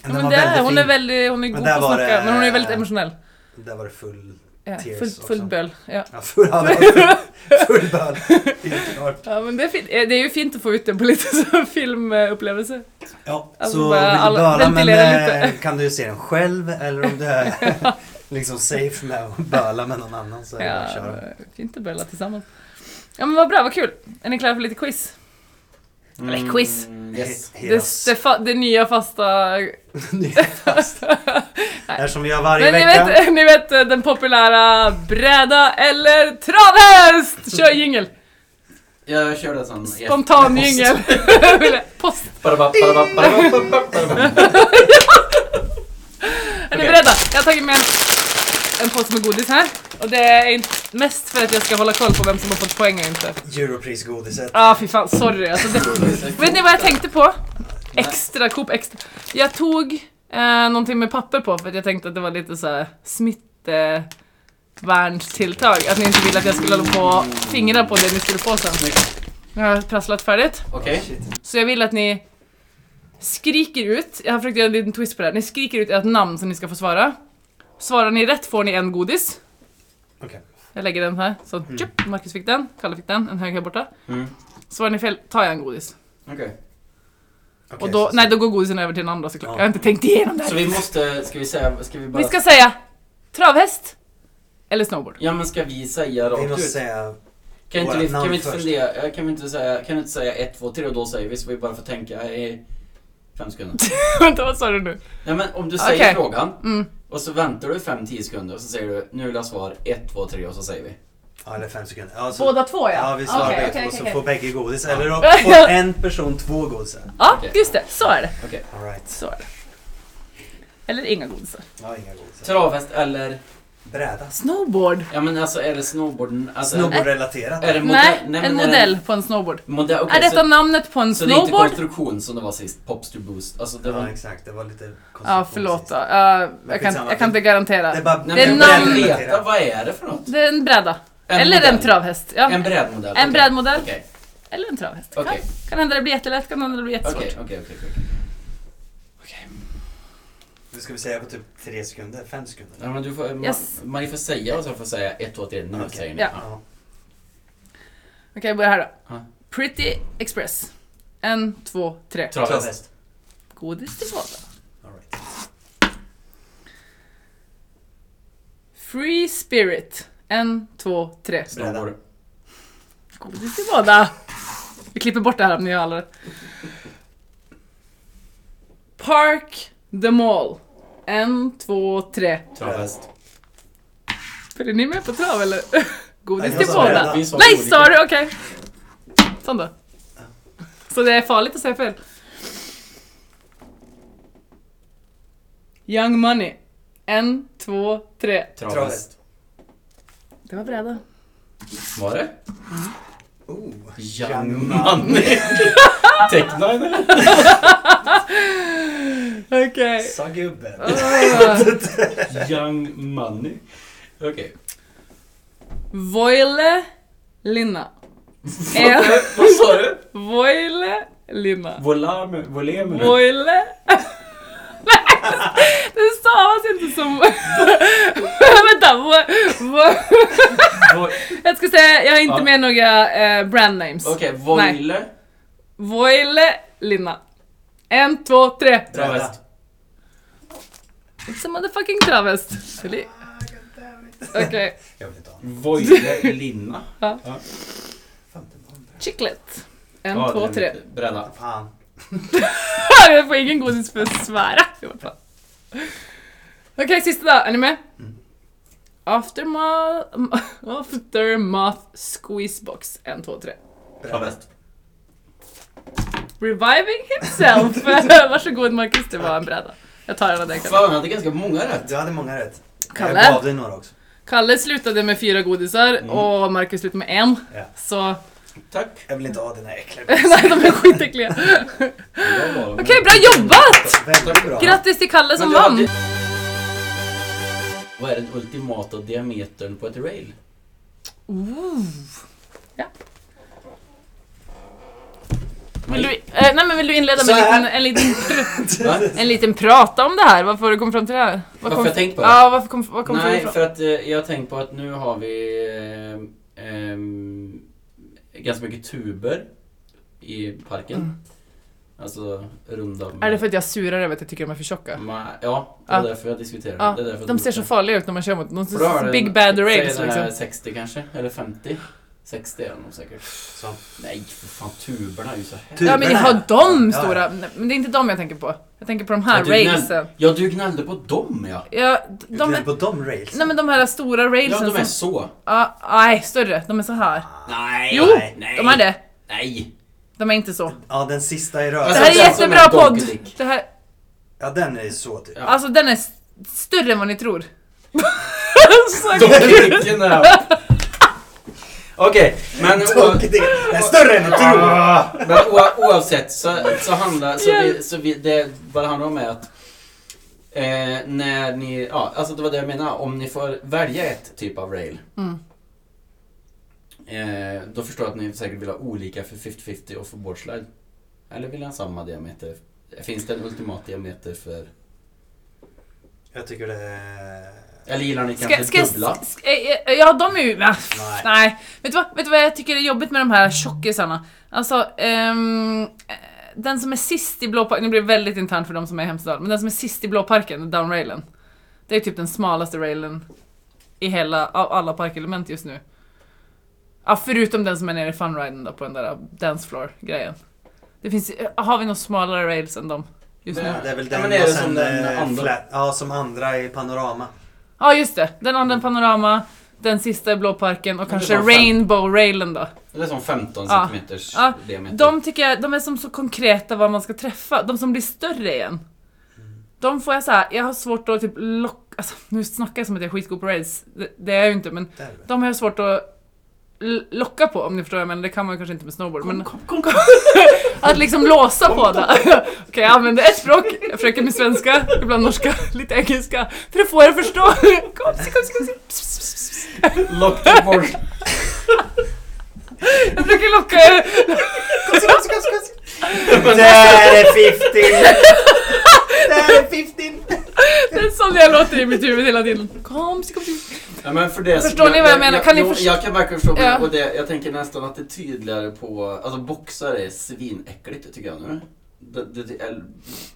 Speaker 2: Den
Speaker 1: men
Speaker 2: var
Speaker 1: det,
Speaker 2: väldigt
Speaker 1: hon
Speaker 2: fin.
Speaker 1: är väldigt, hon är god på
Speaker 2: där
Speaker 1: att
Speaker 2: var
Speaker 1: snacka,
Speaker 2: det-
Speaker 1: men hon är väldigt emotionell.
Speaker 2: Där var det full,
Speaker 1: Ja,
Speaker 2: Tears
Speaker 1: fullt, fullt
Speaker 2: också.
Speaker 1: böl. Ja.
Speaker 2: ja, full, ja, det var full, full böl. Det är inte klart.
Speaker 1: ja, men det är, fint. Eh, det är ju fint att få ut det på lite så filmupplevelse.
Speaker 2: Ja,
Speaker 1: Alltså
Speaker 2: så
Speaker 1: bara
Speaker 2: vill du
Speaker 1: alla-
Speaker 2: böla men
Speaker 1: ventilera lite.
Speaker 2: eh, kan du se den själv eller om du är liksom safe med att böla med någon annan så är det bara
Speaker 1: Ja,
Speaker 2: att köra.
Speaker 1: fint att böla tillsammans. Ja men vad bra, vad kul! Är ni klara för lite quiz? Eller quiz.
Speaker 3: Mm, yes.
Speaker 2: He-
Speaker 1: Det, det, fa- det nya fasta...
Speaker 2: Nya fast. Eftersom vi har varje
Speaker 1: Men ni
Speaker 2: vecka.
Speaker 1: vet, ni vet eh, den populära bräda eller
Speaker 2: Alltså,
Speaker 1: travhäst! Kör jingel!
Speaker 3: Jag kör den som...
Speaker 1: Spontan jingel! Post!
Speaker 3: Badabap, badabap, badabap, badabap.
Speaker 1: Är ni
Speaker 3: Okej.
Speaker 1: beredda? Jag har tagit med en, en påse med godis här. Och det är in- mest för att jag ska hålla koll på vem som har fått poäng och inte.
Speaker 2: Europrisgodiset.
Speaker 1: Ah fy fan, sorry. Alltså, det, vet ni vad jag tänkte på? Extra, Coop extra. Jag tog eh, någonting med papper på för att jag tänkte att det var lite så här smittvärnstilltag. Att ni inte ville att jag skulle hålla på och fingra på det ni skulle få sen.
Speaker 3: Snyggt.
Speaker 1: Jag har prasslat färdigt.
Speaker 3: Okej.
Speaker 1: Så jag vill att ni skriker ut, jag har försökt göra en liten twist på det här, ni skriker ut ert namn som ni ska få svara. Svarar ni rätt får ni en godis.
Speaker 2: Okej.
Speaker 1: Jag lägger den här, så tjup, Marcus fick den, Kalle fick den, en hög här borta.
Speaker 3: Mm.
Speaker 1: Svarar ni fel tar jag en godis.
Speaker 3: Okej.
Speaker 2: Okej,
Speaker 1: Och då,
Speaker 2: så-
Speaker 1: nej då går godisen över till den andra såklart.
Speaker 2: Ja.
Speaker 1: Jag har inte tänkt igenom det
Speaker 3: Så
Speaker 1: här.
Speaker 3: vi måste, ska vi säga, ska vi bara...
Speaker 1: Ni ska säga travhäst eller snowboard.
Speaker 3: Ja men ska vi säga
Speaker 2: Vi
Speaker 3: rakt
Speaker 2: måste
Speaker 3: ut?
Speaker 2: säga...
Speaker 3: Kan inte
Speaker 2: våra
Speaker 3: vi, kan
Speaker 2: namn
Speaker 3: vi inte
Speaker 2: först.
Speaker 3: fundera, eh, kan vi inte säga, kan vi inte säga 1, 2, 3 och då säger vi så vi bara får tänka i fem sekunder.
Speaker 1: Vänta vad sa du nu?
Speaker 3: Nej men om du säger
Speaker 1: Okej.
Speaker 3: frågan
Speaker 1: Mm.
Speaker 3: och så väntar du 5-10 sekunder och så säger du nu vill jag ha svar 1, 2, 3 och så säger vi.
Speaker 2: Ja, eller fem sekunder. Ja, så,
Speaker 1: Båda två ja.
Speaker 2: Ja, vi svarar
Speaker 1: Okej,
Speaker 2: okay,
Speaker 1: okej,
Speaker 2: och så
Speaker 1: okej,
Speaker 2: får
Speaker 1: okej.
Speaker 2: bägge godis.
Speaker 3: Ja.
Speaker 2: Eller då får en person två godisar.
Speaker 1: Ja,
Speaker 3: Okej.
Speaker 1: just det. Så är det.
Speaker 3: Okej.
Speaker 2: All right.
Speaker 1: Så är det. Eller inga godisar.
Speaker 2: Ja, inga godisar.
Speaker 3: Travhäst eller,
Speaker 2: Bräda.
Speaker 1: Snowboard.
Speaker 3: ja men alltså är det snowboarden? Alltså,
Speaker 2: Snowboardrelaterat.
Speaker 3: Är det modell?
Speaker 1: Nej,
Speaker 3: men
Speaker 1: en
Speaker 3: är det-
Speaker 1: modell på en snowboard.
Speaker 3: Modell, okej
Speaker 1: är detta
Speaker 3: så,
Speaker 1: namnet på en
Speaker 3: så det är inte
Speaker 1: snowboard?
Speaker 3: konstruktion som det var sist, Popster Boost? Alltså det var...
Speaker 2: Ja, exakt. Det var lite konstigt.
Speaker 1: Ja, förlåt då. Ja, jag, kan,
Speaker 2: skitsamma.
Speaker 1: jag kan inte garantera.
Speaker 2: Det är bara...
Speaker 3: Nej,
Speaker 1: Det är
Speaker 3: men
Speaker 1: namn-
Speaker 3: brädrelaterat, vad är det för något?
Speaker 1: Det är en bräda.
Speaker 3: En
Speaker 1: eller
Speaker 3: modell.
Speaker 1: en travhäst. Ja.
Speaker 3: En
Speaker 1: En,
Speaker 3: brädmodell? okej.
Speaker 1: brädmodell.
Speaker 3: Okej,
Speaker 1: Eller en travhäst.
Speaker 3: Okej.
Speaker 1: Kan, kan hända det blir jättelätt, kan hända det blir jättesvårt.
Speaker 3: okej, okej, okej. okej. Okej.
Speaker 2: Det ska vi säga på typ tre sekunder, fem sekunder.
Speaker 3: Ja, men du får,
Speaker 1: Yes.
Speaker 3: ma- Marie får säga och så får jag säga 1, 2, 3, nu
Speaker 2: Okej.
Speaker 3: säger ni.
Speaker 1: Ja.
Speaker 2: Ja.
Speaker 1: Okej, jag börjar här då.
Speaker 3: Ja.
Speaker 1: Pretty Express. En, två, tre.
Speaker 3: Travhäst.
Speaker 2: Travhäst.
Speaker 1: Godis till båda.
Speaker 2: All right.
Speaker 1: Free Spirit. En, två, tre.
Speaker 3: Snowboard.
Speaker 1: Godis till båda. Vi klipper bort det här om ni har alla rätt. Park the Mall. En, två, tre.
Speaker 3: Travhäst.
Speaker 1: För är ni med på trav eller? Godis
Speaker 2: Nej,
Speaker 1: till
Speaker 2: jag sa
Speaker 1: båda.
Speaker 2: redan.
Speaker 3: Vi sa
Speaker 1: Nej,
Speaker 3: olika.
Speaker 1: sa du? Okej. Sån då. Så det är farligt att säga fel. Young Money. En, två, tre.
Speaker 3: Travhäst.
Speaker 1: Det var bräda.
Speaker 3: Var det?
Speaker 2: Oh,
Speaker 3: Young Money. Techline eller?
Speaker 1: Okej.
Speaker 2: Sa gubben.
Speaker 1: Ah.
Speaker 3: Young Money. Okej.
Speaker 1: Voile Lina. Ja.
Speaker 3: Vad sa du?
Speaker 1: Voile Lina.
Speaker 3: Volame, voleme.
Speaker 1: Voile... Nej, det stavas inte som... Vänta, vo, vo,
Speaker 3: Vo-
Speaker 1: jag ska säga, jag har inte
Speaker 3: Ja.
Speaker 1: med några eh, brand names.
Speaker 3: Okej, voile.
Speaker 1: Voile Lina. En, två, tre.
Speaker 3: Travest.
Speaker 1: It's a motherfucking travest. Okej. Okay.
Speaker 2: Jag vill inte ha en
Speaker 3: Voile linna.
Speaker 2: femte bomb.
Speaker 1: Chiclet. En,
Speaker 3: Ja,
Speaker 1: två,
Speaker 3: det är
Speaker 1: tre.
Speaker 3: mitt. Bräda.
Speaker 2: Fan.
Speaker 1: Jag får ingen godis för att svära i alla fall. Okej, sista då. Är ni med?
Speaker 3: Mm.
Speaker 1: Aftermath, aftermath Squeezebox. En, två, tre.
Speaker 3: Travest.
Speaker 1: Reviving himself. Varsågod Marcus, det var en bräda. Jag tar den av dig Kalle.
Speaker 3: Fan, han hade ganska många rätt.
Speaker 2: Du hade många rätt.
Speaker 1: Kalle?
Speaker 2: Jag gav dig några också.
Speaker 1: Kalle slutade med fyra godisar
Speaker 3: Mm.
Speaker 1: och Marcus slutade med en.
Speaker 2: Ja.
Speaker 1: Så,
Speaker 3: Tack.
Speaker 2: Jag vill inte ha dina äckliga
Speaker 1: nej de är skitäckliga.
Speaker 3: Okej,
Speaker 1: Okej, bra jobbat! Alltså,
Speaker 2: Väldigt bra.
Speaker 1: Grattis till Kalle som
Speaker 3: Men du
Speaker 1: vann!
Speaker 3: hade- Vad är den ultimata diametern på ett rail?
Speaker 1: Ja.
Speaker 3: Men,
Speaker 1: Vill du, eh, nej, men vill du inleda
Speaker 2: Så
Speaker 1: med en
Speaker 2: här.
Speaker 1: liten, en, liten pr-
Speaker 3: Va?
Speaker 1: en liten prata om det här? Varför du kom fram till det här? Vad
Speaker 3: Varför
Speaker 1: kom,
Speaker 3: jag tänkt på det?
Speaker 1: Ja, varför kom, var kom
Speaker 3: Nej,
Speaker 1: frågan
Speaker 3: för att eh, jag har tänkt på att nu har vi ehm, ehm, ganska mycket tuber i parken.
Speaker 1: Mm.
Speaker 3: Alltså runda.
Speaker 1: Är det för att jag surar över att jag tycker de är för tjocka?
Speaker 3: Ma- ja, det är
Speaker 1: Ja.
Speaker 3: därför jag diskuterar.
Speaker 1: Ja,
Speaker 3: Mm. det är därför
Speaker 1: De ser så farliga ut när man kör mot dem. De ser
Speaker 3: För då har
Speaker 1: så
Speaker 3: den-
Speaker 1: big bad
Speaker 3: säg
Speaker 1: rapes
Speaker 3: den här
Speaker 1: liksom.
Speaker 3: 60 kanske, eller 50. 60 är de nog säkert.
Speaker 2: Så.
Speaker 3: Nej, för fan tuberna är ju så här.
Speaker 2: Tu-
Speaker 1: Ja men jag
Speaker 2: tuberna.
Speaker 1: har de
Speaker 2: Ja.
Speaker 1: stora, Nej, men det är inte de jag tänker på. Jag tänker på de här
Speaker 3: Ja, typ du gnäll-
Speaker 1: railsen.
Speaker 3: Ja, du gnällde på dem ja.
Speaker 1: Ja, d-
Speaker 2: Du
Speaker 1: de
Speaker 2: gnäller
Speaker 1: är,
Speaker 2: på de rails?
Speaker 1: nej men de här stora
Speaker 3: Ja,
Speaker 1: railsen
Speaker 3: de är
Speaker 1: som...
Speaker 3: så.
Speaker 1: Ja, nej, större. De är så här.
Speaker 3: Nej,
Speaker 1: alltså. Jo,
Speaker 3: nej,
Speaker 1: de är det.
Speaker 3: Nej.
Speaker 1: De är inte så.
Speaker 2: Ja, den sista i
Speaker 1: Det
Speaker 3: Alltså,
Speaker 2: rörelsen.
Speaker 1: här är
Speaker 3: den som är
Speaker 1: jättebra podd!
Speaker 3: Donkey Dick.
Speaker 1: Det här,
Speaker 2: Ja, den är så typ.
Speaker 3: Ja.
Speaker 1: alltså den är s- större än vad ni tror. Alltså, Så
Speaker 3: De
Speaker 1: kul.
Speaker 3: klicken är... Okej, men, o-
Speaker 2: Tråkigt. Den är större än du tror.
Speaker 3: men o- oavsett så, så handlar så vi, så vi, det, vad det handlar om är att eh, när ni, ja alltså det var det jag menade, om ni får välja ett typ av rail
Speaker 1: Mm.
Speaker 3: eh, då förstår jag att ni säkert vill ha olika för 50-50 och för boardslide. Eller vill ni ha samma diameter? Finns det en ultimat diameter för...
Speaker 2: Jag tycker det är...
Speaker 3: Eller gillar ni
Speaker 1: Ska,
Speaker 3: kanske
Speaker 1: ska,
Speaker 3: dubbla?
Speaker 1: ska, eh, ja, de är ju... Nej.
Speaker 2: Nej.
Speaker 1: Nej. Vet, du vad, vet du vad jag tycker är jobbigt med de här tjockisarna? Alltså, ehm, eh, den som är sist i blå parken, nu blir det väldigt internt för de som är i Hemsedal, men den som är sist i blå parken, downrailen. Det är typ den smalaste railen i hela, av alla parkelement just nu. Ja, förutom den som är nere i funriden då, på den där dancefloor-grejen. Det finns, har vi någon smalare rails än dem just nu?
Speaker 3: Nej.
Speaker 2: Det är väl
Speaker 3: Ja,
Speaker 2: den
Speaker 3: men är det
Speaker 2: och
Speaker 3: som
Speaker 2: sen,
Speaker 3: den
Speaker 2: eh,
Speaker 3: andra?
Speaker 2: Flat, ja, som andra i Panorama.
Speaker 1: Ja just det, den andra panorama, den sista i blåparken och
Speaker 3: Mm. Men det
Speaker 1: kanske
Speaker 3: var fem.
Speaker 1: rainbow-railen då.
Speaker 3: Eller som 15
Speaker 1: Ja.
Speaker 3: centimeters
Speaker 1: Ja.
Speaker 3: diameter?
Speaker 1: De tycker jag, de är som så konkreta vad man ska träffa, de som blir större igen.
Speaker 3: Mm.
Speaker 1: De får jag såhär, jag har svårt att typ locka, alltså, nu snackar jag som att jag är skitgod på rails, det, det är jag ju inte men
Speaker 2: Där är det.
Speaker 1: de har jag svårt att l- locka på om ni förstår vad jag menar, det kan man kanske inte med snowboard men Att liksom låsa på det. Okej, jag använder ett språk, jag försöker med svenska, ibland norska, lite engelska för att få er att förstå. Kom, kom, kom, kom.
Speaker 3: Lock the board.
Speaker 1: Jag försöker locka er.
Speaker 2: Där är 15! Där är 15!
Speaker 1: Det är sån jag låter i mitt huvud hela tiden. Kom, kom, kom.
Speaker 3: Ja, men för det,
Speaker 1: Förstår ni vad jag menar? Kan ni
Speaker 3: jag,
Speaker 1: först-
Speaker 3: jag kan verkligen förstå, men-
Speaker 1: Ja.
Speaker 3: och det, jag tänker nästan att det är tydligare på... Alltså boxar är svinäckligt tycker jag nu. Det, det, det, är-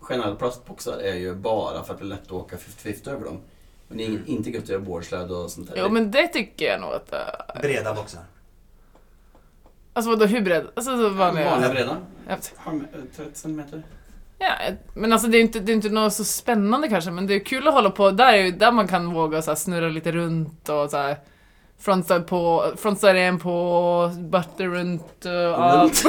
Speaker 3: generellt plastboxar är ju bara för att det är lätt att åka 50-50 över dem. Men det är ing- inte gött att göra boardsled och sånt där.
Speaker 1: Jo men det tycker jag nog att... eh,
Speaker 2: Breda boxar.
Speaker 1: Alltså vadå hur bred? Alltså så vanliga.
Speaker 3: Vanliga breda.
Speaker 1: Jag vet inte.
Speaker 3: 30 eh, centimeter.
Speaker 1: Ja, men alltså det är ju inte, det är inte något så spännande kanske men det är kul att hålla på. Där är ju där man kan våga så här, snurra lite runt och så här. Frontside på, frontside en på, butter runt och...
Speaker 3: Runt.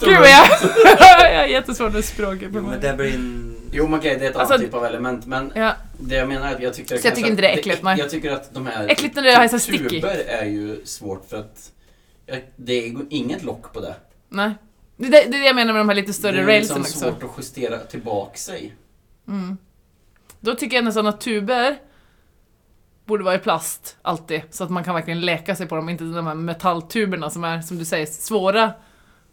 Speaker 1: Gud vad jag, jag jättesvårt med språket.
Speaker 2: Jo, men det blir en...
Speaker 3: Jo, men okej, det är ett
Speaker 1: Alltså-
Speaker 3: annat typ av element, men
Speaker 1: Ja,
Speaker 3: det jag menar är att jag tycker...
Speaker 1: Så jag tycker
Speaker 3: kanske
Speaker 1: inte det är
Speaker 3: att
Speaker 1: äckligt, nej.
Speaker 3: Jag tycker att de här...
Speaker 1: Äckligt när det är så här sticky.
Speaker 3: tuber är ju svårt för att... jag- Det är inget lock på det.
Speaker 1: nej. Det, det, det är det jag menar med de här lite större
Speaker 3: Det är
Speaker 1: railsen
Speaker 3: liksom
Speaker 1: också.
Speaker 3: svårt att justera tillbaka sig.
Speaker 1: Mm. Då tycker jag nästan att tuber borde vara i plast, alltid. Så att man kan verkligen leka sig på dem, inte de här metalltuberna som är, som du säger, svåra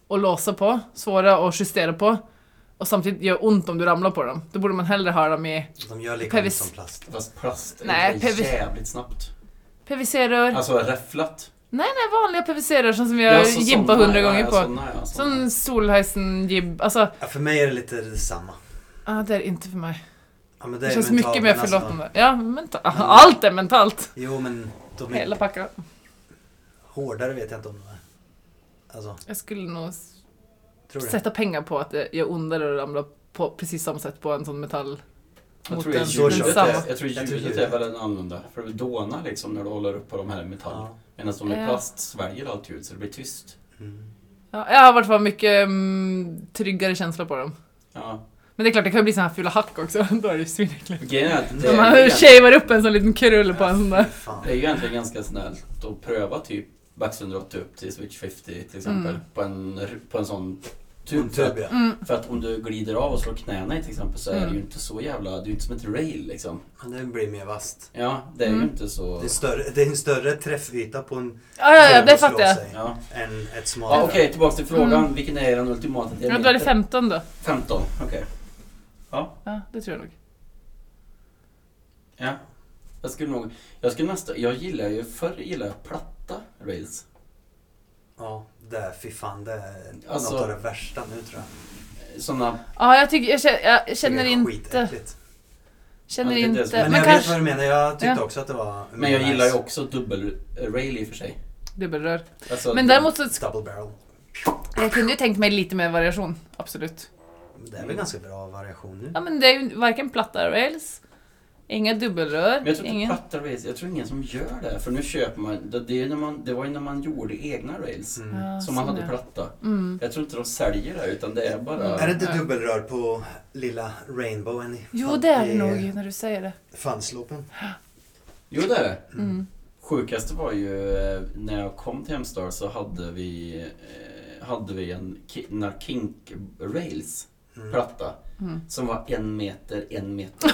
Speaker 1: att låsa på, svåra att justera på. Och samtidigt gör ont om du ramlar på dem. Då borde man hellre ha dem i
Speaker 2: De gör lika ont
Speaker 1: Pevis.
Speaker 2: som plast.
Speaker 3: Fast plast
Speaker 1: Nej,
Speaker 3: är
Speaker 1: PVC.
Speaker 3: jävligt snabbt.
Speaker 1: PVC-rör.
Speaker 3: Alltså räfflat.
Speaker 1: vanliga PVC-rör som vi har
Speaker 3: så alltså.
Speaker 1: jibbat
Speaker 3: såna,
Speaker 1: hundra
Speaker 3: ja,
Speaker 1: gånger
Speaker 3: ja,
Speaker 1: på.
Speaker 3: såna, ja, såna.
Speaker 1: Sån Solheisen-jibb. Alltså,
Speaker 2: Ja, för mig är det lite detsamma.
Speaker 1: ah, det är inte för mig.
Speaker 2: Ja, men
Speaker 1: Det,
Speaker 2: är
Speaker 1: känns
Speaker 2: mentalt,
Speaker 1: mycket mer
Speaker 2: men alltså-
Speaker 1: förlåtande. Ja, menta- Allt är mentalt.
Speaker 2: Jo, men de är
Speaker 1: Hela packa.
Speaker 2: hårdare vet jag inte om de är. Alltså,
Speaker 1: Jag skulle nog s-
Speaker 2: tror du?
Speaker 1: sätta pengar på att det gör ondare att ramla på precis samma sätt på en sån metall.
Speaker 3: Jag
Speaker 1: Mot
Speaker 3: tror,
Speaker 1: en,
Speaker 3: ljudet
Speaker 2: så kör
Speaker 1: en
Speaker 2: vi.
Speaker 3: är,
Speaker 1: samma.
Speaker 3: jag tror
Speaker 2: Jag tror
Speaker 3: ljudet
Speaker 2: ljudet.
Speaker 3: är väldigt annorlunda. För det dånar liksom när du håller upp på de här i metall.
Speaker 2: Ja.
Speaker 3: Medan de i
Speaker 1: Ja.
Speaker 3: plast sväljer allt ljud så det blir tyst.
Speaker 2: Mm.
Speaker 1: Ja, jag har varit fall mycket mm, tryggare känsla på dem.
Speaker 3: Ja.
Speaker 1: Men det är klart, det kan ju bli såna här fula hack också. Då är det ju svinäckligt.
Speaker 3: Grejen är att det,
Speaker 1: När
Speaker 3: är,
Speaker 1: man
Speaker 3: egentligen-
Speaker 1: shavar upp en sån liten krull på en sån där.
Speaker 2: Fy fan.
Speaker 3: det är ju egentligen ganska snällt att pröva typ Bax 180 upp till Switch 50 till exempel.
Speaker 1: Mm.
Speaker 3: På, en, på en sån
Speaker 2: En
Speaker 3: tub. För
Speaker 2: tub,
Speaker 3: att,
Speaker 2: ja.
Speaker 1: Mm.
Speaker 3: för att om du glider av och slår knäna i till exempel så är
Speaker 1: Mm.
Speaker 3: det ju inte så jävla... Det är ju inte som ett rail liksom.
Speaker 2: Men det blir mer vasst.
Speaker 3: Ja, det är
Speaker 1: Mm.
Speaker 3: ju inte så...
Speaker 2: Det är, större, det är en större träffyta på en
Speaker 1: Ja, ja, ja,
Speaker 2: tub
Speaker 1: det
Speaker 2: att slå
Speaker 1: fattar jag.
Speaker 2: sig
Speaker 3: Ja.
Speaker 2: Än ett
Speaker 3: Ja,
Speaker 2: smalare.
Speaker 3: Okej, tillbaks till frågan.
Speaker 1: Mm.
Speaker 3: Vilken är den ultimata
Speaker 1: Ja, då är det
Speaker 3: diametern?
Speaker 1: 15 då.
Speaker 3: 15, okej.
Speaker 1: Ja, det tror jag nog.
Speaker 3: Ja. Jag skulle nog... Jag skulle nästa... Jag gillar ju... Förr gillade jag platta rails.
Speaker 2: Ja, det är, fy fan, det är
Speaker 3: Alltså-
Speaker 2: något av det värsta nu tror jag.
Speaker 3: Såna...
Speaker 1: Ja, jag, tycker, jag känner, jag
Speaker 2: Det
Speaker 1: känner
Speaker 2: är
Speaker 1: inte...
Speaker 2: skitäckligt.
Speaker 1: Känner
Speaker 3: Ja, det är det som är-
Speaker 1: inte...
Speaker 2: Men,
Speaker 1: Men
Speaker 2: jag vet vad
Speaker 1: kanske...
Speaker 2: du menar, jag tyckte
Speaker 1: Ja.
Speaker 2: också att det var...
Speaker 3: Men jag
Speaker 2: nice.
Speaker 3: gillar ju också dubbelrail i och för sig.
Speaker 1: Dubbelrör.
Speaker 3: Alltså,
Speaker 1: Men däremot så...
Speaker 2: Double barrel.
Speaker 1: Jag kunde ju tänkt mig lite mer variation. Absolut.
Speaker 2: Det är väl ganska bra variation nu.
Speaker 1: Ja, men det är ju varken platta rails, inga dubbelrör,
Speaker 3: Men jag tror inte
Speaker 1: ingen...
Speaker 3: platta rails, jag tror ingen som gör det. För nu köper man... Det, det, är ju när man, det var ju när man gjorde egna rails.
Speaker 2: Mm.
Speaker 1: Ja,
Speaker 3: Som man
Speaker 1: sån
Speaker 3: hade
Speaker 1: ja.
Speaker 3: platta.
Speaker 1: Mm.
Speaker 3: Jag tror inte de säljer det utan det är bara...
Speaker 1: Mm.
Speaker 2: Är det inte
Speaker 1: Ja.
Speaker 2: dubbelrör på lilla rainbowen? i-
Speaker 1: Jo, det är
Speaker 2: i
Speaker 1: det nog när du säger det.
Speaker 2: Fanslopen.
Speaker 3: Jo det är det.
Speaker 1: Mm.
Speaker 3: Sjukaste var ju eh, när jag kom till Hemstar så hade vi, eh, hade vi en ki- när kink rails
Speaker 2: Mm.
Speaker 3: platta
Speaker 1: Mm.
Speaker 3: som var en meter, en meter.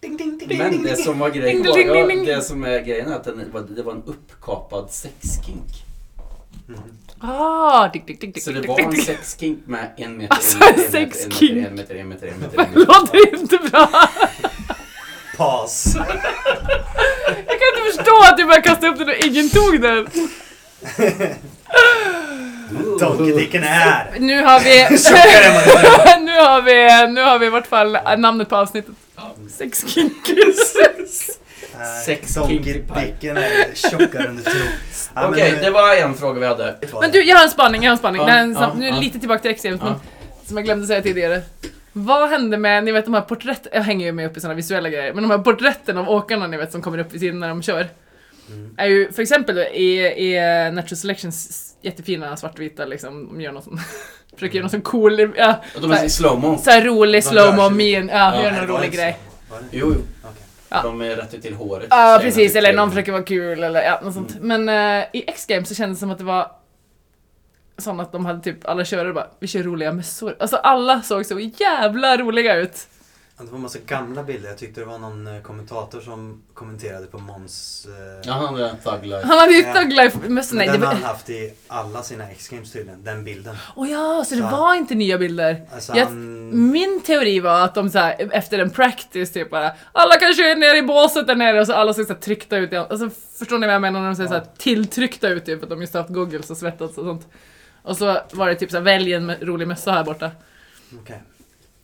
Speaker 2: Ding, ding, ding, ding,
Speaker 3: Men det
Speaker 2: ding.
Speaker 3: som var grejen
Speaker 1: Ding,
Speaker 3: var,
Speaker 1: ding, ding,
Speaker 3: ja,
Speaker 1: ding.
Speaker 3: det som är grejen är att den var, det var en uppkapad sexkink.
Speaker 2: Mm.
Speaker 1: Ah, dick, dick, dick, dick,
Speaker 3: Så det
Speaker 1: dick,
Speaker 3: var
Speaker 1: dick,
Speaker 3: en
Speaker 1: dick.
Speaker 3: sexkink med en meter,
Speaker 1: Alltså,
Speaker 3: en meter, en
Speaker 1: sexkink.
Speaker 3: meter, en meter, en meter, en meter, en
Speaker 1: Det
Speaker 3: meter.
Speaker 1: låter inte bra!
Speaker 2: Pass.
Speaker 1: Jag kan inte förstå att du bara kastade upp den och ingen tog den!
Speaker 2: Donkedicken är här.
Speaker 1: Nu har vi...
Speaker 2: Tjockare än vad det är.
Speaker 1: nu, har vi, nu har vi i vart fall namnet på avsnittet. Sex kinkis.
Speaker 2: Nej,
Speaker 3: Sex kinky pie.
Speaker 2: Donkedicken Äh, är tjockare än du tror. Ja, men,
Speaker 3: Okej,
Speaker 2: eh,
Speaker 3: det var en fråga vi hade.
Speaker 2: det var
Speaker 1: Men
Speaker 2: det.
Speaker 1: du, jag har en spaning. Jag har en spaning.
Speaker 3: Ja,
Speaker 1: Det här är en
Speaker 3: ja,
Speaker 1: sam- nu är det
Speaker 3: ja.
Speaker 1: lite tillbaka till extremt, men
Speaker 3: Ja.
Speaker 1: som jag glömde säga tidigare. Vad hände med, ni vet de här porträtten, jag hänger ju med upp i såna visuella grejer, men de här porträtten av åkarna ni vet som kommer upp i sidan när de kör.
Speaker 2: Mm.
Speaker 1: Är ju för exempel i, i eh, Natural Selections s- jättefina svartvita liksom, de gör något sånt. Försöker göra något sån cool, ja,
Speaker 3: Och De är i slowmo.
Speaker 1: såhär rolig
Speaker 2: Mm. De rör
Speaker 1: slowmo,
Speaker 2: sig.
Speaker 1: min, ja, gör
Speaker 3: Ja,
Speaker 2: Nej,
Speaker 1: någon
Speaker 2: det var
Speaker 1: rolig
Speaker 2: inte så.
Speaker 1: grej.
Speaker 2: Var det?
Speaker 3: Jo, jo.
Speaker 2: Okej.
Speaker 1: Ja.
Speaker 3: De är rätt ut till håret.
Speaker 1: Ja
Speaker 3: Tjejerna
Speaker 1: precis,
Speaker 3: tycker
Speaker 1: eller någon
Speaker 2: Mm.
Speaker 3: det.
Speaker 1: försöker vara kul eller ja, något sånt. Men eh, i X-Games så kändes det som att det var sånt att de hade typ, alla körare bara vi kör roliga mössor. Alltså alla såg så jävla roliga ut.
Speaker 2: Ja, Det var en massa gamla bilder. Jag tyckte det var någon eh, kommentator som kommenterade på Måns... eh,
Speaker 3: Ja, han är en thug life.
Speaker 1: Han hade ju
Speaker 2: Ja.
Speaker 1: Thuglife-mössor,
Speaker 2: men
Speaker 1: nej det
Speaker 2: den har
Speaker 1: var...
Speaker 2: han haft i alla sina X-Games tydligen, den bilden.
Speaker 1: Åh ja, så det
Speaker 2: Ja.
Speaker 1: var inte nya bilder.
Speaker 2: Alltså
Speaker 1: Jag- Mm.
Speaker 2: han...
Speaker 1: Min teori var att de så här, efter en practice typ bara Alla kan köra ner i båset där nere och så alla ser så här tryckta ut i- alltså, Förstår ni vad jag menar när de ser så här tilltryckta ut typ, för att de just haft goggles och svettats och sånt Och så var det typ så här, välj en mö- rolig mössa här borta
Speaker 2: Okej.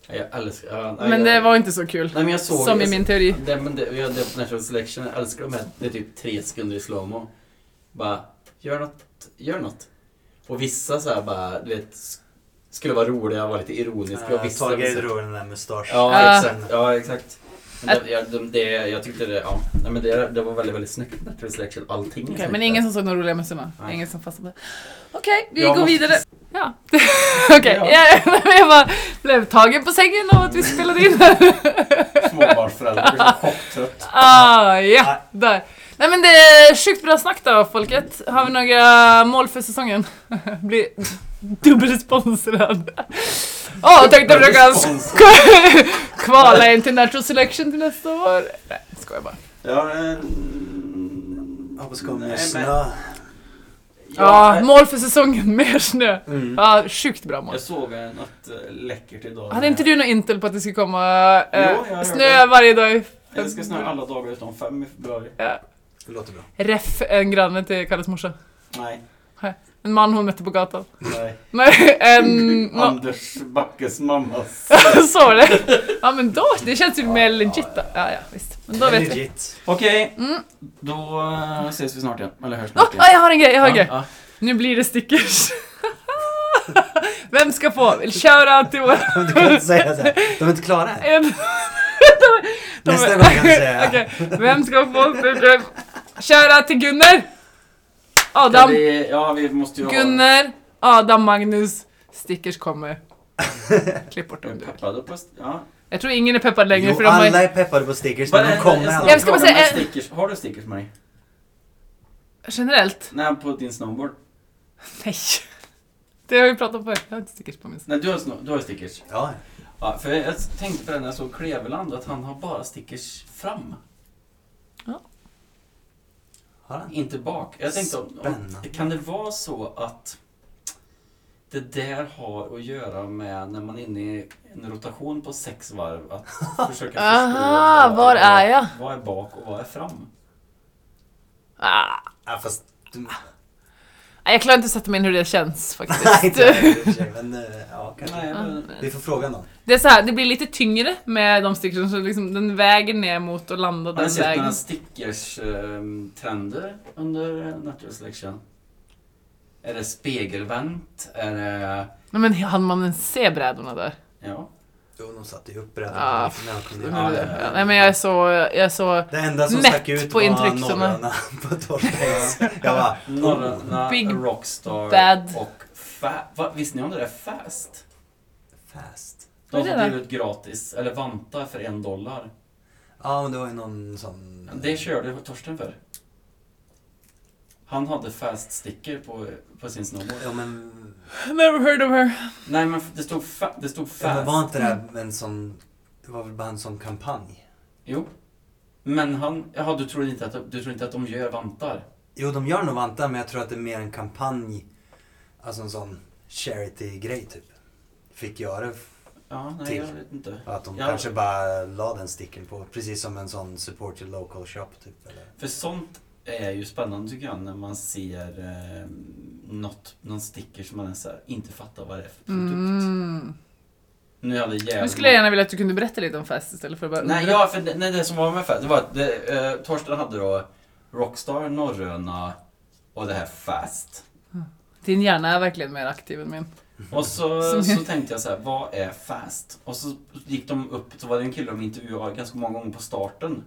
Speaker 3: Ja, Jag älskar... ja, nej,
Speaker 1: Men
Speaker 3: jag-
Speaker 1: det var inte så kul
Speaker 3: Nej, men jag såg...
Speaker 1: Som
Speaker 3: jag,
Speaker 1: i min teori
Speaker 3: Det, men det, jag, det, National Selection, jag älskar de här. Det är typ tre sekunder i slowmo. Bara, gör något, gör något. Och vissa så här bara, du vet, sk- skulle vara roliga, vara lite ironiska. Och
Speaker 2: Okay.
Speaker 3: vissa...
Speaker 2: Tage
Speaker 3: vissa
Speaker 2: drog den där mustaschen.
Speaker 3: ja,
Speaker 1: Ah.
Speaker 3: exakt. Ja, exakt. Men det, jag, de- det, jag tyckte det, ja. Nej, men det, det var väldigt, väldigt snyggt. National Selection, allting. är
Speaker 1: Okej,
Speaker 3: snyggt
Speaker 1: Men
Speaker 3: där.
Speaker 1: ingen som såg de roliga mössorna,
Speaker 3: Nej.
Speaker 1: ingen som fastnade Okej, vi
Speaker 3: Jag
Speaker 1: går
Speaker 3: måste-
Speaker 1: vidare Ja, okej.
Speaker 3: Ja.
Speaker 1: Ja. men jag bara blev tagen på sängen av att vi spelade in.
Speaker 3: Småbarnsförälder blir så chocktrött.
Speaker 1: ah, ja, där. Nej men det är sjukt bra snack då folket. Har vi några mål för säsongen? Bli dubbelsponsrad. Åh, tänkte försöka sk- kvala in till Natural Selection till nästa år. Nej, skojar bara.
Speaker 3: Ja, eh,
Speaker 2: Hoppas det kommer
Speaker 3: Nej,
Speaker 2: snö.
Speaker 1: Ja,
Speaker 3: jag-
Speaker 1: mål för säsongen, mer snö.
Speaker 2: Mm.
Speaker 1: Ja, sjukt bra mål.
Speaker 3: Jag såg en att eh, läckert idag.
Speaker 1: Hade inte du någon intel på att det skulle komma
Speaker 3: Jo,
Speaker 1: eh,
Speaker 3: jag hörde.
Speaker 1: snö varje dag? i-
Speaker 3: Jag ska snöa alla dagar utom fem i februari.
Speaker 2: Det låter bra.
Speaker 1: Reff, en granne till Kalles morsa.
Speaker 3: Nej,
Speaker 1: En man hon mötte på gatan.
Speaker 3: nej. Mm,
Speaker 1: Nej, en... no,
Speaker 3: Anders Backes mammas.
Speaker 1: så var det. Ja men då, det känns ju mer legit då. Ja, ja, visst. Men då vet vi.
Speaker 2: Legit.
Speaker 3: Okej,
Speaker 1: Mm.
Speaker 3: då eh, ses vi snart igen. Eller hörs
Speaker 1: Åh,
Speaker 3: snart igen.
Speaker 1: ja, jag har en grej, jag har en grej.
Speaker 3: Ja,
Speaker 1: Nu blir det stickers. Vem ska få? Shoutout till vår...
Speaker 2: Du kan inte säga så här. De är inte klara än.
Speaker 1: en-
Speaker 2: Nästa gång kan du säga.
Speaker 1: Okej, vem ska få stickers? Shoutout till Gunnar!
Speaker 3: ja. Ska
Speaker 1: Adam!
Speaker 3: vi, ja, vi måste ju ha...
Speaker 1: Gunnar, Adam, Magnus, stickers kommer. Klipp bort
Speaker 3: Är
Speaker 1: dem
Speaker 3: vi
Speaker 1: du.
Speaker 3: peppade på... st- Ja.
Speaker 1: Jag tror ingen är peppad längre
Speaker 2: Jo,
Speaker 1: för de har...
Speaker 2: alla är peppade på stickers men Typ de
Speaker 3: Varenda-
Speaker 2: kommer
Speaker 3: snabb
Speaker 2: aldrig.
Speaker 1: ska bara
Speaker 3: fråga,
Speaker 1: säga eh,
Speaker 3: men stickers. Har du stickers med dig?
Speaker 1: Generellt?
Speaker 3: Nej, på din snowboard.
Speaker 1: Nej. Det har vi pratat om förr. Jag har inte stickers på min.
Speaker 3: Nej, du har, sno- du har stickers.
Speaker 2: Ja,
Speaker 3: Ja, för jag tänkte på det när jag såg Kleveland, att han har bara stickers fram.
Speaker 2: har han?
Speaker 3: Inte bak. Jag tänkte om,
Speaker 2: Spännande.
Speaker 3: om kan det vara så att det där har att göra med när man är inne i en rotation på sex varv att försöka förstå
Speaker 1: Aha,
Speaker 3: vad
Speaker 1: var är jag?
Speaker 3: Vad är bak och vad är fram?
Speaker 1: Ah,
Speaker 2: Ja, fast... du-
Speaker 1: jag klarar inte att sätta mig in hur det känns
Speaker 2: Nej,
Speaker 1: faktiskt.
Speaker 2: inte jag i och för sig, men eh, ja, kanske.
Speaker 3: Nej, men,
Speaker 2: Vi får fråga någon.
Speaker 1: det är så här, det blir lite tyngre med de stickorna så liksom, den väger ner mot och landar
Speaker 3: har ni
Speaker 1: den
Speaker 3: sett några
Speaker 1: vägen.
Speaker 3: stickers-trender under eh, Natural Selection? Är det spegelvänt? Är det...
Speaker 1: Nej, men hann man ens se brädorna där?
Speaker 3: Ja.
Speaker 2: Jo, de satte ju upp redan
Speaker 1: Ja,
Speaker 2: när de kom
Speaker 1: Ja,
Speaker 2: ner.
Speaker 3: ja, ja.
Speaker 1: Nej men jag är så, jag är så...
Speaker 2: Det enda som
Speaker 1: Mätt
Speaker 2: stack ut
Speaker 1: på
Speaker 2: var
Speaker 1: intryck som är-
Speaker 2: norrarna på Torpens. Jag bara,
Speaker 3: Norrna,
Speaker 1: Big
Speaker 3: Rockstar
Speaker 1: Bad.
Speaker 3: och Fa... Va, visste ni om det där Fast?
Speaker 2: "Oh, fast.
Speaker 1: Vad
Speaker 3: De
Speaker 1: är
Speaker 3: som
Speaker 1: det då?
Speaker 3: delar ut gratis, eller vantar för en dollar.
Speaker 2: Ja, men det var ju någon sån...
Speaker 3: Det körde Torsten för. Han hade fast sticker på, på sin snowboard.
Speaker 2: Ja, men...
Speaker 1: Never heard of her.
Speaker 3: Nej men det stod, fa, det stod
Speaker 2: Ja, men var
Speaker 3: fast. Mm.
Speaker 2: inte det här en sån... Det var väl bara en sån kampanj?
Speaker 3: Jo. Men han, jaha du tror inte att, du tror inte att de gör vantar?
Speaker 2: Jo, de gör nog vantar, men jag tror att det är mer en kampanj. Alltså en sån charity-grej, typ. Fick göra det
Speaker 3: Ja, nej
Speaker 2: Till.
Speaker 3: jag vet inte.
Speaker 2: Att de
Speaker 3: Ja.
Speaker 2: kanske bara la den sticken på, precis som en sån support your local shop typ. Eller?
Speaker 3: För sånt är ju spännande tycker jag när man ser eh, något, någon sticker som man ens så här, inte fattar vad det är för produkt.
Speaker 1: Mm.
Speaker 3: Nu är alla jävla...
Speaker 1: Nu skulle jag gärna vilja att du kunde berätta lite om fest istället för att bara...
Speaker 3: Nej, ja, för det, nej, det som var med Fast, det var att det, eh, Torsten hade då Rockstar, Norröna och det här Fast.
Speaker 1: Din hjärna är verkligen mer aktiv än min.
Speaker 3: Och så,
Speaker 1: Som-
Speaker 3: så tänkte jag så här, vad är Fast? Och så gick de upp, så var det en kille de intervjuade ganska många gånger på starten.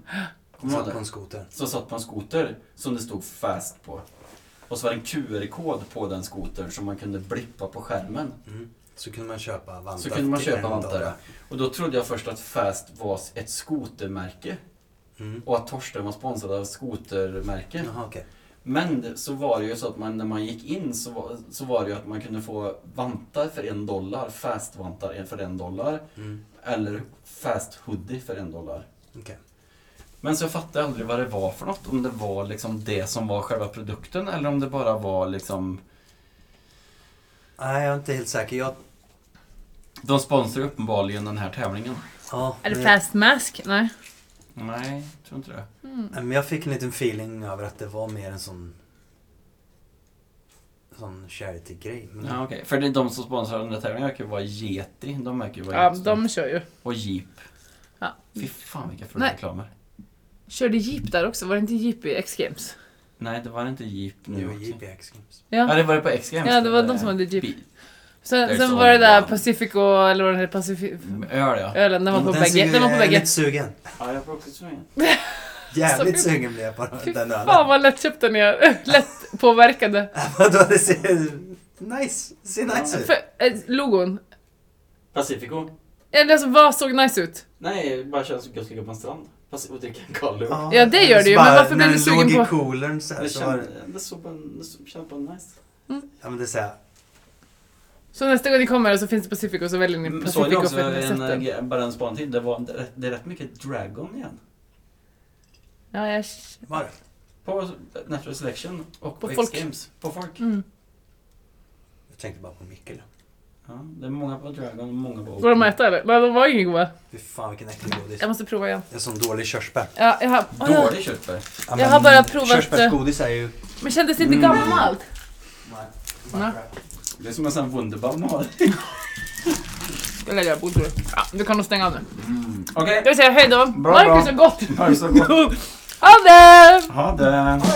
Speaker 3: Kommer du
Speaker 2: Satt
Speaker 3: ihåg
Speaker 2: på
Speaker 3: det?
Speaker 2: en skoter.
Speaker 3: Så satt på en skoter som det stod Fast på. Och så var det en QR-kod på den skotern som man kunde blippa på skärmen.
Speaker 2: Mm. Så kunde man köpa vantar.
Speaker 3: Så kunde man
Speaker 2: till
Speaker 3: köpa
Speaker 2: en
Speaker 3: vantar. ja.
Speaker 2: dollar.
Speaker 3: Och då trodde jag först att Fast var ett skotermärke
Speaker 2: Mm.
Speaker 3: och att Torsten var sponsrad av skotermärke.
Speaker 2: Jaha okej.
Speaker 3: Men det- så var det ju så att man, när man gick in så var, så var det ju att man kunde få vantar för en dollar, fast-vantar för en dollar
Speaker 2: Mm.
Speaker 3: eller fast-hoodie för en dollar.
Speaker 2: Okej.
Speaker 3: Men så jag fattade aldrig vad det var för något, om det var liksom det som var själva produkten eller om det bara var liksom...
Speaker 2: Nej jag är inte helt säker. Jag...
Speaker 3: De sponsrar ju uppenbarligen den här tävlingen.
Speaker 2: Ja,
Speaker 3: Mm.
Speaker 1: Är det
Speaker 2: men,
Speaker 1: fast mask? Nej.
Speaker 3: Nej, jag tror inte det.
Speaker 1: Mm.
Speaker 2: men jag fick en liten feeling över att det var mer en sån... Sån charity-grej. Men...
Speaker 3: Mm. Ja, okej. För det är de som sponsrar den här tävlingen verkar ju vara Yeti. De verkar ju vara
Speaker 1: Ja,
Speaker 3: jättestora.
Speaker 1: de kör ju.
Speaker 3: Och Jeep.
Speaker 1: Ja.
Speaker 3: Fy fan vilka fula
Speaker 1: Nej.
Speaker 3: reklamer.
Speaker 1: Körde Jeep där också? Var det inte Jeep i X-Games?
Speaker 3: Nej, det var inte Jeep nu
Speaker 2: Nu
Speaker 3: också.
Speaker 2: JPX Games.
Speaker 3: Ja,
Speaker 1: Ja.
Speaker 3: det var det på X-Games.
Speaker 1: Ja, det var de som hade Jeep.
Speaker 3: Bi-
Speaker 1: Sen,
Speaker 3: There's
Speaker 1: sen var det där
Speaker 3: only one.
Speaker 1: Pacifico, eller vad den heter, Pacific...
Speaker 3: Öl ja.
Speaker 1: Ölen, den var på
Speaker 2: Men
Speaker 1: bägge.
Speaker 2: suger-
Speaker 1: Den var på
Speaker 2: jag är
Speaker 1: bägge.
Speaker 2: lite sugen.
Speaker 3: Ja, jag får också sugen.
Speaker 2: Jävligt
Speaker 1: Så-
Speaker 2: sugen blev jag på
Speaker 1: Fy
Speaker 2: den
Speaker 1: fan
Speaker 2: ölen.
Speaker 1: vad lättköpt den är. Lätt påverkade.
Speaker 2: Vadå det ser... Nice! Ser nice ut!
Speaker 1: För, eh, logon.
Speaker 3: Pacifico?
Speaker 1: Eller alltså, vad såg nice ut?
Speaker 3: Nej, bara känns gött att ligga på en strand. Paci- och dricka en kall lunch.
Speaker 1: Ja, det gör
Speaker 2: så
Speaker 1: det ju, men
Speaker 2: bara
Speaker 1: varför blir du
Speaker 2: När den
Speaker 1: sugen
Speaker 2: låg i
Speaker 1: på-
Speaker 2: coolern så, här,
Speaker 3: Det
Speaker 2: så var det...
Speaker 3: känns det såg bara, det såg- känns bara nice.
Speaker 2: Ja men det är så här,
Speaker 1: Så nästa gång ni kommer och så finns det Pacifico så väljer ni
Speaker 3: Men Mm, Såg ni
Speaker 1: Mm, Pacifico
Speaker 3: också
Speaker 1: för att ni har
Speaker 3: en,
Speaker 1: sett den.
Speaker 3: eh, bara en spaning till? Det, var, det, är rätt- det är rätt mycket Dragon igen.
Speaker 1: Ja, jag...
Speaker 2: var det?
Speaker 3: På Natural Selection och på,
Speaker 1: På
Speaker 3: X
Speaker 1: folk.
Speaker 3: Games. På folk.
Speaker 1: Mm.
Speaker 2: Jag tänkte bara på Mikkel.
Speaker 3: Ja, det är många på Dragon och många på
Speaker 1: Går de att äta eller? Nej, de var inget goda.
Speaker 2: Fy fan vilken äcklig godis.
Speaker 1: Jag måste prova igen.
Speaker 2: Det är sån dålig körsbär.
Speaker 1: Ja, jag har... Åh, ja.
Speaker 3: Dålig köttfärg.
Speaker 2: Ja,
Speaker 1: Jag
Speaker 2: men
Speaker 1: har bara provat, eh,
Speaker 2: Körsbärsgodis är ju...
Speaker 1: Men kändes lite
Speaker 3: Mm.
Speaker 1: gammalt.
Speaker 2: Nej,
Speaker 1: Nej.
Speaker 2: bara crap.
Speaker 3: Det är som en sån här Wunderbaum har.
Speaker 1: Eller jag borde du. Ja, du kan nog stänga av nu.
Speaker 3: Okej,
Speaker 1: Ska vi säga hej då?
Speaker 3: Bra,
Speaker 1: Marcus
Speaker 3: bra.
Speaker 1: är gott!
Speaker 3: ha det så gott.
Speaker 1: Ha det!
Speaker 3: Ha det.